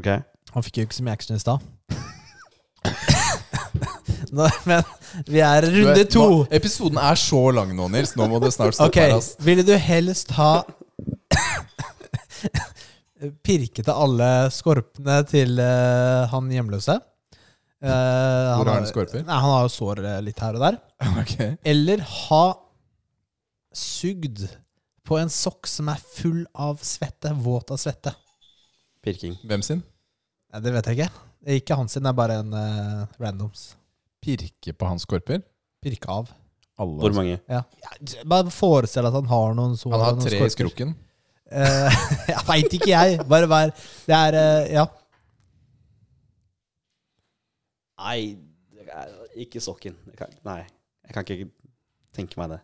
Speaker 3: Ok.
Speaker 1: Han fikk jo ikke så mye action i stad. listene, men vi er
Speaker 2: Du
Speaker 1: runde
Speaker 2: er-
Speaker 1: to.
Speaker 2: Nå, episoden er så lang nå, Nils. Nå må det snart stoppe
Speaker 1: Ok,
Speaker 2: her. ass.
Speaker 1: ville du helst ha pirket av alle skorpene til eh, han hjemløse? Eh,
Speaker 2: Hvor
Speaker 1: har-
Speaker 2: er det skorper?
Speaker 1: Nei, han har jo sår eh, litt her og der.
Speaker 2: Ok.
Speaker 1: Eller ha sugd på en sokk som er full av svette, våt av svette.
Speaker 3: Pirking.
Speaker 2: Hvem sin?
Speaker 1: Nei, det vet jeg ikke. Det er ikke han sin, det er bare en eh, randoms.
Speaker 2: Pirke på hans korper?
Speaker 1: Pirke av.
Speaker 2: Alle.
Speaker 3: Hvor mange?
Speaker 1: Ja. Bare forestill deg at han har noen sår.
Speaker 2: Han har
Speaker 1: og noen
Speaker 2: tre i
Speaker 1: skorper.
Speaker 2: skroken.
Speaker 1: Eh, jeg veit ikke, jeg. Bare vær Det er eh, Ja.
Speaker 3: Nei, det er ikke sokken. Jeg kan, nei, jeg kan ikke tenke meg det.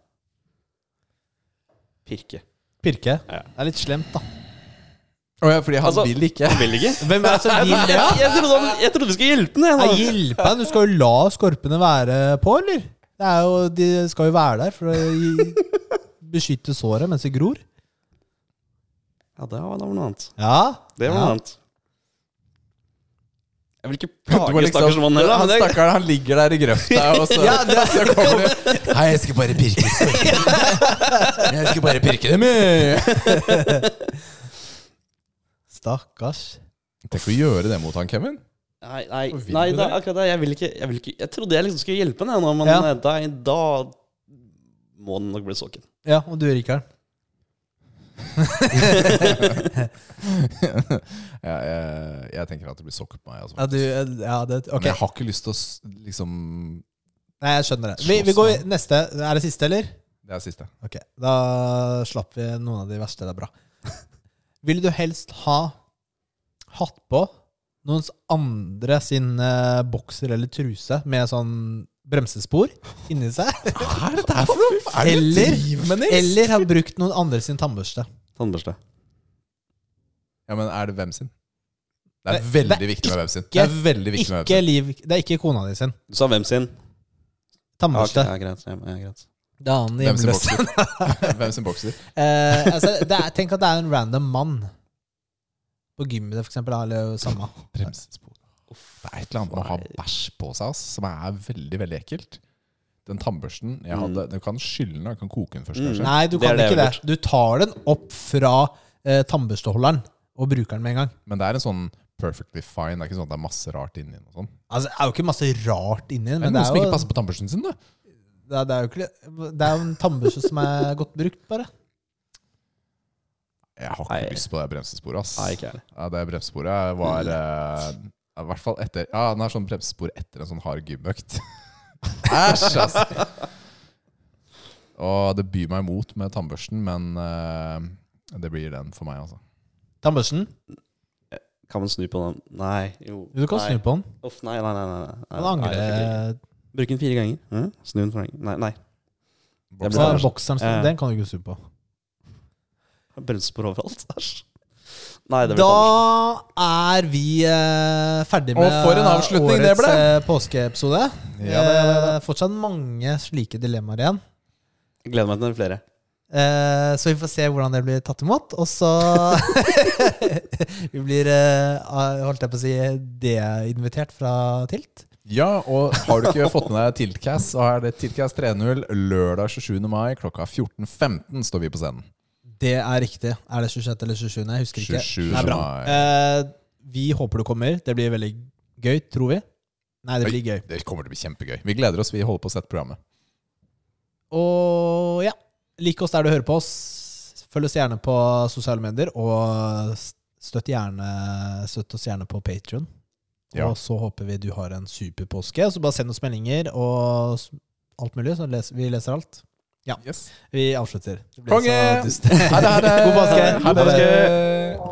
Speaker 3: Pirke.
Speaker 1: Pirke.
Speaker 3: Ja.
Speaker 1: Det er litt slemt, da.
Speaker 2: Å ja, fordi han
Speaker 3: Altså-
Speaker 2: vil ikke.
Speaker 3: Han vil ikke.
Speaker 1: Hvem er det som vil det?
Speaker 3: Jeg, jeg, trodde, han- jeg trodde du skulle hjelpe den.
Speaker 1: Nei,
Speaker 3: Jeg, nå.
Speaker 1: hjelp meg! Du skal jo la skorpene være på, eller? Det er jo, de skal jo være der for å gi, beskytte såret mens det gror.
Speaker 3: ja, det var, det var noe annet.
Speaker 1: Ja.
Speaker 3: Det var
Speaker 1: Ja.
Speaker 3: noe annet. Jeg vil ikke
Speaker 2: Du må
Speaker 3: plage
Speaker 2: liksom,
Speaker 3: stakkars mann heller.
Speaker 2: han
Speaker 3: men det-
Speaker 2: stakkaren han ligger der i grøfta, og så, så kommer det Hei, jeg skal bare pirke skorpene. Jeg skal bare pirke dem i
Speaker 1: Stakkars.
Speaker 2: Tenk å gjøre det mot han, Kevin.
Speaker 3: Nei, nei,
Speaker 2: Hvorfor vil
Speaker 3: nei
Speaker 2: du
Speaker 3: det,
Speaker 2: det?
Speaker 3: er akkurat det. Jeg, vil ikke, jeg, vil ikke, jeg trodde jeg liksom skulle hjelpe henne, nå, men
Speaker 1: Ja.
Speaker 3: da, da må den nok bli sokken.
Speaker 1: Ja, og du, Rikard.
Speaker 2: Jeg, jeg, jeg tenker at det blir sokk på meg. Altså.
Speaker 1: Ja, du, eh, ja, det, ok.
Speaker 2: Men jeg har ikke lyst til å s- liksom
Speaker 1: Nei, jeg skjønner det. Vi, vi går i- neste. Er det siste, eller?
Speaker 2: Det er siste.
Speaker 1: Ok, Da slapp vi noen av de verste. Det er bra. Ville du helst ha hatt på noen andre sin eh, bokser eller truse med sånn bremsespor inni seg?
Speaker 2: Hva er dette her for noe? Er det
Speaker 1: Eller,
Speaker 2: driv med, Nils?
Speaker 1: eller ha brukt noen andre sin tannbørste?
Speaker 3: Tannbørste.
Speaker 2: Ja, men er det hvem sin? Det er
Speaker 1: Nei,
Speaker 2: veldig
Speaker 1: det er
Speaker 2: viktig med hvem sin. Det
Speaker 1: ikke-
Speaker 2: er veldig viktig med hvem
Speaker 1: Ikke
Speaker 2: sin.
Speaker 1: liv, det er ikke kona di sin.
Speaker 3: Du sa hvem sin? Ja, ok,
Speaker 1: Tannbørste.
Speaker 3: ja, greit, ja, ja, greit.
Speaker 1: Det er han
Speaker 2: Hvem sin
Speaker 1: hjemløse.
Speaker 2: bokser? Hvem sin bokser?
Speaker 1: Eh, altså, det er, tenk at det er en random mann. På gymmet, for eksempel. da, Eller samme.
Speaker 2: Bremsespor. Det er et eller annet med å ha bæsj på seg ass, som er veldig veldig ekkelt. Den tannbørsten jeg hadde, Du kan skylle den, og du kan koke den først,
Speaker 3: Mm.
Speaker 2: kanskje.
Speaker 1: Nei, du
Speaker 3: Det er
Speaker 1: kan
Speaker 3: det jeg
Speaker 1: ikke det.
Speaker 3: har
Speaker 1: Du tar den opp fra eh, tannbørsteholderen og bruker den med en gang.
Speaker 2: Men det er en sånn perfectly fine. Det er ikke sånn at det er masse rart inni den. og sånn.
Speaker 1: Altså, Det er jo ikke masse rart inni den,
Speaker 2: Det er
Speaker 1: men
Speaker 2: noen
Speaker 1: det
Speaker 2: som
Speaker 1: er,
Speaker 2: ikke
Speaker 1: jo,
Speaker 2: passer på tannbørsten sin, da.
Speaker 1: det, er, det er jo ikke Det er jo en tannbørste som er godt brukt, bare.
Speaker 2: Jeg har ikke
Speaker 3: Nei.
Speaker 2: lyst på det bremsesporet, ass.
Speaker 3: Nei, ikke jeg.
Speaker 2: Ja, det bremsesporet var eh, I hvert fall etter Ja, den er sånn bremsespor etter en sånn hard gymøkt. Æsj, ass! Og det byr meg imot med tannbørsten, men eh, det blir den for meg, altså.
Speaker 1: Tannbørsten?
Speaker 3: Kan man snu på den? Nei. Jo.
Speaker 1: Du kan
Speaker 3: nei.
Speaker 1: snu på den.
Speaker 3: Uff, nei, nei, nei. nei, nei.
Speaker 1: Den
Speaker 3: Nei,
Speaker 1: angrer.
Speaker 3: det funker ikke. Bruk den fire ganger. Hæ? Snu den for ganger. Nei. nei. Jeg
Speaker 1: Så
Speaker 3: blir
Speaker 1: er
Speaker 3: æsj.
Speaker 1: bokseren
Speaker 3: Ja.
Speaker 1: sånn. Den kan du ikke snu på.
Speaker 3: Bremsespor overalt. Æsj. Nei, det blir
Speaker 1: Da
Speaker 3: tannbørste.
Speaker 1: er vi eh, ferdig
Speaker 2: Og
Speaker 1: med
Speaker 2: for en avslutning det ble.
Speaker 1: årets eh, påskeepisode.
Speaker 2: Ja, da, ja, da,
Speaker 1: Eh, fortsatt mange slike dilemmaer igjen.
Speaker 3: Jeg Gleder meg til flere.
Speaker 1: Eh, Så vi får se hvordan det blir tatt imot. Og så Vi blir, eh, holdt jeg på å si, det-invitert fra Tilt.
Speaker 2: Ja, og har du ikke fått med deg Tiltcast, så er det Tiltcast 3.0 lørdag 27. mai klokka 14.15 står vi på scenen.
Speaker 1: Det er riktig. Er det 26. eller 27.? Jeg husker ikke.
Speaker 2: 27.
Speaker 1: Det er bra.
Speaker 2: mai.
Speaker 1: Eh, Vi håper du kommer. Det blir veldig gøy, tror vi. Nei, det blir gøy.
Speaker 2: Det kommer til å bli kjempegøy. Vi gleder oss. Vi holder på å sette programmet.
Speaker 1: Og ja, lik oss der du hører på oss. Følg oss gjerne på sosiale medier, og støtt, gjerne, støtt oss gjerne på Patrion.
Speaker 2: Ja.
Speaker 1: Og så håper vi du har en super påske. Så bare send oss meldinger og s- alt mulig, så leser, vi leser alt.
Speaker 2: Yes.
Speaker 1: Vi avslutter. Det ble
Speaker 2: Konge!
Speaker 1: så dust.
Speaker 2: Ha det, ha det!
Speaker 1: God påske!
Speaker 2: Ha det!